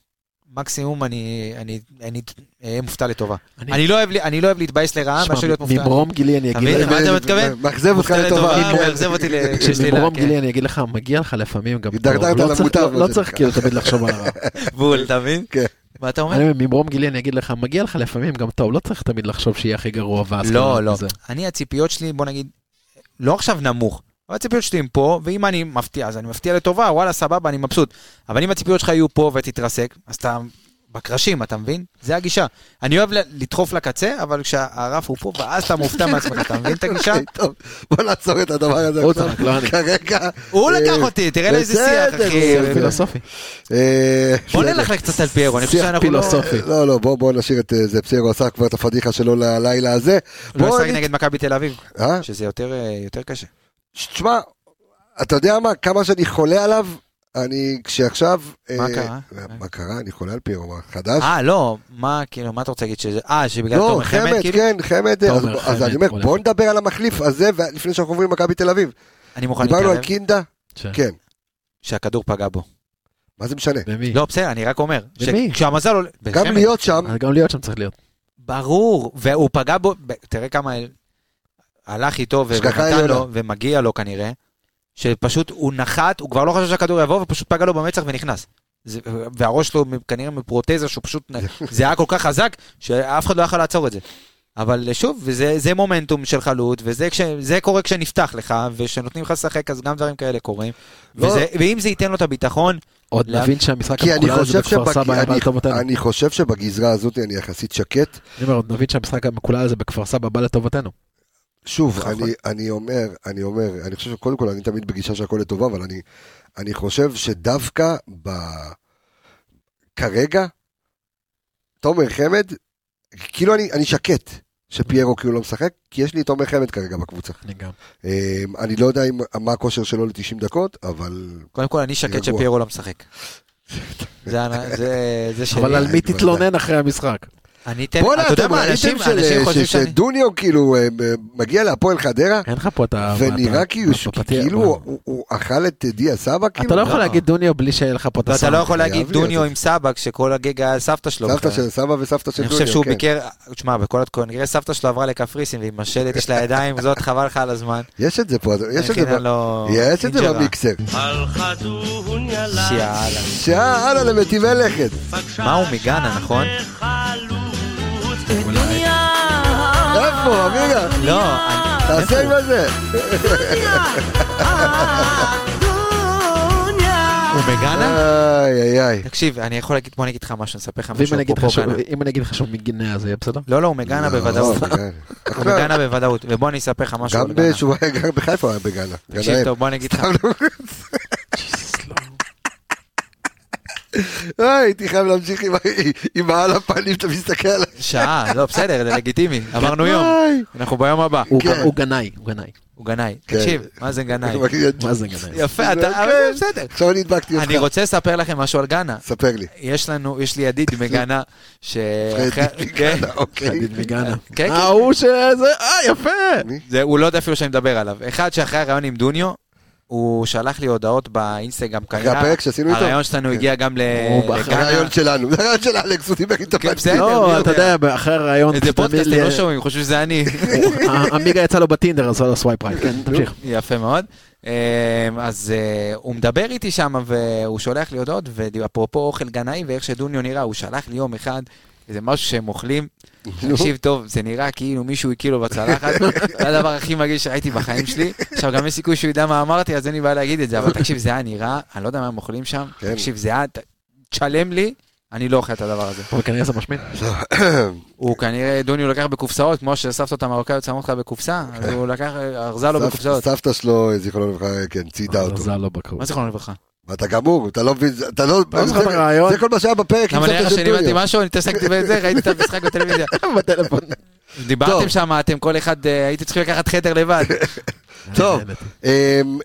Speaker 3: מקסימום אני, אני, אני אהיה מופתע לטובה.
Speaker 5: אני-
Speaker 3: אני לא אוהב לי- אני לא אוהב להתבייש לרעה, מאשר להיות מופתע.
Speaker 5: ממרום גילי אני
Speaker 3: אתה
Speaker 5: אגיד
Speaker 3: מבין?
Speaker 5: לך,
Speaker 3: מה אתה מתכוון?
Speaker 1: אה, מאכזב אותך
Speaker 3: מופתע
Speaker 1: לטובה.
Speaker 3: לטובה, הוא מאכזב אותי ל- כשלילה,
Speaker 5: ממרום
Speaker 3: כן.
Speaker 5: גילי אני אגיד לך, מגיע לך לפעמים גם
Speaker 1: הידרדרת
Speaker 5: טוב, לא
Speaker 1: למוטב,
Speaker 5: צריך- לא-
Speaker 1: מה
Speaker 5: לא
Speaker 1: שנקרא.
Speaker 5: צריך כאילו תמיד לחשוב על הרע.
Speaker 3: בול, אתה מבין?
Speaker 1: כן.
Speaker 3: מה אתה אומר?
Speaker 5: אני אומר, ממרום גילי אני אגיד לך, מגיע לך לפעמים גם טוב, לא צריך תמיד לחשוב שיהיה הכי גרוע ואז...
Speaker 3: לא,
Speaker 5: כאילו
Speaker 3: לא.
Speaker 1: כן.
Speaker 5: זה.
Speaker 3: אני, הציפיות שלי, בוא נגיד, לא עכשיו נמוך, אבל הציפיות שלי הן פה, ואם אני מפתיע, אז אני מפתיע לטובה, וואלה, סבבה, אני מבסוט. אבל אם הציפיות שלך יהיו פה ותתרסק, אז אתה בקרשים, אתה מבין? זה הגישה. אני אוהב ל- לדחוף לקצה, אבל כשהרף הוא פה, ואז אתה מופתע מעצמך, אתה מבין את הגישה?
Speaker 1: אוקיי, טוב, בוא נעצור את הדבר הזה
Speaker 5: הוא
Speaker 1: עכשיו.
Speaker 5: צחק, לא אני.
Speaker 1: כרגע.
Speaker 3: הוא
Speaker 1: אה,
Speaker 3: לקח אותי, תראה לאיזה שיח,
Speaker 1: בסדר,
Speaker 3: אחי.
Speaker 1: זה
Speaker 5: פילוסופי.
Speaker 1: אה,
Speaker 3: בוא
Speaker 1: בסדר.
Speaker 3: נלך קצת על פיירו, אני חושב
Speaker 5: שיח
Speaker 3: שאנחנו לא...
Speaker 5: פילוסופי.
Speaker 1: לא, לא, בוא בוא נשאיר את אה, זה, פסיירו עשה כבר את הפדיחה שלו ללילה הזה.
Speaker 3: לא
Speaker 1: בוא
Speaker 3: ישחק
Speaker 1: נ-
Speaker 3: נגד מכבי תל אביב,
Speaker 1: אה?
Speaker 3: שזה יותר, אה, יותר קשה.
Speaker 1: תשמע, אתה יודע מה, כמה שאני חולה עליו, אני כשעכשיו...
Speaker 3: מה
Speaker 1: אה,
Speaker 3: קרה?
Speaker 1: מה קרה? אני חולה על פיירו, מה, חדש?
Speaker 3: אה, לא, מה, כאילו, מה אתה רוצה להגיד שזה... אה, שבגלל
Speaker 1: לא,
Speaker 3: תומר חמד,
Speaker 1: חמד,
Speaker 3: כאילו?
Speaker 1: כן, חמד, אז-
Speaker 5: תומר
Speaker 1: אז
Speaker 5: חמד,
Speaker 1: אני אומר,
Speaker 5: אולי.
Speaker 1: בוא נדבר על המחליף הזה, ו- לפני שאנחנו עוברים למכבי תל אביב.
Speaker 3: אני מוכן
Speaker 1: דיברנו
Speaker 3: להתערב
Speaker 1: על קינדה,
Speaker 5: ש-
Speaker 1: כן,
Speaker 3: שהכדור פגע בו.
Speaker 1: מה זה משנה?
Speaker 5: במי?
Speaker 3: לא, בסדר, אני רק אומר. ש-
Speaker 5: במי?
Speaker 3: כשהמזל עולה...
Speaker 1: גם
Speaker 3: בחמד.
Speaker 1: להיות שם,
Speaker 5: גם להיות שם צריך להיות.
Speaker 3: ברור, והוא פגע בו, ב- תראה כמה... הלך איתו ו-
Speaker 1: השגחה
Speaker 3: ונתן
Speaker 1: עליונה.
Speaker 3: לו, ומגיע לו כנראה, שפשוט הוא נחת, הוא כבר לא חשב שהכדור יבוא, ופשוט פגע לו במצח ונכנס. זה- והראש שלו מ- כנראה מפרוטזה, שהוא פשוט... נ- זה היה כל כך חזק, שאף אחד לא יכול לעצור את זה. אבל שוב, וזה, זה מומנטום של חלוץ, וזה כש, זה קורה כשנפתח לך, וכשנותנים לך לשחק, אז גם דברים כאלה קורים.
Speaker 1: לא.
Speaker 3: וזה, ואם זה ייתן לו את הביטחון,
Speaker 5: עוד
Speaker 3: לאן?
Speaker 5: נבין שהמשחק
Speaker 1: כי אני
Speaker 5: המקולל הזה
Speaker 1: חושב
Speaker 5: בכפר
Speaker 1: שבג-
Speaker 5: סבא היה
Speaker 1: אני-
Speaker 5: בא לטובתנו. אני
Speaker 1: אני חושב שבגזרה הזאת אני יחסית שקט.
Speaker 5: אומר, עוד נבין שהמשחק המקולל הזה בכפר סבא בא לטובתנו.
Speaker 1: שוב,
Speaker 5: נכון.
Speaker 1: אני, אני אומר, אני אומר, אני חושב שקודם כל אני תמיד בגישה שהכל לטובה, אבל אני, אני חושב שדווקא ב... כרגע, תומר חמד, כאילו אני, אני שקט שפיירו כאילו לא משחק, כי יש לי את תומר חמד כרגע בקבוצה.
Speaker 5: אני גם.
Speaker 1: אמ, אני לא יודע אם, מה הכושר שלו ל-90 דקות, אבל...
Speaker 3: קודם כל אני שקט
Speaker 1: רגוע.
Speaker 3: שפיירו לא משחק. זה, זה, זה שלי.
Speaker 5: אבל על מי
Speaker 1: כן, אני כבר
Speaker 5: תתלונן אחרי המשחק?
Speaker 3: אני אתן,
Speaker 1: בואנה,
Speaker 3: אתה יודע
Speaker 1: אתם
Speaker 3: מה, אנשים,
Speaker 1: ראיתם של- אה,
Speaker 3: אנשים
Speaker 1: ש-
Speaker 3: חושבים שאני...
Speaker 1: שדוניו כאילו אמ, מגיע להפועל חדרה,
Speaker 5: אין לך פה את
Speaker 3: אה,
Speaker 5: ה...
Speaker 1: ונראה
Speaker 5: אתה-
Speaker 1: כאילו
Speaker 5: אתה
Speaker 1: ש-
Speaker 5: בפתיח,
Speaker 1: כאילו
Speaker 5: לא.
Speaker 1: הוא- הוא- הוא אכל את דיה סבא, כאילו.
Speaker 5: אתה לא יכול
Speaker 3: לא.
Speaker 5: להגיד דוניו בלי שיהיה לך פה את
Speaker 3: ואתה
Speaker 5: הסאונד.
Speaker 3: לא יכול
Speaker 1: חייב
Speaker 3: להגיד
Speaker 1: להיות.
Speaker 3: דוניו עם סבא כשכל הגג היה סבתא שלו.
Speaker 1: סבתא
Speaker 3: לא בכלל.
Speaker 1: של סבא וסבתא של
Speaker 3: אני
Speaker 1: דוניו,
Speaker 3: חושב שהוא
Speaker 1: כן.
Speaker 3: ביקר, תשמע, בכל התקופה, כנראה סבתא שלו עברה לקפריסין, ועם השלט יש לה ידיים, זאת חבל לך על הזמן.
Speaker 1: יש את זה פה, אז- יש את זה
Speaker 3: הכינה
Speaker 1: ב-
Speaker 3: לו
Speaker 1: יש את זה
Speaker 3: אינג'רה.
Speaker 1: במיקסר.
Speaker 2: הלכה דוניה לה,
Speaker 3: יאללה.
Speaker 1: שעה הלאה למטיבי לכת.
Speaker 2: פגשה
Speaker 3: מה הוא מגאנה, נכון?
Speaker 2: חלוץ.
Speaker 1: איפה, אביגה?
Speaker 3: לא, אני-
Speaker 1: תעשה עם זה.
Speaker 3: הוא מגאנה?
Speaker 1: איי איי איי.
Speaker 3: תקשיב, אני יכול להגיד, בוא אני אגיד לך משהו, אני אספר לך
Speaker 5: ואם
Speaker 3: משהו.
Speaker 5: אני אגיד לך
Speaker 3: אפרופו
Speaker 5: שהוא-
Speaker 3: גאנה.
Speaker 5: אם אני אגיד לך שהוא מגינאה זה יהיה בסדר?
Speaker 3: לא, לא, הוא מגאנה
Speaker 1: לא,
Speaker 3: בוודאות.
Speaker 1: בגן.
Speaker 3: הוא מגאנה בוודאות, ובוא אני אספר לך משהו.
Speaker 1: גם
Speaker 3: על גאנה.
Speaker 1: שהוא היה גר בחיפה הוא היה בגאנה.
Speaker 3: תקשיב
Speaker 1: גנאים.
Speaker 3: טוב, בוא אני אגיד לך.
Speaker 1: אה, הייתי חייב להמשיך עם ה- עם העל הפנים שאתה מסתכל עליי.
Speaker 3: שעה, לא, בסדר, זה לגיטימי. אמרנו יום,
Speaker 1: איי.
Speaker 3: אנחנו ביום הבא.
Speaker 5: הוא
Speaker 1: כן.
Speaker 5: הוא גנאי, הוא גנאי.
Speaker 3: הוא גנאי.
Speaker 1: כן.
Speaker 3: תקשיב, מה זה גנאי?
Speaker 5: מה זה גנאי?
Speaker 3: יפה, אתה...
Speaker 1: כן.
Speaker 3: אבל בסדר.
Speaker 1: עכשיו אני הדבקתי אותך.
Speaker 3: אני רוצה לספר לכם משהו על גאנה.
Speaker 1: ספר לי.
Speaker 3: יש לנו, יש לי ידיד מגאנה, ש...
Speaker 1: פרדי
Speaker 3: כן,
Speaker 1: מגאנה, אוקיי.
Speaker 5: תגיד מגאנה.
Speaker 3: כן, כן.
Speaker 5: ההוא שזה, אה יפה!
Speaker 3: זה- הוא לא יודע אפילו שאני מדבר עליו. אחד שאחרי הרעיון עם דוניו, הוא שלח לי הודעות באינסטגרם
Speaker 1: אחרי
Speaker 3: כנראה.
Speaker 1: הפרק שעשינו איתו?
Speaker 3: הרעיון שלנו הגיע גם ל-
Speaker 5: הוא בחר
Speaker 3: לגאנה.
Speaker 1: הרעיון שלנו. זה הרעיון של אלכס, הוא דיבר איתו.
Speaker 3: כן,
Speaker 1: בעצמי.
Speaker 3: בסדר. מי
Speaker 5: לא, אתה
Speaker 3: יודע?
Speaker 5: יודע, אחרי הרעיון...
Speaker 3: איזה
Speaker 5: פשוט
Speaker 3: פודקאסט,
Speaker 5: תמיד-
Speaker 3: הם לא שומעים, חושבים שזה אני.
Speaker 5: אה, עמיגה יצא לו בטינדר, אז הוא עשה סווייפ רייט. כן, תמשיך.
Speaker 3: יפה מאוד. אה, אז אה, הוא מדבר איתי שם, והוא שולח לי הודעות, ואפרופו אוכל גנאי ואיך שדוניו נראה, הוא שלח לי יום אחד איזה משהו שהם אוכלים. תקשיב טוב, זה נראה כאילו מישהו הקיא לו בצלחת, זה הדבר הכי מגעיל שראיתי בחיים שלי. עכשיו, גם יש סיכוי שהוא ידע מה אמרתי, אז אין לי בעיה להגיד את זה, אבל תקשיב, זה היה נראה, אני לא יודע מה הם אוכלים שם,
Speaker 1: כן.
Speaker 3: תקשיב, זה היה, ת- תשלם לי.
Speaker 6: אני לא אוכל את הדבר הזה.
Speaker 5: אבל כנראה זה משמין.
Speaker 6: הוא כנראה, דוני הוא לקח בקופסאות, כמו שסבתות המרוקאיות שמות לך בקופסה, אז הוא לקח, ארזה לו
Speaker 1: כן. סבתא-
Speaker 6: לא בקופסאות.
Speaker 1: סבתא שלו, זיכרונו לברכה, כן, ציידה אותו.
Speaker 5: זה לא בקור.
Speaker 6: מה זיכרונו לברכה?
Speaker 1: ואתה גמור, אתה לא מבין, אתה לא...
Speaker 5: לא זוכר את
Speaker 1: זה-
Speaker 5: הרעיון.
Speaker 1: זה כל מה שהיה בפרק עם
Speaker 6: למה
Speaker 1: סבתא
Speaker 6: נראה
Speaker 1: של
Speaker 6: שאני הבנתי
Speaker 1: דוניו.
Speaker 6: משהו, אני התעסקתי בזה, ראיתי את המשחק בטלוויזיה.
Speaker 5: בטלפון.
Speaker 6: דיברתם
Speaker 1: טוב.
Speaker 6: שם, אתם כל אחד, אה, הייתם צריכים לקחת חדר לבד.
Speaker 1: טוב, אמ,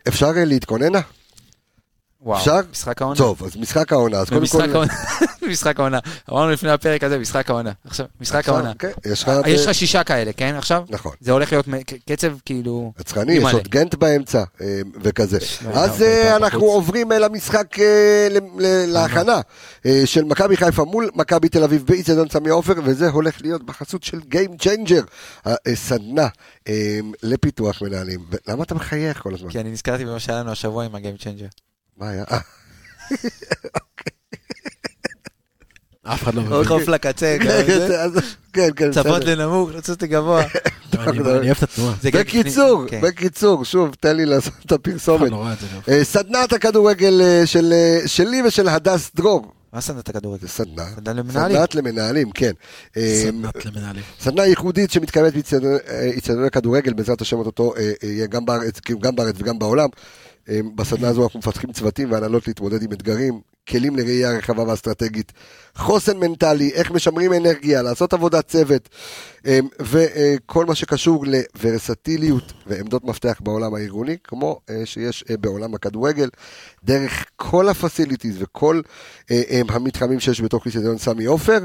Speaker 1: אפשר אה, להתכונן? לה? אפשר?
Speaker 6: וואו, משחק העונה.
Speaker 1: טוב, אז משחק העונה, אז קודם כל...
Speaker 6: משחק העונה. משחק העונה. אמרנו לפני הפרק הזה, משחק העונה. עכשיו, משחק
Speaker 1: אפשר,
Speaker 6: העונה. אה,
Speaker 1: כן, יש לך...
Speaker 6: יש לך שישה כאלה, כן, עכשיו?
Speaker 1: נכון.
Speaker 6: זה הולך להיות מ- ק- קצב, כאילו...
Speaker 1: עצרני,
Speaker 6: מי
Speaker 1: יש
Speaker 6: מלא?
Speaker 1: עוד גנט באמצע אה, וכזה.
Speaker 6: לא,
Speaker 1: אז
Speaker 6: לא,
Speaker 1: אה,
Speaker 6: לא,
Speaker 1: אנחנו
Speaker 6: בחוץ.
Speaker 1: עוברים אה, למשחק, אה, ל- ל- להכנה אה, של מכבי חיפה מול מכבי תל אביב באיצטדיון סמי עופר, וזה הולך להיות בחסות של Game Changer, אה, אה, סדנה אה, לפיתוח מנהלים. ו- למה אתה מחייך כל הזמן?
Speaker 6: כי אני נזכרתי במה שהיה לנו השבוע עם הגיים צ'יינג'ר.
Speaker 1: מה היה? אה,
Speaker 5: אף אחד לא מבין.
Speaker 6: חוף לקצה, ככה זה.
Speaker 1: אז- אה, כן, כן,
Speaker 6: צפות
Speaker 1: בסדר.
Speaker 6: לנמוך, לא לצאת לגבוה.
Speaker 5: אני אני אוהב את התנועה.
Speaker 6: זה גם לפני-
Speaker 1: בקיצור,
Speaker 6: כן. אה,
Speaker 1: בקיצור, שוב, תן לי לעשות את
Speaker 5: אף אחד
Speaker 1: הפרסומת.
Speaker 5: לא רואה את זה גם.
Speaker 1: אה, סדנת הכדורגל אה, של, אה, שלי ושל הדס דרור.
Speaker 6: מה סנדת הכדורגל?
Speaker 1: זה סדנה.
Speaker 6: סנדל למנהלים.
Speaker 1: סדנת למנהלים, כן. אה,
Speaker 5: סדנת למנהלים.
Speaker 1: סדנה ייחודית שמתקיימת באיצטדיוני כדורגל, בעזרת השם אותו אה, יהיה גם בארץ, כאילו גם בארץ וגם בעולם. אה, בסדנה הזו אנחנו מפתחים צוותים והנהלות להתמודד עם אתגרים, כלים לראייה רחבה ואסטרטגית, חוסן מנטלי, איך משמרים אנרגיה, לעשות עבודת צוות, אה, וכל מה שקשור לוורסטיליות ועמדות מפתח בעולם הארגוני, כמו אה, שיש אה, בעולם הכדורגל, דרך כל הפסיליטיז וכל אה, אה, המתחמים שיש בתוך איצטדיון סמי עופר.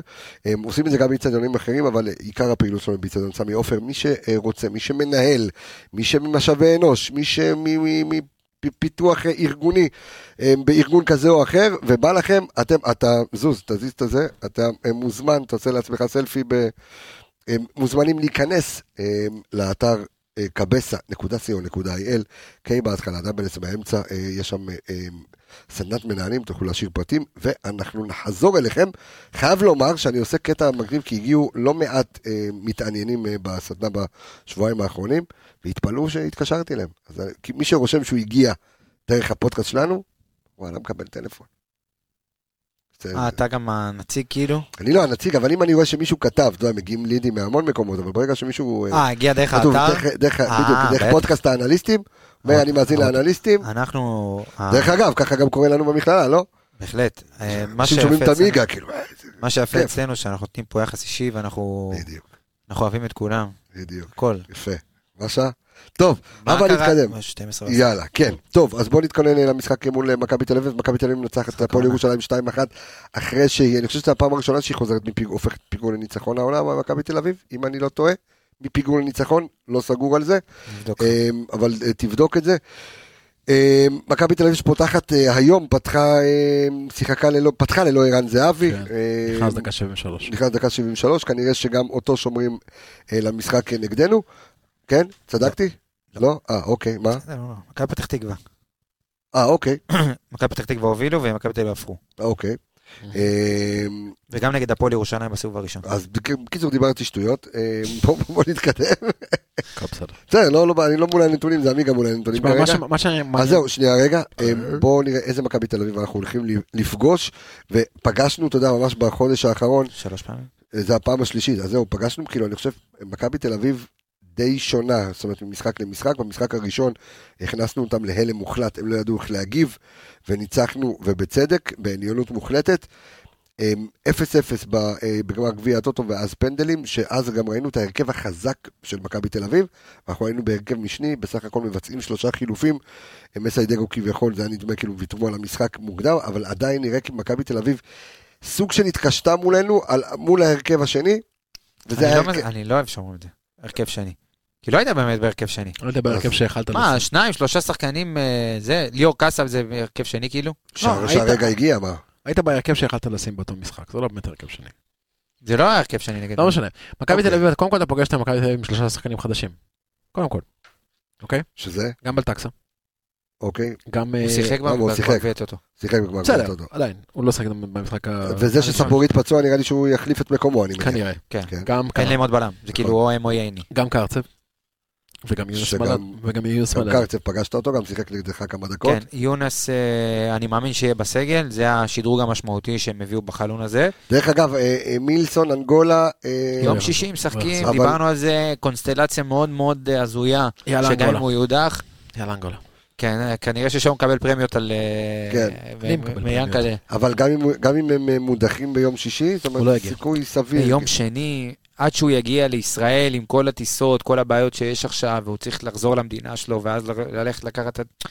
Speaker 1: אה, הם עושים את זה גם באיצטדיונים אחרים, אבל אה, עיקר הפעילות שלנו באיצטדיון סמי עופר, מי שרוצה, מי שמנהל, מי שממשאבי אנוש, מי שמפיתוח ארגוני אה, בארגון כזה או אחר, ובא לכם, אתם, אתה זוז, תזיז את זה, אתה אה, מוזמן, תעשה לעצמך סלפי, ב, אה, מוזמנים להיכנס אה, לאתר. קבסה.co.il, K בהתחלה, דאבל אס באמצע, אה, יש שם אה, אה, סדנת מנהלים, תוכלו להשאיר פרטים, ואנחנו נחזור אליכם חייב לומר שאני עושה קטע מגניב, כי הגיעו לא מעט אה, מתעניינים אה, בסדנה בשבועיים האחרונים, והתפלאו שהתקשרתי אליהם. אז אה, כי מי שרושם שהוא הגיע דרך הפודקאסט שלנו, וואלה, מקבל טלפון. זה-
Speaker 3: אה, אתה גם הנציג כאילו?
Speaker 1: אני לא הנציג, אבל אם אני רואה שמישהו כתב, אתה יודע, מגיעים לידים מהמון מקומות, אבל ברגע שמישהו... אה,
Speaker 3: אה, הגיע דרך
Speaker 1: כתוב
Speaker 3: האתר?
Speaker 1: דרך- דרך-
Speaker 3: אה,
Speaker 1: בדיוק, דרך
Speaker 3: בטח.
Speaker 1: פודקאסט האנליסטים, אומר,
Speaker 3: אה,
Speaker 1: אני מאזין
Speaker 3: אה,
Speaker 1: לאנליסטים.
Speaker 3: אנחנו... אה,
Speaker 1: דרך אגב, ככה גם קורה לנו במכללה, לא?
Speaker 3: בהחלט. אה, מה
Speaker 1: אנשים
Speaker 3: שיפה
Speaker 1: שומעים את
Speaker 3: אצלנו-
Speaker 1: המיגה, כאילו, אה, זה-
Speaker 3: מה שיפה
Speaker 1: כיף.
Speaker 3: אצלנו, שאנחנו נותנים פה יחס אישי, ואנחנו
Speaker 1: בדיוק,
Speaker 3: אנחנו אוהבים את כולם,
Speaker 1: בדיוק,
Speaker 3: הכל.
Speaker 1: יפה. מה שעה? טוב,
Speaker 3: מה
Speaker 1: אבל
Speaker 3: קרה? אה,
Speaker 1: נתקדם.
Speaker 3: 12.
Speaker 1: יאללה, כן. טוב, אז בואו נתכונן למשחק מול אה, מכבי תל אביב. מכבי תל אביב מנצחת את הפועל
Speaker 3: העונה.
Speaker 1: ירושלים 2-1, אחרי שהיא, אני חושב שזו הפעם הראשונה שהיא חוזרת, מפיג- הופכת פיגור לניצחון העונה, אבל מכבי תל אביב, אם אני לא טועה, מפיגור לניצחון, לא סגור על זה,
Speaker 3: נבדוק.
Speaker 1: אמ, אבל אה, תבדוק את זה. אמ, מכבי תל אביב שפותחת אה, היום, פתחה, אמ, שיחקה ללא, פתחה ללא ערן זהבי.
Speaker 5: כן,
Speaker 1: אמ,
Speaker 5: נכנס דקה 73.
Speaker 1: נכנס דקה 73, כנראה שגם אותו שומרים אה, למשחק אה, נגדנו. כן? צדקתי? לא? אה, אוקיי, מה?
Speaker 3: בסדר, לא, לא. מכבי פתח תקווה.
Speaker 1: אה, אוקיי.
Speaker 3: מכבי פתח תקווה הובילו ומכבי תל אביב הפכו.
Speaker 1: אוקיי. אמ,
Speaker 3: וגם נגד הפועל ירושלים בסיבוב הראשון.
Speaker 1: אז בק- בקיצור דיברתי שטויות, אמ, בוא- בוא בוא נתקדם.
Speaker 5: הכל בסדר.
Speaker 1: בסדר, לא, לא, אני לא מול הנתונים, זה עמיגה מול הנתונים
Speaker 5: תשמע, מה
Speaker 1: כרגע.
Speaker 5: ש- מה ש...
Speaker 1: אז זהו, שנייה רגע, אמ, בואו נראה איזה מכבי תל אביב אנחנו הולכים ל- לפגוש, ופגשנו, אתה יודע, ממש בחודש האחרון,
Speaker 3: שלוש פעמים.
Speaker 1: אה, זה הפעם השלישית, אז זהו, פגשנו, כאילו, אני חושב, מכבי תל אביב די שונה, זאת אומרת, ממשחק למשחק, במשחק הראשון הכנסנו אותם להלם מוחלט, הם לא ידעו איך להגיב, וניצחנו, ובצדק, בעליונות מוחלטת. אמ, 0-0 ב- אה, בגמר גביע הטוטו ואז פנדלים, שאז גם ראינו את ההרכב החזק של מכבי תל אביב, אנחנו היינו בהרכב משני, בסך הכל מבצעים שלושה חילופים, אה, מסיידגו כביכול, זה היה נדמה כאילו ויתרו על המשחק מוקדם, אבל עדיין נראה כי מכבי תל אביב סוג של התקשתה מולנו, על, מול ההרכב השני, וזה
Speaker 3: אני
Speaker 1: היה
Speaker 3: לא
Speaker 1: הרכב...
Speaker 3: מז- אני לא אוהב שאומרים את זה. הרכב שני. כי לא היית באמת בהרכב שני.
Speaker 5: לא יודע בהרכב שהאכלת
Speaker 3: מה, שניים, שלושה שחקנים, אה, זה, ליאור קאסב זה הרכב שני כאילו?
Speaker 1: שה-
Speaker 5: לא,
Speaker 1: שהרגע
Speaker 5: היית-
Speaker 1: הגיע, מה?
Speaker 5: היית בהרכב שיכלת לשים באותו משחק, זה לא באמת הרכב שני.
Speaker 3: זה לא היה הרכב שני נגד...
Speaker 5: לא משנה. מכבי
Speaker 1: אוקיי.
Speaker 5: תל אביב, קודם כל אתה פוגש את מכבי תל אביב עם שלושה שחקנים חדשים. קודם כל.
Speaker 1: שזה?
Speaker 5: גם בלטקסה.
Speaker 1: אוקיי,
Speaker 5: גם... אה,
Speaker 3: הוא שיחק
Speaker 1: למה, הוא
Speaker 3: בגמר
Speaker 1: שיחק?
Speaker 3: גביע הטוטו.
Speaker 1: שיחק בגמר גביע
Speaker 5: בסדר, אה,
Speaker 1: הטוטו.
Speaker 5: עדיין. הוא לא שיחק במשחק ה...
Speaker 1: וזה שסבורית פצוע, נראה לי שהוא יחליף את מקומו, אני מניח.
Speaker 5: כנראה.
Speaker 3: כן.
Speaker 1: כן.
Speaker 5: גם
Speaker 3: אין
Speaker 5: קר-
Speaker 3: להם עוד בלם. זה כאילו או הם או ייני.
Speaker 5: גם קרצב. וגם יונס
Speaker 1: שגם-
Speaker 5: מלאט. וגם יונס
Speaker 1: גם
Speaker 5: מלאט.
Speaker 1: קרצב, פגשת אותו, גם שיחק נגדך כמה דקות.
Speaker 3: כן, יונס, אה, אני מאמין שיהיה בסגל, זה השדרוג המשמעותי שהם הביאו בחלון הזה.
Speaker 1: דרך אגב, אה, אה, מילסון, אנגולה, אה,
Speaker 3: יום שישי משחקים,
Speaker 1: אבל-
Speaker 3: דיברנו על זה, קונסטלציה מאוד מאוד אה, הזויה,
Speaker 5: יאללה,
Speaker 3: שגם אם
Speaker 5: אנגולה.
Speaker 3: הוא יודח,
Speaker 5: יאללה אנגולה.
Speaker 3: כן, אה, כנראה ששם הוא מקבל פרמיות על... אה,
Speaker 1: כן.
Speaker 3: ו-
Speaker 5: אני מקבל
Speaker 3: מיאנקלה.
Speaker 1: אבל גם אם- גם אם הם אה, מודחים ביום שישי, זאת
Speaker 5: הוא לא
Speaker 1: אומרת,
Speaker 5: יגיע.
Speaker 1: סיכוי סביר.
Speaker 3: ביום שני, עד שהוא יגיע לישראל עם כל הטיסות, כל הבעיות שיש עכשיו, והוא צריך לחזור למדינה שלו, ואז ל- ללכת לקחת... את-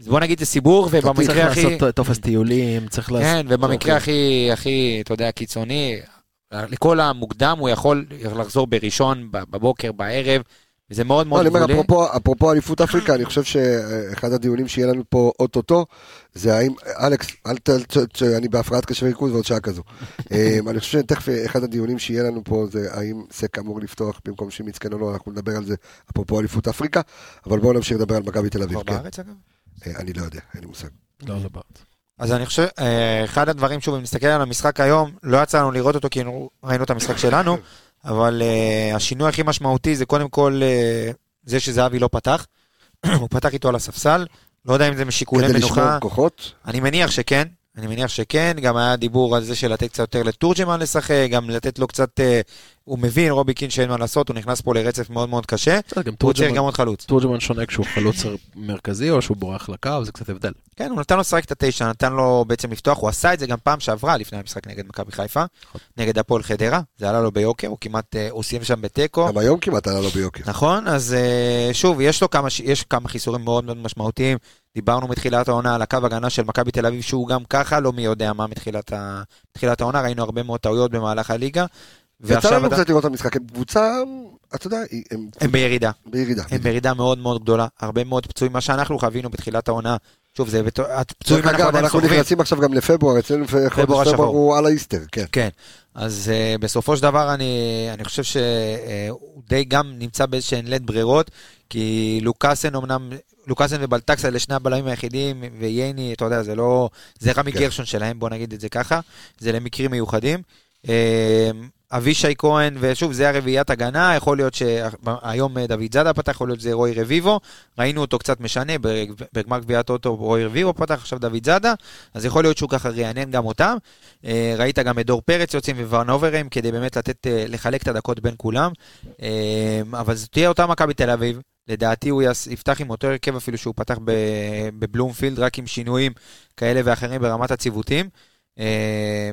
Speaker 3: אז בוא נגיד זה סיבור,
Speaker 5: צריך
Speaker 3: ובמקרה הכי...
Speaker 5: לעשות טופס טיולים, צריך לעשות...
Speaker 3: כן, ובמקרה הכי,
Speaker 5: אוקיי.
Speaker 3: הכי, אתה יודע, קיצוני, לכל המוקדם הוא יכול לחזור בראשון, ב- בבוקר, בערב, וזה מאוד
Speaker 1: לא,
Speaker 3: מאוד
Speaker 1: אני אומר,
Speaker 3: גבולי.
Speaker 1: אפרופו- אפרופו אליפות אפריקה, אני חושב שאחד הדיונים שיהיה לנו פה אוטוטו, זה האם, אלכס, אל ת... ת- ת- אני בהפרעת קשב וריכוז ועוד שעה כזו. אמ, אני חושב שתכף אחד הדיונים שיהיה לנו פה זה האם סק אמור לפתוח במקום שמצקן או לא, אנחנו נדבר על זה אפרופו אליפות אפריקה, אבל בואו נמשיך לדבר על מכבי תל אביב.
Speaker 3: כבר
Speaker 1: כן.
Speaker 3: בארץ, אגב?
Speaker 1: אה, אני לא יודע, אין לי מושג.
Speaker 5: לא, לא בארץ.
Speaker 3: אז אני חושב, אה, אחד הדברים, שוב, אם נסתכל על המשחק היום, לא יצא לנו לראות אותו כי ראינו את המשחק שלנו, אבל אה, השינוי הכי משמעותי זה קודם כל אה, זה שזהבי לא פתח, הוא פתח איתו על הספסל, לא יודע אם זה משיקולי
Speaker 1: כדי לשמור
Speaker 3: מנוחה,
Speaker 1: כוחות,
Speaker 3: אני מניח שכן, אני מניח שכן, גם היה דיבור על זה שלתת קצת יותר לתורג'מן לשחק, גם לתת לו קצת, אה, הוא מבין, רובי קין שאין מה לעשות, הוא נכנס פה לרצף מאוד מאוד קשה,
Speaker 5: בסדר, גם
Speaker 3: הוא צריך גם
Speaker 5: תורג'מן-
Speaker 3: עוד חלוץ.
Speaker 5: תורג'מן שונה כשהוא חלוץ מרכזי או שהוא בורח לקו, זה קצת הבדל.
Speaker 3: כן, הוא נתן לו לשחק את התשע, נתן לו בעצם לפתוח, הוא עשה את זה גם פעם שעברה לפני המשחק נגד מכבי חיפה, נגד הפועל חדרה, זה עלה לו ביוקר, הוא כמעט, אה, הוא סיים שם בתיקו.
Speaker 1: גם היום כמעט עלה לו ביוקר.
Speaker 3: נכון, אז אה, שוב, יש לו כמה, ש- יש כמה חיסורים מאוד מאוד משמעותיים. דיברנו מתחילת העונה על הקו הגנה של מכבי תל אביב, שהוא גם ככה לא מי יודע מה מתחילת, ה... מתחילת העונה, ראינו הרבה מאוד טעויות במהלך הליגה.
Speaker 1: יצא
Speaker 3: ועכשיו
Speaker 1: לנו
Speaker 3: אתה...
Speaker 1: קצת לראות את המשחק, הם קבוצה, אתה יודע, היא- הם
Speaker 3: הם בירידה,
Speaker 1: בירידה.
Speaker 3: הם בירידה מאוד מאוד גדולה, הרבה מאוד פצועים, מה שאנחנו חווינו בתחילת העונה, שוב, זה בת- הפצועים
Speaker 1: דרך
Speaker 3: אנחנו
Speaker 1: אגב,
Speaker 3: עדיין
Speaker 1: אנחנו
Speaker 3: סוחבים.
Speaker 1: נכנסים עכשיו גם לפברואר, אצלנו
Speaker 3: פברואר
Speaker 1: חודש פברואר
Speaker 3: השחור.
Speaker 1: הוא על האיסטר, כן.
Speaker 3: כן, אז uh, בסופו של דבר אני, אני חושב שהוא די גם נמצא באיזשהן לית ברירות, כי לוקאסן אמנם, לוקאסן ובלטקסה אלה שני הבלמים היחידים, וייני, אתה יודע, זה לא, זה רמי
Speaker 1: כן.
Speaker 3: גרשון שלהם, בוא נגיד את זה ככה, זה למקרים מיוחדים. Uh, אבישי כהן, ושוב, זה הרביעיית הגנה, יכול להיות שהיום אה, דוד זאדה פתח, יכול להיות שזה רוי רביבו, ראינו אותו קצת משנה, בג- בגמר גביעת אוטו רוי רביבו פתח, עכשיו דוד זאדה, אז יכול להיות שהוא ככה רענן גם אותם. אה, ראית גם את דור פרץ יוצאים וונוברים כדי באמת לתת, אה, לחלק את הדקות בין כולם. אה, אבל זו תהיה אותה מכבי תל אביב. לדעתי הוא יס- יפתח עם אותו הרכב אפילו שהוא פתח ב- בבלומפילד, רק עם שינויים כאלה ואחרים ברמת הציוותים. אה,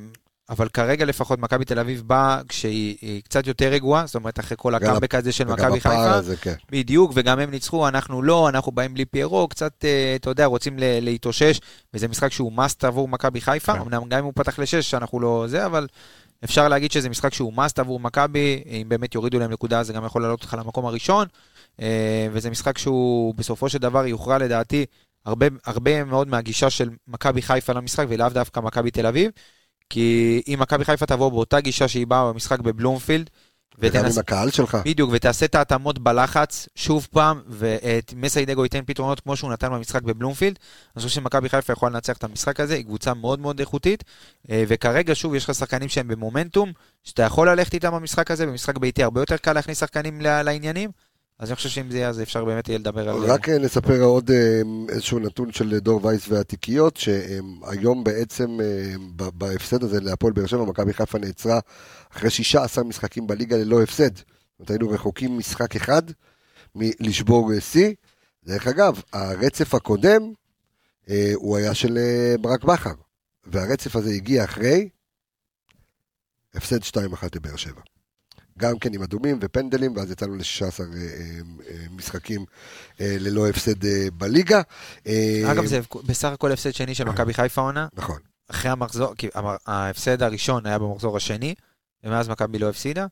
Speaker 3: אבל כרגע לפחות מכבי תל אביב באה כשהיא היא קצת יותר רגועה, זאת אומרת אחרי כל
Speaker 1: וגם
Speaker 3: הקאמבק הזה של
Speaker 1: וגם
Speaker 3: מכבי חיפה.
Speaker 1: הפער הזה, כן.
Speaker 3: בדיוק, וגם הם ניצחו, אנחנו לא, אנחנו באים בלי פיירו, קצת, אה, אתה יודע, רוצים ל- להתאושש, וזה משחק שהוא must עבור מכבי חיפה,
Speaker 5: כן.
Speaker 3: אמנם גם אם הוא פתח לשש, אנחנו לא זה, אבל אפשר להגיד שזה משחק שהוא must עבור מכבי, אם באמת יורידו להם נקודה, זה גם יכול לעלות אותך למקום הראשון, אה, וזה משחק שהוא בסופו של דבר יוכרע לדעתי הרבה, הרבה מאוד מהגישה של מכבי חיפה למשחק, ולאו דווקא מכבי תל אביב, כי אם מכבי חיפה תבוא באותה גישה שהיא באה במשחק בבלומפילד,
Speaker 1: וגם
Speaker 3: ותנסה-
Speaker 1: עם הקהל שלך.
Speaker 3: בדיוק, ותעשה את ההתאמות בלחץ, שוב פעם, ומסיידגו ייתן פתרונות כמו שהוא נתן במשחק בבלומפילד. אני חושב שמכבי חיפה יכולה לנצח את המשחק הזה, היא קבוצה מאוד מאוד איכותית, אה, וכרגע, שוב, יש לך שחקנים שהם במומנטום, שאתה יכול ללכת איתם במשחק הזה, במשחק ביתי הרבה יותר קל להכניס שחקנים ל- לעניינים, אז אני חושב שאם זה יהיה, אז אפשר באמת יהיה לדבר על...
Speaker 1: רק אה, נספר עוד אה, איזשהו נתון של דור וייס והתיקיות, שהיום בעצם אה, ב- בהפסד הזה להפועל באר שבע, מכבי חיפה נעצרה אחרי 16 משחקים בליגה ללא הפסד. זאת אומרת, היינו רחוקים משחק אחד מלשבור אה, שיא. דרך אגב, הרצף הקודם אה, הוא היה של אה, ברק בכר, והרצף הזה הגיע אחרי הפסד 2-1 לבאר שבע. גם כן עם אדומים ופנדלים, ואז יצאנו ל-16 אה, משחקים אה, ללא הפסד אה, בליגה. אה,
Speaker 3: אגב, זה בסך הכל הפסד שני של מכבי חיפה עונה,
Speaker 1: נכון.
Speaker 3: אחרי המחזור, כי המ- ההפסד הראשון היה במחזור השני, ומאז מכבי לא הפסידה.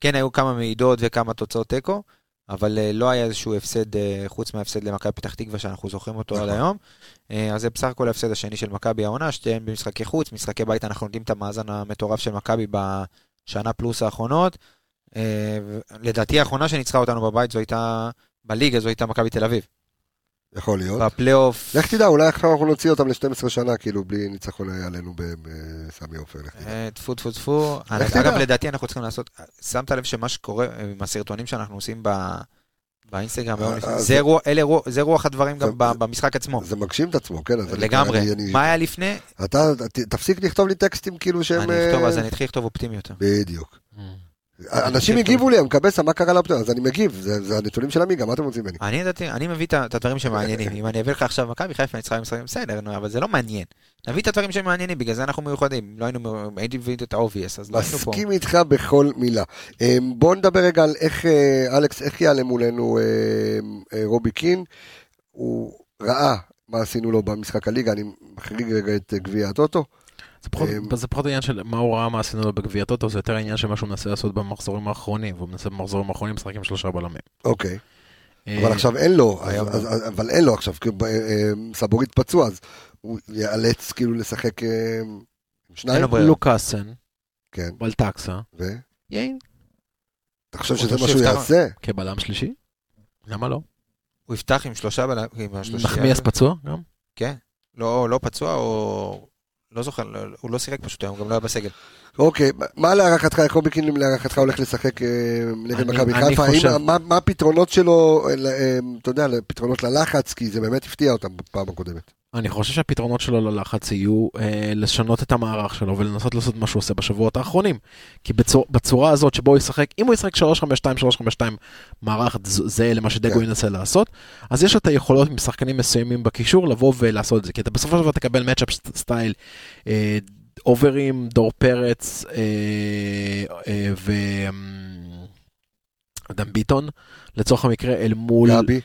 Speaker 3: כן, היו כמה מעידות וכמה תוצאות תיקו, אבל אה, לא היה איזשהו הפסד, אה, חוץ מההפסד למכבי פתח תקווה, שאנחנו זוכרים אותו עד היום. אה, אז זה בסך הכל ההפסד השני של מכבי העונה, שתיהן במשחקי חוץ, משחקי בית, אנחנו יודעים את המאזן המטורף של מכבי בשנה פלוס האחרונות. אה, ו- לדעתי האחרונה שניצחה אותנו בבית זו הייתה, בליגה זו הייתה מכבי תל אביב.
Speaker 1: יכול להיות.
Speaker 3: בפלייאוף,
Speaker 1: לך תדע, אולי עכשיו אנחנו נוציא אותם ל-12 שנה, כאילו, בלי ניצחון עלינו ב- בסמי עופר. לך תדע.
Speaker 3: אה, טפו טפו טפו.
Speaker 1: לך תדע.
Speaker 3: אגב, לדעתי אנחנו צריכים לעשות, שמת לב שמה שקורה אה, עם הסרטונים שאנחנו עושים ב- באינסטגרם.
Speaker 1: אה,
Speaker 3: היום לפני.
Speaker 1: אה,
Speaker 3: זה
Speaker 1: זה-
Speaker 3: רוח- אלה רוח- זה רוח הדברים
Speaker 1: זה-
Speaker 3: גם ב- במשחק עצמו.
Speaker 1: זה מגשים את עצמו, כן? אז אני-
Speaker 3: לגמרי.
Speaker 1: אני- אני-
Speaker 3: מה היה לפני?
Speaker 1: אתה, ת- תפסיק לכתוב לי טקסטים כאילו שהם...
Speaker 3: אני אכתוב,
Speaker 1: אה,
Speaker 3: אז אני אתחיל לכתוב אופטימי יותר.
Speaker 1: בדיוק.
Speaker 3: אה. אני חושב
Speaker 1: אנשים הגיבו לי, המקבסה, מה קרה לאופטימי? אז אני מגיב, זה זה הנתונים של עמיגה, מה אתם רוצים ממני?
Speaker 3: אני ידעתי, אני מביא את ה- את הדברים שמעניינים. אם אני אביא לך עכשיו מכבי חיפה ניצחה במשחקים, בסדר, נו, אבל זה לא מעניין. נביא את הדברים שמעניינים, בגלל זה אנחנו מיוחדים. לא היינו, מ- הייתי מביא את ה-obvious, אז לא היינו פה.
Speaker 1: מסכים איתך בכל מילה. אמ, בואו נדבר רגע על איך, אה, אלכס, איך יעלה מולנו אמ, אה, רובי קין. הוא ראה מה עשינו לו במשחק הליגה, אני מחריג רגע את אה, גביע הטוטו.
Speaker 5: זה פחות-
Speaker 1: אמ,
Speaker 5: זה פחות עניין של מה הוא ראה, מה עשינו לו בגביע הטוטו, זה יותר עניין של מה שהוא מנסה לעשות במחזורים האחרונים, והוא מנסה במחזורים האחרונים לשחק עם שלושה בלמים.
Speaker 1: אוקיי. אבל
Speaker 5: אה,
Speaker 1: עכשיו אין לו, אז-
Speaker 5: היום-
Speaker 1: אז- אז- אבל אין לו עכשיו, כי ב- אה, סבורית פצוע, אז הוא ייאלץ כאילו לשחק אה, עם
Speaker 3: אין
Speaker 1: שניים.
Speaker 3: לו ברירה.
Speaker 5: לוקאסן,
Speaker 1: כן,
Speaker 5: בלטקסה,
Speaker 1: ו...
Speaker 5: יין,
Speaker 1: אתה חושב
Speaker 3: אותו
Speaker 1: שזה מה שהוא
Speaker 3: שהבטחנו.
Speaker 1: יעשה?
Speaker 5: כבלם שלישי? למה לא?
Speaker 3: הוא יפתח עם שלושה בלמים, עם השלושה.
Speaker 5: נחמיאס פצוע גם?
Speaker 3: לא, לא פצוע, או... לא זוכר, לא- הוא לא שיחק פשוט היום, גם לא היה בסגל.
Speaker 1: אוקיי, מה להערכתך, איך רובי קינלי להערכתך הולך לשחק אה, נגד
Speaker 5: אני-
Speaker 1: מכבי
Speaker 5: אני
Speaker 1: חיפה? האם-
Speaker 5: חושב-
Speaker 1: מה- מה הפתרונות שלו, אה, ל- אה, אתה יודע, פתרונות ללחץ, כי זה באמת הפתיע אותם בפעם הקודמת.
Speaker 5: אני חושב שהפתרונות שלו ללחץ יהיו אה, לשנות את המערך שלו ולנסות לעשות מה שהוא עושה בשבועות האחרונים. כי בצור, בצורה הזאת שבו הוא ישחק, אם הוא ישחק 352, 352 מערך ז- זהה למה שדגו
Speaker 1: כן.
Speaker 5: ינסה לעשות, אז יש לו את היכולות עם שחקנים מסוימים בקישור לבוא ולעשות את זה. כי אתה בסופו של דבר תקבל מאצ'אפ ס- סטייל אה, אוברים, דור פרץ אה, אה, ו... אדם ביטון, לצורך המקרה, אל מול...
Speaker 1: גבי,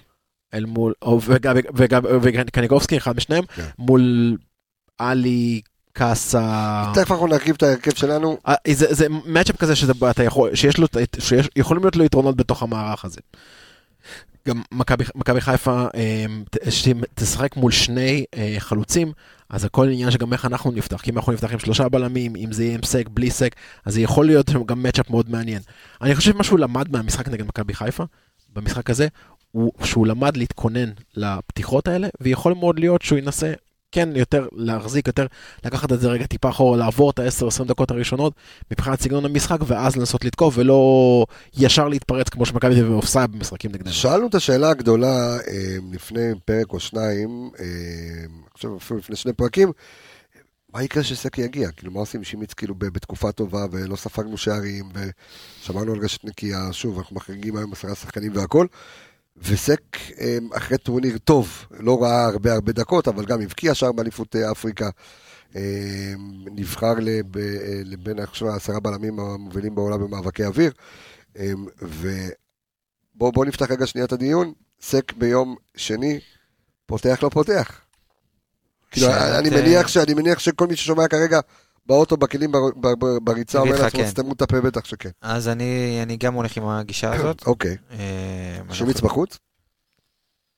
Speaker 5: אל מול, או וגם, וגם, וגם קניקובסקי, אחד משניהם,
Speaker 1: כן.
Speaker 5: מול עלי, קאסה.
Speaker 1: תכף אנחנו נרכיב את ההרכב שלנו.
Speaker 5: אה, זה, זה מאצ'אפ כזה שזה, אתה יכול, שיש לו, את- את- שיש, יכולים להיות לו יתרונות בתוך המערך הזה. גם מכבי מכבי חיפה, אה, ת- ש- תשחק מול שני אה, חלוצים, אז הכל עניין שגם איך אנחנו נפתח, כי אם אנחנו נפתח עם שלושה בלמים, אם זה יהיה עם סק, בלי סק, אז זה יכול להיות שם גם מאצ'אפ מאוד מעניין. אני חושב שמה שהוא למד מהמשחק נגד מכבי חיפה, במשחק הזה, הוא שהוא למד להתכונן לפתיחות האלה, ויכול מאוד להיות שהוא ינסה כן יותר להחזיק, יותר לקחת את זה רגע טיפה אחורה, לעבור את ה-10-20 דקות הראשונות מבחינת סגנון המשחק, ואז לנסות לתקוף, ולא ישר להתפרץ כמו שמכבי תל אביב עושה במשחקים נגדנו.
Speaker 1: שאלנו את השאלה הגדולה אה, לפני פרק או שניים, אה, אני חושב אפילו לפני שני פרקים, מה יקרה שסקי יגיע? כאילו, מה עושים עם שימיץ כאילו ב- בתקופה טובה, ולא ספגנו שערים, ושמרנו על רשת נקייה, שוב, אנחנו מחריגים היום עשרה שחקנים והכל, וסק אה, אחרי טורניר טוב, לא ראה הרבה הרבה דקות, אבל גם הבקיע שער באליפות אה, אפריקה. אה, נבחר לב- אה, לבין עכשיו העשרה בלמים המובילים בעולם במאבקי אוויר. אה, ובואו בוא נפתח רגע שנייה את הדיון. סק ביום שני, פותח לא פותח. כאילו,
Speaker 3: שאלת,
Speaker 1: אני
Speaker 3: אה,
Speaker 1: מניח, ש, אני מניח שכל מי ששומע כרגע באוטו, בכלים, בר, בר, בר, בריצה,
Speaker 3: יגיד
Speaker 1: אומר
Speaker 3: לך
Speaker 1: לעצמו,
Speaker 3: כן.
Speaker 1: סתמו את הפה בטח שכן.
Speaker 3: אז אני אני גם הולך עם הגישה הזאת.
Speaker 1: אוקיי,
Speaker 3: אה,
Speaker 1: שימיץ
Speaker 3: אנחנו-
Speaker 1: בחוץ?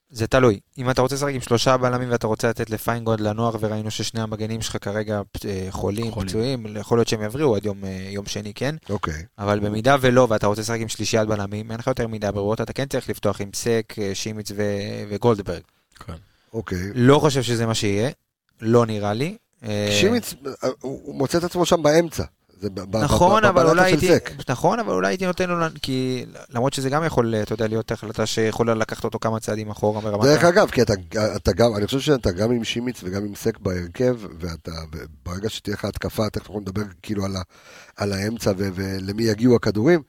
Speaker 3: זה תלוי. אם אתה רוצה לשחק עם שלושה בלמים ואתה רוצה לתת לפיינגולד לנוער, וראינו ששני המגנים שלך כרגע אה, חולים,
Speaker 5: חולים.
Speaker 3: פצועים, יכול להיות שהם יבריאו עד יום, אה, יום שני, כן?
Speaker 1: אוקיי.
Speaker 3: אבל במידה ולא, ואתה רוצה לשחק עם שלישיית בלמים, אין לך יותר מדי ברירות, אתה כן צריך לפתוח עם סק, אה, שימיץ ו- וגולדברג.
Speaker 1: אוקיי.
Speaker 3: לא חושב שזה מה שיהיה, לא נראה לי. אה,
Speaker 1: שימיץ, אה, הוא הוא מוצא את עצמו שם באמצע. זה ב- ב-
Speaker 3: נכון,
Speaker 1: ב-
Speaker 3: אבל
Speaker 1: בבלטה
Speaker 3: אולי
Speaker 1: של
Speaker 3: הייתי,
Speaker 1: סק.
Speaker 3: נכון, אבל אולי הייתי נותן לו, לנ- כי למרות שזה גם יכול, אתה יודע, להיות החלטה שיכולה לקחת אותו כמה צעדים אחורה מרמת...
Speaker 1: דרך
Speaker 3: ה-
Speaker 1: אגב, כי אתה, אתה גם, אני חושב שאתה גם עם שימיץ וגם עם סק בהרכב, ואתה, ברגע שתהיה לך התקפה, תכף אנחנו נדבר כאילו על, ה, על האמצע ו, ולמי יגיעו הכדורים,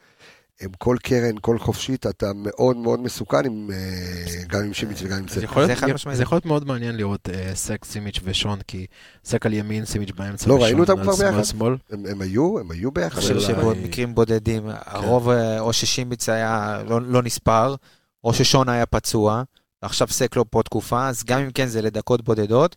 Speaker 1: הם כל קרן, כל חופשית, אתה מאוד מאוד מסוכן עם, אה, גם עם שימיץ וגם עם סק.
Speaker 5: זה יכול,
Speaker 3: זה
Speaker 5: להיות,
Speaker 3: חד משמעית.
Speaker 5: זה יכול להיות מאוד מעניין לראות אה, סק, סימיץ' ושון, כי סק על ימין, סימיץ' באמצע.
Speaker 1: לא,
Speaker 5: ושון
Speaker 1: ראינו אותם
Speaker 5: על
Speaker 1: כבר
Speaker 5: שמאל,
Speaker 1: ביחד?
Speaker 5: שמאל.
Speaker 1: הם, הם היו, הם היו ביחד.
Speaker 3: אני חושב
Speaker 1: אבל-
Speaker 3: שבמקרים בודדים, הרוב אה, או ששימביץ היה לא- לא נספר, או ששון היה פצוע, עכשיו סק לא פה תקופה, אז גם אם כן זה לדקות בודדות.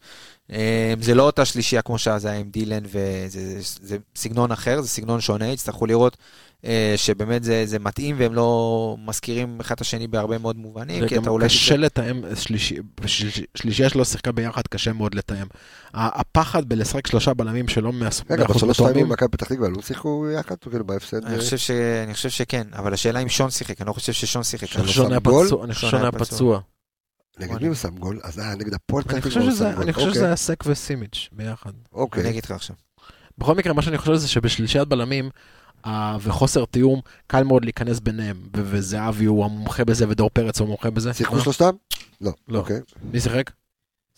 Speaker 3: אה, זה לא אותה שלישייה כמו שאז היה עם דילן, וזה זה- זה סגנון אחר, זה סגנון שונה, יצטרכו לראות אה, שבאמת זה זה מתאים והם לא מזכירים אחד את השני בהרבה מאוד
Speaker 1: כן,
Speaker 3: מובנים, כי אתה
Speaker 5: וגם
Speaker 3: אולי...
Speaker 5: קשה לתאם, שלישי- שלישי- שלישייה שלא שיחקה ביחד, קשה מאוד לתאם. ה- הפחד בלשחק שלושה בלמים שלא מאה
Speaker 1: רגע,
Speaker 5: מאה אחוז
Speaker 1: בשלוש שתיים
Speaker 5: מתואמים,
Speaker 1: עם מכבי פתח תקווה, לא שיחקו יחד, כאילו בהפסד.
Speaker 5: אה,
Speaker 3: אני חושב, ש... אני חושב שכן, אבל השאלה אם שון שיחק, אני לא חושב ששון שיחק.
Speaker 5: אני חושב ששון
Speaker 1: שם
Speaker 5: היה
Speaker 1: גול?
Speaker 5: פצוע- אני חושב
Speaker 3: שון
Speaker 5: ששון
Speaker 3: היה
Speaker 5: היה פצוע.
Speaker 1: נגד מי הוא שם גול? אז אה, נגד הפועל פתח
Speaker 5: אני
Speaker 1: תקווה
Speaker 5: חושב
Speaker 1: הוא
Speaker 5: שזה-
Speaker 1: שם גול.
Speaker 5: אני חושב
Speaker 1: אוקיי,
Speaker 5: שזה היה סק וסימיץ' ביחד.
Speaker 3: אני
Speaker 1: אוקיי,
Speaker 3: אגיד לך עכשיו.
Speaker 5: בכל מקרה, מה שאני חושב זה שבשלישיית בלמים, ה- וחוסר תיאום, קל מאוד להיכנס ביניהם, ו- וזהבי הוא המומחה בזה ודור פרץ הוא המומחה בזה.
Speaker 1: שיחקו שלושתם? לא.
Speaker 5: לא.
Speaker 1: אוקיי.
Speaker 5: מי שיחק?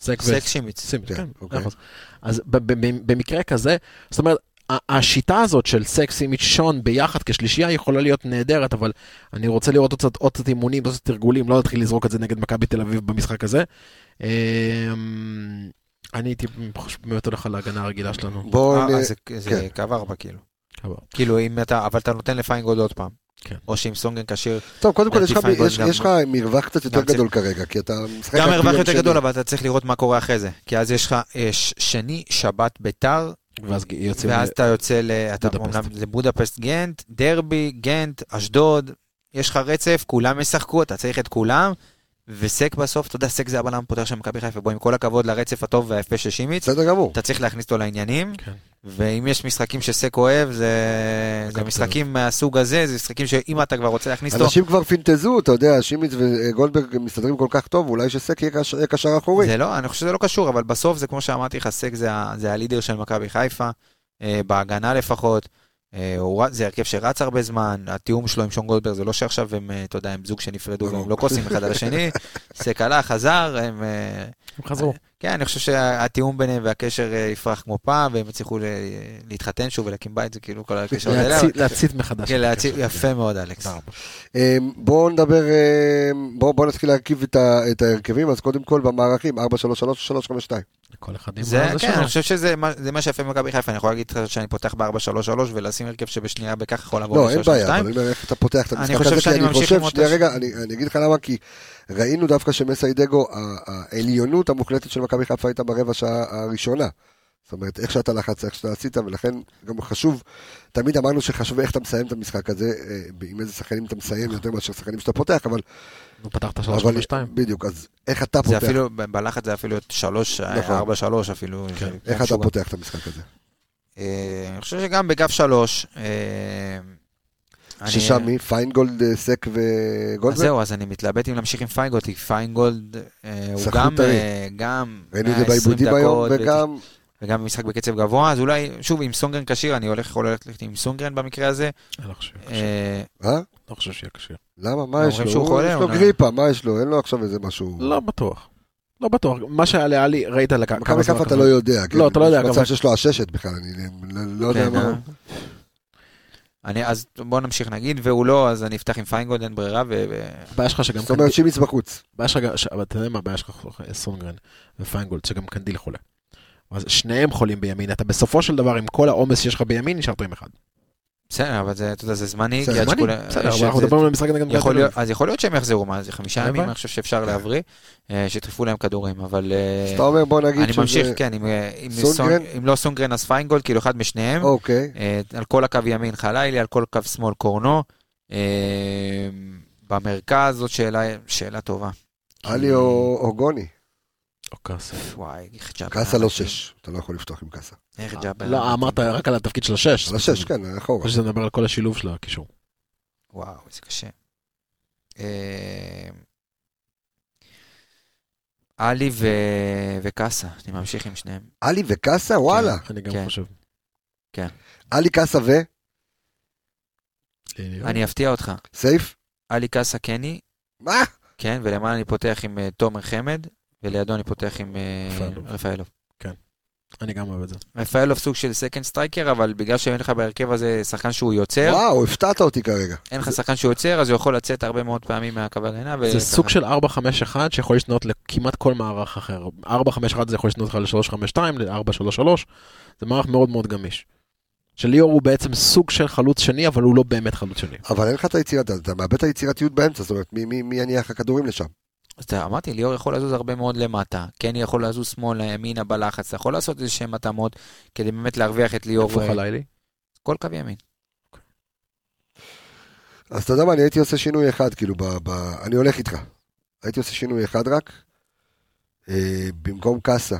Speaker 5: סק ו...
Speaker 3: סק שימיץ.
Speaker 5: סימס,
Speaker 1: כן,
Speaker 5: כן,
Speaker 1: אוקיי.
Speaker 5: מאה אחוז. אז ב- ב- ב- במקרה כזה, זאת אומרת, ה- השיטה הזאת של סקסי שון ביחד כשלישייה יכולה להיות נהדרת, אבל אני רוצה לראות עוד קצת- עוד קצת אימונים, עוד קצת תרגולים, לא להתחיל לזרוק את זה נגד מכבי תל אביב במשחק הזה. אמ, אני הייתי חושב- באמת הולך על ההגנה הרגילה שלנו.
Speaker 1: בואו...
Speaker 3: אה,
Speaker 1: נ-
Speaker 3: אז זה- זה
Speaker 5: כן.
Speaker 3: קו ארבע כאילו.
Speaker 5: קו ארבע.
Speaker 3: כאילו אם אתה, אבל אתה נותן לפיינגולד עוד פעם.
Speaker 5: כן.
Speaker 3: או שאם סונגרן כשיר,
Speaker 1: טוב, קודם כל יש לך-
Speaker 3: עדיף פייגון
Speaker 1: יש-
Speaker 3: גם-
Speaker 1: יש לך מרווח קצת יותר
Speaker 3: גם צריך-
Speaker 1: גדול כרגע, כי אתה משחק...
Speaker 3: גם
Speaker 1: רק
Speaker 3: מרווח
Speaker 1: ביום
Speaker 3: יותר
Speaker 1: שני.
Speaker 3: גדול, אבל אתה צריך לראות מה קורה אחרי זה. כי אז יש לך אה, ש- שני, שבת, ביתר,
Speaker 5: ואז ג- יוצאים...
Speaker 3: ואז
Speaker 5: ל-
Speaker 3: אתה יוצא ל... אתה
Speaker 5: בודפשט.
Speaker 3: אומנם לבודפסט גנט, דרבי, גנט, אשדוד, יש לך רצף, כולם ישחקו, אתה צריך את כולם, וסק בסוף, אתה יודע, סק זה הבלם הפותח של מכבי חיפה, בוא, עם כל הכבוד לרצף הטוב והיפה של שימיץ,
Speaker 1: בסדר גמור.
Speaker 3: אתה צריך להכניס אותו לעניינים,
Speaker 5: כן.
Speaker 3: ואם יש משחקים שסק אוהב, זה זה
Speaker 5: מכבי
Speaker 3: משחקים מהסוג הזה, זה משחקים שאם אתה כבר רוצה להכניס אותו,
Speaker 1: אנשים כבר פינטזו, אתה יודע, שימיץ וגולדברג מסתדרים כל כך טוב, אולי שסק יהיה קש- יהיה קשר אחורי.
Speaker 3: זה לא, אני חושב שזה לא קשור, אבל בסוף זה כמו שאמרתי לך, סק זה, ה- זה הלידר של מכבי חיפה, אה, בהגנה לפחות. אה, הוא, ר- זה הרכב שרץ הרבה זמן, התיאום שלו עם שון גולדברג זה לא שעכשיו הם, אה, אתה יודע, הם זוג שנפרדו
Speaker 1: ברור.
Speaker 3: והם לא כוסים אחד על השני, סק הלך, חזר, הם... אה,
Speaker 5: הם חזרו.
Speaker 3: כן, אני חושב שהתיאום ביניהם והקשר אה, יפרח כמו פעם, והם יצליחו ל- להתחתן שוב ולהקים בית, זה כאילו כל הקשר הזה.
Speaker 5: להצית- להצית מחדש.
Speaker 3: כן, להציב, יפה מאוד, אלכס.
Speaker 5: תודה רבה.
Speaker 1: אה, בואו נדבר, אה, בואו בואו נתחיל להרכיב את ה- את ההרכבים, אז קודם כל במערכים, 4-3-3, 3-5-2.
Speaker 5: כל אחד עם
Speaker 3: זה,
Speaker 5: הזה
Speaker 3: כן,
Speaker 5: שלו.
Speaker 3: אני חושב שזה מה- זה מה שיפה במכבי חיפה, אני יכול להגיד לך שאני פותח ב-4-3-3 ולשים הרכב שבשנייה בכך יכול לעבור
Speaker 1: לא, אין
Speaker 3: ב-3-2.
Speaker 1: בעיה, אבל אני אומר איך אתה פותח את
Speaker 3: אני
Speaker 1: המשחק
Speaker 3: חושב
Speaker 1: הזה, כי
Speaker 3: שאני
Speaker 1: אני
Speaker 3: ממשיך
Speaker 1: חושב,
Speaker 3: עם אותה
Speaker 1: שנייה
Speaker 3: ש-
Speaker 1: רגע, אני אני אגיד לך למה, כי ראינו דווקא שמסיידגו, ה- העליונות המוחלטת של מכבי חיפה הייתה ברבע שעה הראשונה. זאת אומרת, איך שאתה לחצת, איך שאתה עשית, ולכן גם חשוב, תמיד אמרנו שחשוב איך אתה מסיים את המשחק הזה, אה, עם איזה שחקנים אתה מסיים יותר מאשר שחקנים שאתה פותח, אבל...
Speaker 5: נו, פתחת
Speaker 1: אבל-
Speaker 5: 352.
Speaker 1: בדיוק, אז איך אתה
Speaker 3: זה
Speaker 1: פותח,
Speaker 3: אפילו, ב- בלחץ זה אפילו 3,
Speaker 1: נכון.
Speaker 3: 4-3 אפילו.
Speaker 5: כן.
Speaker 3: זה-
Speaker 1: איך
Speaker 3: משהו
Speaker 1: אתה
Speaker 3: גם.
Speaker 1: פותח את המשחק הזה?
Speaker 3: אה, אני חושב שגם אה, בגף 3.
Speaker 1: ששם מי? פיינגולד, אה, סק
Speaker 3: אז
Speaker 1: וגולדברג?
Speaker 3: זהו, אז אני מתלבט אם להמשיך עם פיינגולד, כי פיינגולד אה, הוא
Speaker 1: סחטו
Speaker 3: גם,
Speaker 1: טרי.
Speaker 3: אה, גם
Speaker 1: ראינו את זה
Speaker 3: 120
Speaker 1: בעיבודים היום,
Speaker 3: דקות,
Speaker 1: וגם...
Speaker 3: וגם משחק בקצב גבוה, אז אולי, שוב, עם סונגרן כשיר, אני הולך, יכול ללכת עם סונגרן במקרה הזה.
Speaker 5: אני לא חושב-
Speaker 3: אה,
Speaker 1: אה?
Speaker 5: לא חושב שיהיה קשה.
Speaker 1: למה? מה
Speaker 3: אומרים
Speaker 1: יש לו?
Speaker 3: שהוא
Speaker 1: הוא-
Speaker 3: חולה,
Speaker 1: יש לו
Speaker 3: הוא נע-
Speaker 1: גריפה, מה יש לו? אין לו עכשיו איזה משהו...
Speaker 5: לא בטוח. לא בטוח. מה שהיה לעלי, ראית על הכ-
Speaker 1: מכבי
Speaker 5: זמן
Speaker 1: חיפה אתה
Speaker 5: לקח.
Speaker 1: לא יודע. כן.
Speaker 5: לא, אתה לא יודע,
Speaker 1: יש מצב
Speaker 5: אבל-
Speaker 1: שיש לו עששת בכלל, אני לא- לא יודע
Speaker 3: כן, אה.
Speaker 1: מה...
Speaker 3: אני, אז בוא נמשיך נגיד, והוא לא, אז אני אפתח עם פיינגולד, אין ברירה, ו... ו-
Speaker 5: הבעיה שלך שגם
Speaker 1: זאת אומרת שימיץ בחוץ.
Speaker 5: הבעיה שלך, ש- אבל אתה יודע מה הבעיה שלך, סונגרן ופיינגולד, שגם קנדיל חולה. אז שניהם חולים בימין, אתה בסופו של דבר עם כל העומס שיש לך בימין, נשארת עם אחד.
Speaker 1: כן,
Speaker 3: בסדר, אבל זה, אתה יודע, זה זמני,
Speaker 1: בסדר,
Speaker 3: כי עד
Speaker 5: זמני,
Speaker 3: שכולם-
Speaker 5: בסדר, אבל
Speaker 3: שזה-
Speaker 5: אנחנו מדברים על משחק נגד מכבי
Speaker 3: יכול
Speaker 5: תל אביב.
Speaker 3: להיות, אז יכול להיות שהם יחזרו, מה זה חמישה
Speaker 5: הלוואי.
Speaker 3: ימים, אני חושב שאפשר להבריא, אה, שידחפו להם כדורים, אבל אה,
Speaker 1: אז אתה אומר בוא נגיד
Speaker 3: אני ממשיך, כן, אם, אה, אם
Speaker 1: סונגרן?
Speaker 3: סונג- אם לא סונגרן אז פיינגולד, כאילו אחד משניהם,
Speaker 1: אוקיי.
Speaker 3: אה, על כל הקו ימין חלילי, על כל קו שמאל קורנו, אה, במרכז זאת שאלה, שאלה טובה.
Speaker 1: עלי או או גוני.
Speaker 5: או כסף.
Speaker 3: וואי, איך ג'אבר.
Speaker 1: קאסה לא שש. אתה לא יכול לפתוח עם קאסה.
Speaker 3: איך ג'אבר.
Speaker 5: לא, אמרת רק על התפקיד של השש.
Speaker 1: כן, על השש, כן, אחורה.
Speaker 5: חושב שזה מדבר על כל השילוב של הקישור.
Speaker 3: וואו, איזה קשה. אה, עלי ו- וקאסה, אני ממשיך עם שניהם.
Speaker 1: עלי וקאסה? וואלה.
Speaker 5: כן, אני גם
Speaker 3: כן.
Speaker 5: חושב.
Speaker 1: עלי קאסה ו?
Speaker 3: אני אפתיע אותך.
Speaker 1: סייף?
Speaker 3: עלי קאסה קני,
Speaker 1: מה?
Speaker 3: כן, ולמעלה אני פותח עם אה, תומר חמד, ולידו אני פותח עם אה,
Speaker 5: רפאלוב.
Speaker 3: רפאלוב.
Speaker 5: אני גם אוהב את זה.
Speaker 3: רפאלוב סוג של סקנד סטרייקר, אבל בגלל שאין לך בהרכב הזה שחקן שהוא יוצר,
Speaker 1: וואו, הפתעת אותי כרגע.
Speaker 3: אין לך שחקן שהוא יוצר, אז הוא יכול לצאת הרבה מאוד פעמים מהקו הגנה.
Speaker 5: זה
Speaker 3: וככה.
Speaker 5: סוג של 4-5-1 שיכול להשתנות לכמעט כל מערך אחר. 4-5-1 זה יכול להשתנות לך ל-3-5-2, ל-4-3-3. זה מערך מאוד מאוד גמיש. שליאור הוא בעצם סוג של חלוץ שני, אבל הוא לא באמת חלוץ שני.
Speaker 1: אבל אין לך את היצירת, אתה מאבד את היצירתיות באמצע, זאת אומרת, מי- מי מי יניח לך כדורים לשם?
Speaker 3: אז אתה- אמרתי, ליאור יכול לזוז הרבה מאוד למטה. כן יכול לזוז שמאלה, ימינה, בלחץ. אתה יכול לעשות איזה שהם התאמות כדי באמת להרוויח את ליאור. אה,
Speaker 5: איפה
Speaker 3: ו-
Speaker 5: חלילי?
Speaker 3: כל קו ימין.
Speaker 1: אז אתה יודע מה, אני הייתי עושה שינוי אחד, כאילו, ב, ב, אני הולך איתך. הייתי עושה שינוי אחד רק, אה, במקום קאסה.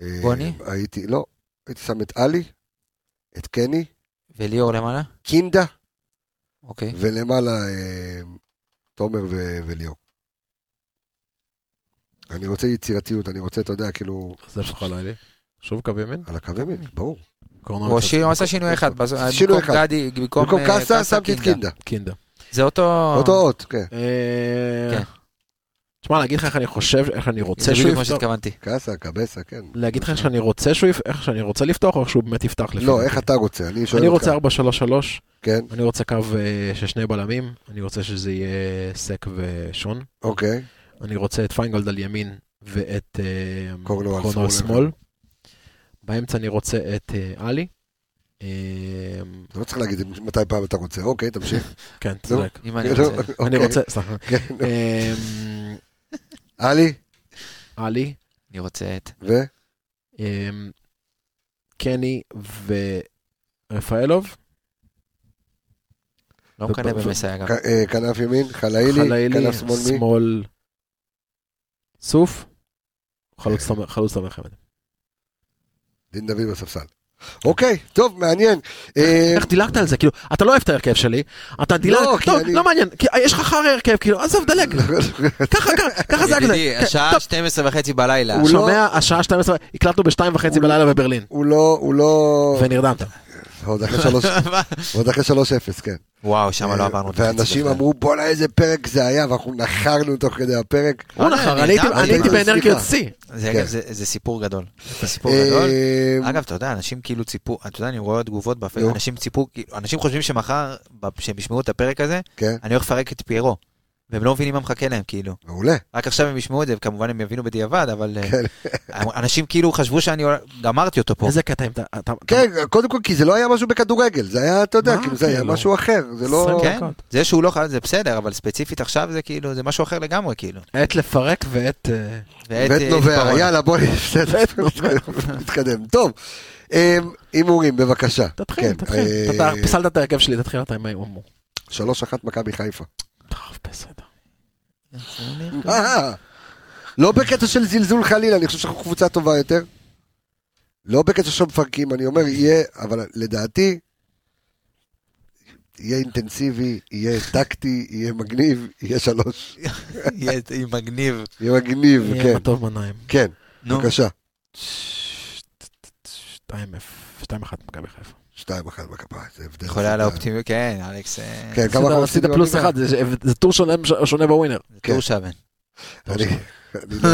Speaker 1: אה,
Speaker 3: גוני?
Speaker 1: הייתי, לא, הייתי שם את עלי, את קני,
Speaker 3: וליאור למעלה?
Speaker 1: קינדה,
Speaker 3: אוקיי.
Speaker 1: ולמעלה אה, תומר ו, וליאור. אני רוצה יצירתיות, אני רוצה, אתה יודע, כאילו,
Speaker 5: אז איפה חלילי? שוב קו ימין?
Speaker 1: על הקו ימין, ברור.
Speaker 5: קורנר
Speaker 3: הוא
Speaker 5: אחד.
Speaker 3: שי- הוא עשה שינוי אחד. בז-
Speaker 1: שינוי
Speaker 3: במקום
Speaker 1: אחד.
Speaker 3: גדי, במקום
Speaker 1: במקום
Speaker 3: אה,
Speaker 1: קאסה שמתי את קינדה.
Speaker 5: קינדה.
Speaker 3: זה אותו...
Speaker 1: אותו אות, כן.
Speaker 5: אה,
Speaker 3: כן.
Speaker 5: תשמע, להגיד לך איך אני חושב, איך אני
Speaker 3: זה
Speaker 5: רוצה שהוא
Speaker 3: בדיוק מה
Speaker 5: יפתח,
Speaker 3: שהתכוונתי.
Speaker 1: קאסה, קבסה, כן.
Speaker 5: להגיד לך איך שאני רוצה שהוא יפתח, איך שאני רוצה לפתוח, או איך שהוא באמת יפתח לפי
Speaker 1: לא,
Speaker 5: דעתי.
Speaker 1: איך אתה רוצה? אני שואל
Speaker 5: אני
Speaker 1: אותך.
Speaker 5: רוצה 4-3-3,
Speaker 1: כן,
Speaker 5: אני רוצה קו אה, של שני בלמים, אני רוצה שזה יהיה סק ושון,
Speaker 1: אוקיי.
Speaker 5: אני רוצה את פיינגולד על ימין ואת אה,
Speaker 1: קורנו על
Speaker 5: קורנו על
Speaker 1: שמאל.
Speaker 5: שמאל, באמצע אני רוצה את אה, עלי, אה,
Speaker 1: אתה לא צריך להגיד מתי פעם אתה רוצה. אוקיי, תמשיך.
Speaker 5: כן, צודק,
Speaker 3: אם אני
Speaker 1: לא,
Speaker 3: רוצה.
Speaker 5: אני
Speaker 1: אוקיי,
Speaker 5: רוצה, סליחה,
Speaker 1: כן.
Speaker 5: אה,
Speaker 1: עלי,
Speaker 5: עלי,
Speaker 3: אני רוצה את...
Speaker 1: ו?
Speaker 5: אמ, קני ורפאלוב,
Speaker 3: לא מקנא
Speaker 5: ו-
Speaker 3: במסע אגב.
Speaker 1: ק- אה, כנף ימין, חלאילי,
Speaker 5: חלאילי,
Speaker 1: כנף שמאל מי?
Speaker 5: שמאל סוף, חלוץ תומך- חלוץ תומך חמד.
Speaker 1: דין דוד בספסל. אוקיי, טוב, מעניין. אה,
Speaker 5: איך דילגת על זה? כאילו, אתה לא אוהב את ההרכב שלי, אתה דילגת,
Speaker 1: כי
Speaker 5: טוב,
Speaker 1: אני-
Speaker 5: לא מעניין, כי יש לך חרא הרכב, כאילו, עזוב, דלג, ככה, ככה, ככה זה הגדל.
Speaker 3: ידידי, השעה 12 וחצי בלילה.
Speaker 1: הוא לא-
Speaker 5: שומע, השעה 12, הקלטנו בשתיים וחצי בלילה בברלין,
Speaker 1: הוא לא, הוא לא...
Speaker 5: ונרדמת.
Speaker 1: עוד אחרי שלוש... עוד אחרי 3-0, כן.
Speaker 3: וואו, שם לא
Speaker 1: אה,
Speaker 3: עברנו את
Speaker 1: ואנשים
Speaker 3: בכלל.
Speaker 1: אמרו, בואנה איזה פרק זה היה, ואנחנו נחרנו תוך כדי הפרק.
Speaker 5: הוא
Speaker 3: וואלה,
Speaker 5: נחר, אני
Speaker 3: נרדמתי.
Speaker 5: הייתי- אני הייתי
Speaker 1: אה, סליחה.
Speaker 5: באנרגיות שיא.
Speaker 3: זה
Speaker 1: כן.
Speaker 3: אגב, זה זה סיפור גדול. זה סיפור
Speaker 1: אה,
Speaker 3: גדול. אגב, אתה יודע, אנשים כאילו ציפו, אתה יודע, אני רואה תגובות
Speaker 1: נו.
Speaker 3: בפייסבוק, אנשים ציפו, כאילו, אנשים חושבים שמחר, ב- כשהם ישמעו את הפרק הזה,
Speaker 1: כן,
Speaker 3: אני הולך לפרק את פיירו. והם לא מבינים מה מחכה להם, כאילו.
Speaker 1: מעולה.
Speaker 3: רק עכשיו הם ישמעו את זה, וכמובן הם יבינו בדיעבד, אבל אה,
Speaker 1: כן.
Speaker 3: אנשים כאילו חשבו שאני גמרתי אותו פה.
Speaker 5: איזה קטע, אם אתה... אתה-
Speaker 1: כן, קודם כל, כי זה לא היה משהו בכדורגל, זה היה, אתה יודע,
Speaker 5: מה?
Speaker 1: כאילו, זה היה
Speaker 5: כאילו.
Speaker 1: משהו אחר, זה לא...
Speaker 5: עשרים
Speaker 3: כן, זה שהוא לא חייב, זה בסדר, אבל ספציפית עכשיו זה כאילו, זה משהו אחר לגמרי, כאילו.
Speaker 5: אתה- עת לפרק ועת... אה,
Speaker 3: ואת,
Speaker 1: בית
Speaker 3: אה,
Speaker 1: נובע,
Speaker 3: עיפרון.
Speaker 1: יאללה, בואי בסדר, נתקדם. טוב, אמ, הימורים, בבקשה.
Speaker 5: תתחיל,
Speaker 1: כן,
Speaker 5: תתחיל.
Speaker 1: אה,
Speaker 5: אתה פסלת את ההרכב שלי, תתחיל אתה עם ההימור.
Speaker 1: שלוש אחת מכבי חיפה.
Speaker 5: טוב, בסדר. כן.
Speaker 1: אה, לא בקטע של זלזול חלילה, אני חושב שאנחנו קבוצה טובה יותר. לא בקטע של מפרקים, אני אומר, יהיה, אבל לדעתי, יהיה אינטנסיבי, יהיה טקטי, יהיה מגניב, יהיה שלוש.
Speaker 3: יהיה יהיה מגניב.
Speaker 1: יהיה מגניב, כן,
Speaker 5: יהיה טוב מנעים.
Speaker 1: כן,
Speaker 3: נו,
Speaker 1: בבקשה.
Speaker 5: 2-0, 2-1 מכבי חיפה.
Speaker 1: שתיים אחת מכבי, זה הבדל.
Speaker 3: יכול היה לאופטימיות, כן, אלכס, אה,
Speaker 1: כן, כמה אנחנו
Speaker 5: עשית
Speaker 1: עשינו
Speaker 5: פלוס אחד, זה- זה- זה טור שונה- שונה בווינר.
Speaker 1: כן.
Speaker 3: זה טור שמן.
Speaker 1: אני אני לא...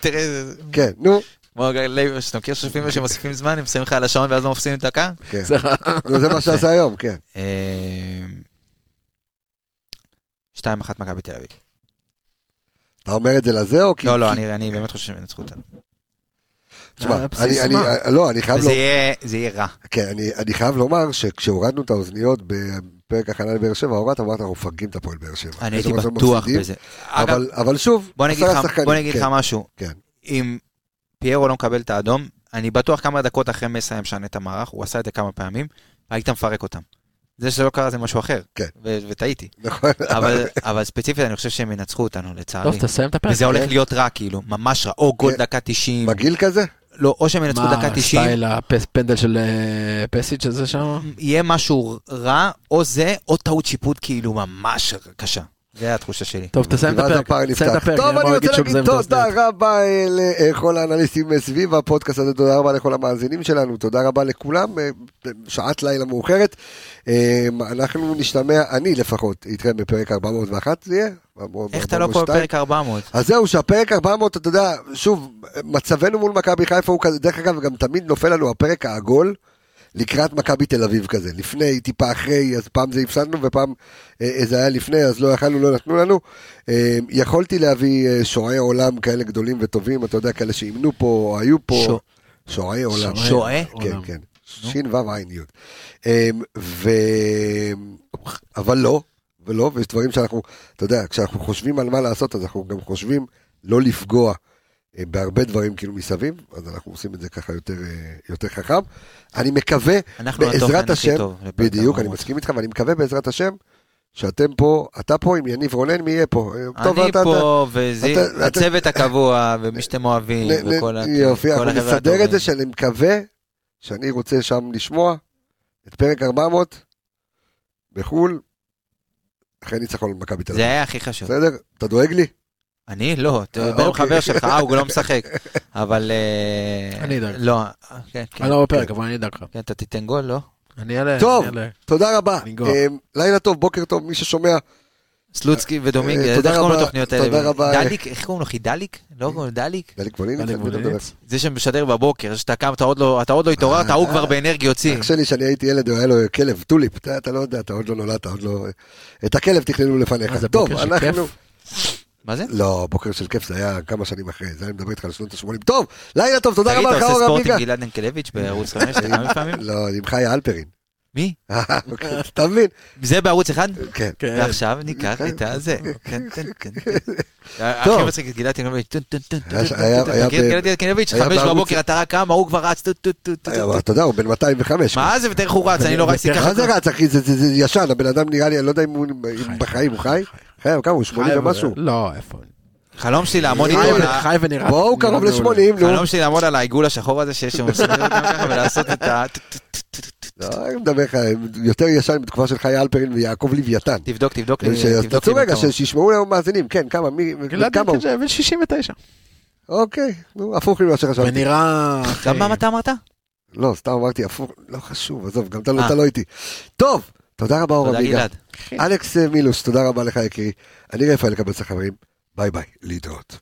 Speaker 3: תראה, זה-
Speaker 1: כן, נו,
Speaker 3: כמו גל לייבר, שאתה מכיר שופטים שמוסיפים זמן, הם שמים לך על השעון ואז לא מפסידים דקה?
Speaker 1: כן.
Speaker 5: זה-
Speaker 1: נו, זה מה שעשה היום, כן.
Speaker 3: אה, 2-1 מכבי תל אביב.
Speaker 1: אתה אומר את זה לזה או כי...
Speaker 3: לא, לא, אני אני באמת חושב שהם ינצחו אותנו.
Speaker 1: תשמע,
Speaker 5: על בסיס
Speaker 1: אני, אני,
Speaker 5: מה?
Speaker 1: לא, אני חייב,
Speaker 3: וזה
Speaker 1: לא,
Speaker 3: יהיה- זה יהיה רע.
Speaker 1: כן, אני, אני חייב לומר שכשהורדנו את האוזניות בפרק הכנה לבאר שבע, הורדת, אמרת, אנחנו מפרקים את הפועל באר שבע.
Speaker 3: אני הייתי
Speaker 1: אז אנחנו
Speaker 3: בטוח
Speaker 1: מפסידים,
Speaker 3: בזה. אגב,
Speaker 1: אבל, אבל שוב,
Speaker 3: בוא נגיד
Speaker 1: עשרה
Speaker 3: לך-
Speaker 1: שחקנים,
Speaker 3: בוא נגיד
Speaker 1: כן.
Speaker 3: לך משהו.
Speaker 1: כן.
Speaker 3: אם פיירו לא מקבל את האדום, אני בטוח כמה דקות אחרי מסע היה משנה את המערך, הוא עשה את זה כמה פעמים, היית מפרק אותם. זה שזה לא קרה זה משהו אחר.
Speaker 1: כן.
Speaker 3: ו- וטעיתי.
Speaker 1: נכון,
Speaker 3: אבל- אבל ספציפית אני חושב שהם ינצחו אותנו,
Speaker 5: טוב, כן.
Speaker 3: לצערי.
Speaker 5: תסיים את הפרק.
Speaker 3: וזה הולך להיות רע, כאילו, ממש רע. או גול
Speaker 1: כן.
Speaker 3: דקה 90.
Speaker 1: מגעיל כזה?
Speaker 3: לא, או שהם ינצחו דקה
Speaker 5: מה,
Speaker 3: 90.
Speaker 5: סטייל הפנדל של אה, פסיץ' הזה שם?
Speaker 3: יהיה משהו רע, או זה, או טעות שיפוט כאילו ממש קשה. זה התחושה שלי.
Speaker 5: טוב, תסיים את
Speaker 1: ואז
Speaker 5: הפרק.
Speaker 1: הפער
Speaker 5: תסיים את
Speaker 1: נפתח.
Speaker 5: הפרק,
Speaker 1: טוב,
Speaker 5: נראה
Speaker 1: אני
Speaker 5: מה הוא יגיד
Speaker 1: רוצה
Speaker 5: שהוא
Speaker 1: להגיד
Speaker 5: מזהם את
Speaker 1: תודה
Speaker 5: האוזניות.
Speaker 1: רבה אה, לכל האנליסטים אה, סביב הפודקאסט הזה, תודה רבה לכל המאזינים שלנו, תודה רבה לכולם, אה, שעת לילה מאוחרת. אה, אנחנו נשתמע, אני לפחות, איתכם בפרק 401 זה יהיה?
Speaker 3: איך אתה לא פה
Speaker 1: 402?
Speaker 3: בפרק 400?
Speaker 1: אז זהו, שהפרק 400, אתה יודע, שוב, מצבנו מול מכבי חיפה הוא כזה, דרך אגב, גם תמיד נופל לנו הפרק העגול לקראת מכבי תל אביב כזה. לפני, טיפה אחרי, אז פעם זה הפסדנו ופעם אה, זה היה לפני, אז לא יכלנו, לא נתנו לנו. אה, יכולתי להביא אה, שועי עולם כאלה גדולים וטובים, אתה יודע, כאלה שאימנו פה, או היו פה.
Speaker 3: שוע-
Speaker 1: שועי עולם.
Speaker 3: שועי?
Speaker 1: כן,
Speaker 5: עולם.
Speaker 1: כן. שין וו עין יוד. אמ, ו... אבל לא, ולא, ויש דברים שאנחנו, אתה יודע, כשאנחנו חושבים על מה לעשות, אז אנחנו גם חושבים לא לפגוע אה, בהרבה דברים כאילו מסביב, אז אנחנו עושים את זה ככה יותר, אה, יותר חכם. אני מקווה,
Speaker 3: אנחנו התוכן
Speaker 1: בעזרת
Speaker 3: הכי
Speaker 1: השם,
Speaker 3: טוב לפרק
Speaker 1: בדיוק,
Speaker 3: 400.
Speaker 1: אני מסכים איתך, ואני מקווה בעזרת השם, שאתם פה, אתה פה עם יניב רונן, מי יהיה פה? אה, טוב,
Speaker 3: אני
Speaker 1: אתה-
Speaker 3: פה, וזה
Speaker 1: אתה- אתה-
Speaker 3: הצוות הקבוע, ומי שאתם
Speaker 1: אתה-
Speaker 3: אוהבים,
Speaker 1: נ- נ-
Speaker 3: וכל ה-
Speaker 1: יופי,
Speaker 3: כל
Speaker 1: אנחנו
Speaker 3: החבר'ה
Speaker 1: נסדר את
Speaker 3: הטובים.
Speaker 1: זה, שאני מקווה שאני רוצה שם לשמוע את פרק 400 בחו"ל, אחרי ניצחון על מכבי תל
Speaker 3: זה
Speaker 1: אביב.
Speaker 3: היה הכי חשוב.
Speaker 1: בסדר? אתה דואג לי?
Speaker 3: אני? לא, בן
Speaker 1: אוקיי.
Speaker 3: חבר שלך, אה, הוא לא משחק. אבל... אה,
Speaker 5: אני אדאג.
Speaker 3: לא, כן, כן.
Speaker 5: אני לא בפרק, אבל אני אדאג לך.
Speaker 3: כן, אתה תיתן גול, לא?
Speaker 5: אני אעלה.
Speaker 1: טוב.
Speaker 5: אני אעלה.
Speaker 1: תודה רבה.
Speaker 5: ניגוח.
Speaker 1: אה, לילה טוב, בוקר טוב, מי ששומע.
Speaker 3: סלוצקי
Speaker 1: אה,
Speaker 3: ודומינגז,
Speaker 1: תודה
Speaker 3: איך קוראים
Speaker 1: רבה,
Speaker 3: לתוכניות האלה?
Speaker 1: תודה רבה. אה.
Speaker 3: דליק, איך קוראים לו? חידליק? לא קוראים לו דליק?
Speaker 1: דליק בולינית,
Speaker 5: דליק
Speaker 1: על מי אתה
Speaker 5: בולינית.
Speaker 1: מדבר?
Speaker 3: זה שמשדר בבוקר, שאתה קם, אתה עוד לא אתה עוד לא
Speaker 1: אה,
Speaker 3: התעוררת, ההוא כבר באנרגיה הוציא.
Speaker 1: אח שלי, כשאני הייתי ילד, הוא היה לו כלב, טוליפ. אתה אתה לא יודע, אתה עוד לא נולדת, עוד לא... את הכלב תכננו לפניך.
Speaker 5: אה, זה
Speaker 1: טוב,
Speaker 5: בוקר של
Speaker 1: אנחנו...
Speaker 5: כיף?
Speaker 3: מה זה?
Speaker 1: לא, בוקר של כיף זה היה כמה שנים אחרי, זה אני מדבר איתך על שנות ה-80. טוב, לילה טוב, תודה
Speaker 3: תגיד,
Speaker 1: רבה
Speaker 3: אתה
Speaker 1: לך,
Speaker 3: עושה אה,
Speaker 1: אור
Speaker 3: ספורט
Speaker 1: עמיגה.
Speaker 3: עם גלעד ינקלביץ' בערוץ
Speaker 1: כן.
Speaker 3: 5, אתה כמה פעמים?
Speaker 1: לא, עם חיה אלפרין.
Speaker 3: מי?
Speaker 1: אה, אוקיי, אתה מבין?
Speaker 3: זה בערוץ אחד?
Speaker 1: כן.
Speaker 5: כן.
Speaker 3: ועכשיו ניקח את הזה. כן, כן, כן, כן.
Speaker 1: טוב.
Speaker 3: הכי מצחיק את גלעד ינקלביץ'. טון, טון, טון, טון,
Speaker 1: היה-
Speaker 3: טון,
Speaker 1: היה-
Speaker 3: טון.
Speaker 1: היה
Speaker 3: מכיר את
Speaker 1: ב-
Speaker 3: גלעד ינקלביץ',
Speaker 1: היה
Speaker 3: חמש
Speaker 1: בערוץ-
Speaker 3: בבוקר אתה רק קם, ההוא כבר רץ, טו, טו, טו, טו, טו.
Speaker 1: אבל אתה יודע, הוא בן 205.
Speaker 3: מה זה, ותראה איך הוא רץ, אני לא רציתי ככה.
Speaker 1: מה זה רץ, אחי? זה- זה זה ישן, הבן אדם נראה לי, אני לא יודע אם הוא אם בחיים, הוא חי? חי, כמה הוא? 80 ומשהו?
Speaker 5: לא, איפה?
Speaker 3: חלום שלי לעמוד
Speaker 5: חי
Speaker 3: איתו על
Speaker 5: ו-
Speaker 3: ה-
Speaker 5: חי ונראה.
Speaker 1: בוא, הוא
Speaker 5: נראה
Speaker 1: קרוב
Speaker 5: מעולה.
Speaker 1: ל-80, נו.
Speaker 3: חלום שלי לעמוד על העיגול השחור הזה שיש שם מסתובב אותם ככה ולעשות את ה... טו, טו, טו, טו, טו, טו.
Speaker 1: לא, אני מדבר לך, יותר ישן בתקופה של חיה אלפרין ויעקב לוויתן.
Speaker 3: תבדוק, תבדוק. אה,
Speaker 1: ש-
Speaker 3: תבדוק
Speaker 1: תעצור
Speaker 3: לי
Speaker 1: רגע,
Speaker 3: בטעות.
Speaker 1: ש- שישמעו היום מאזינים, כן, כמה, מי,
Speaker 5: גלעד
Speaker 1: כמה הוא?
Speaker 5: ינקלביץ' בן 69.
Speaker 1: אוקיי, נו, הפוך ממה שחשבתי.
Speaker 5: ונראה...
Speaker 3: גם מה אתה אמרת?
Speaker 1: לא, סתם אמרתי, הפוך, לא חשוב, עזוב, גם אתה לא-
Speaker 3: אה.
Speaker 1: אתה לא איתי. טוב, תודה רבה, אור
Speaker 3: תודה
Speaker 1: עמיגה.
Speaker 3: גלעד.
Speaker 1: אלכס אה, מילוש, תודה רבה לך, יקירי. אני רפאל קבלס החברים, ביי ביי, להתראות.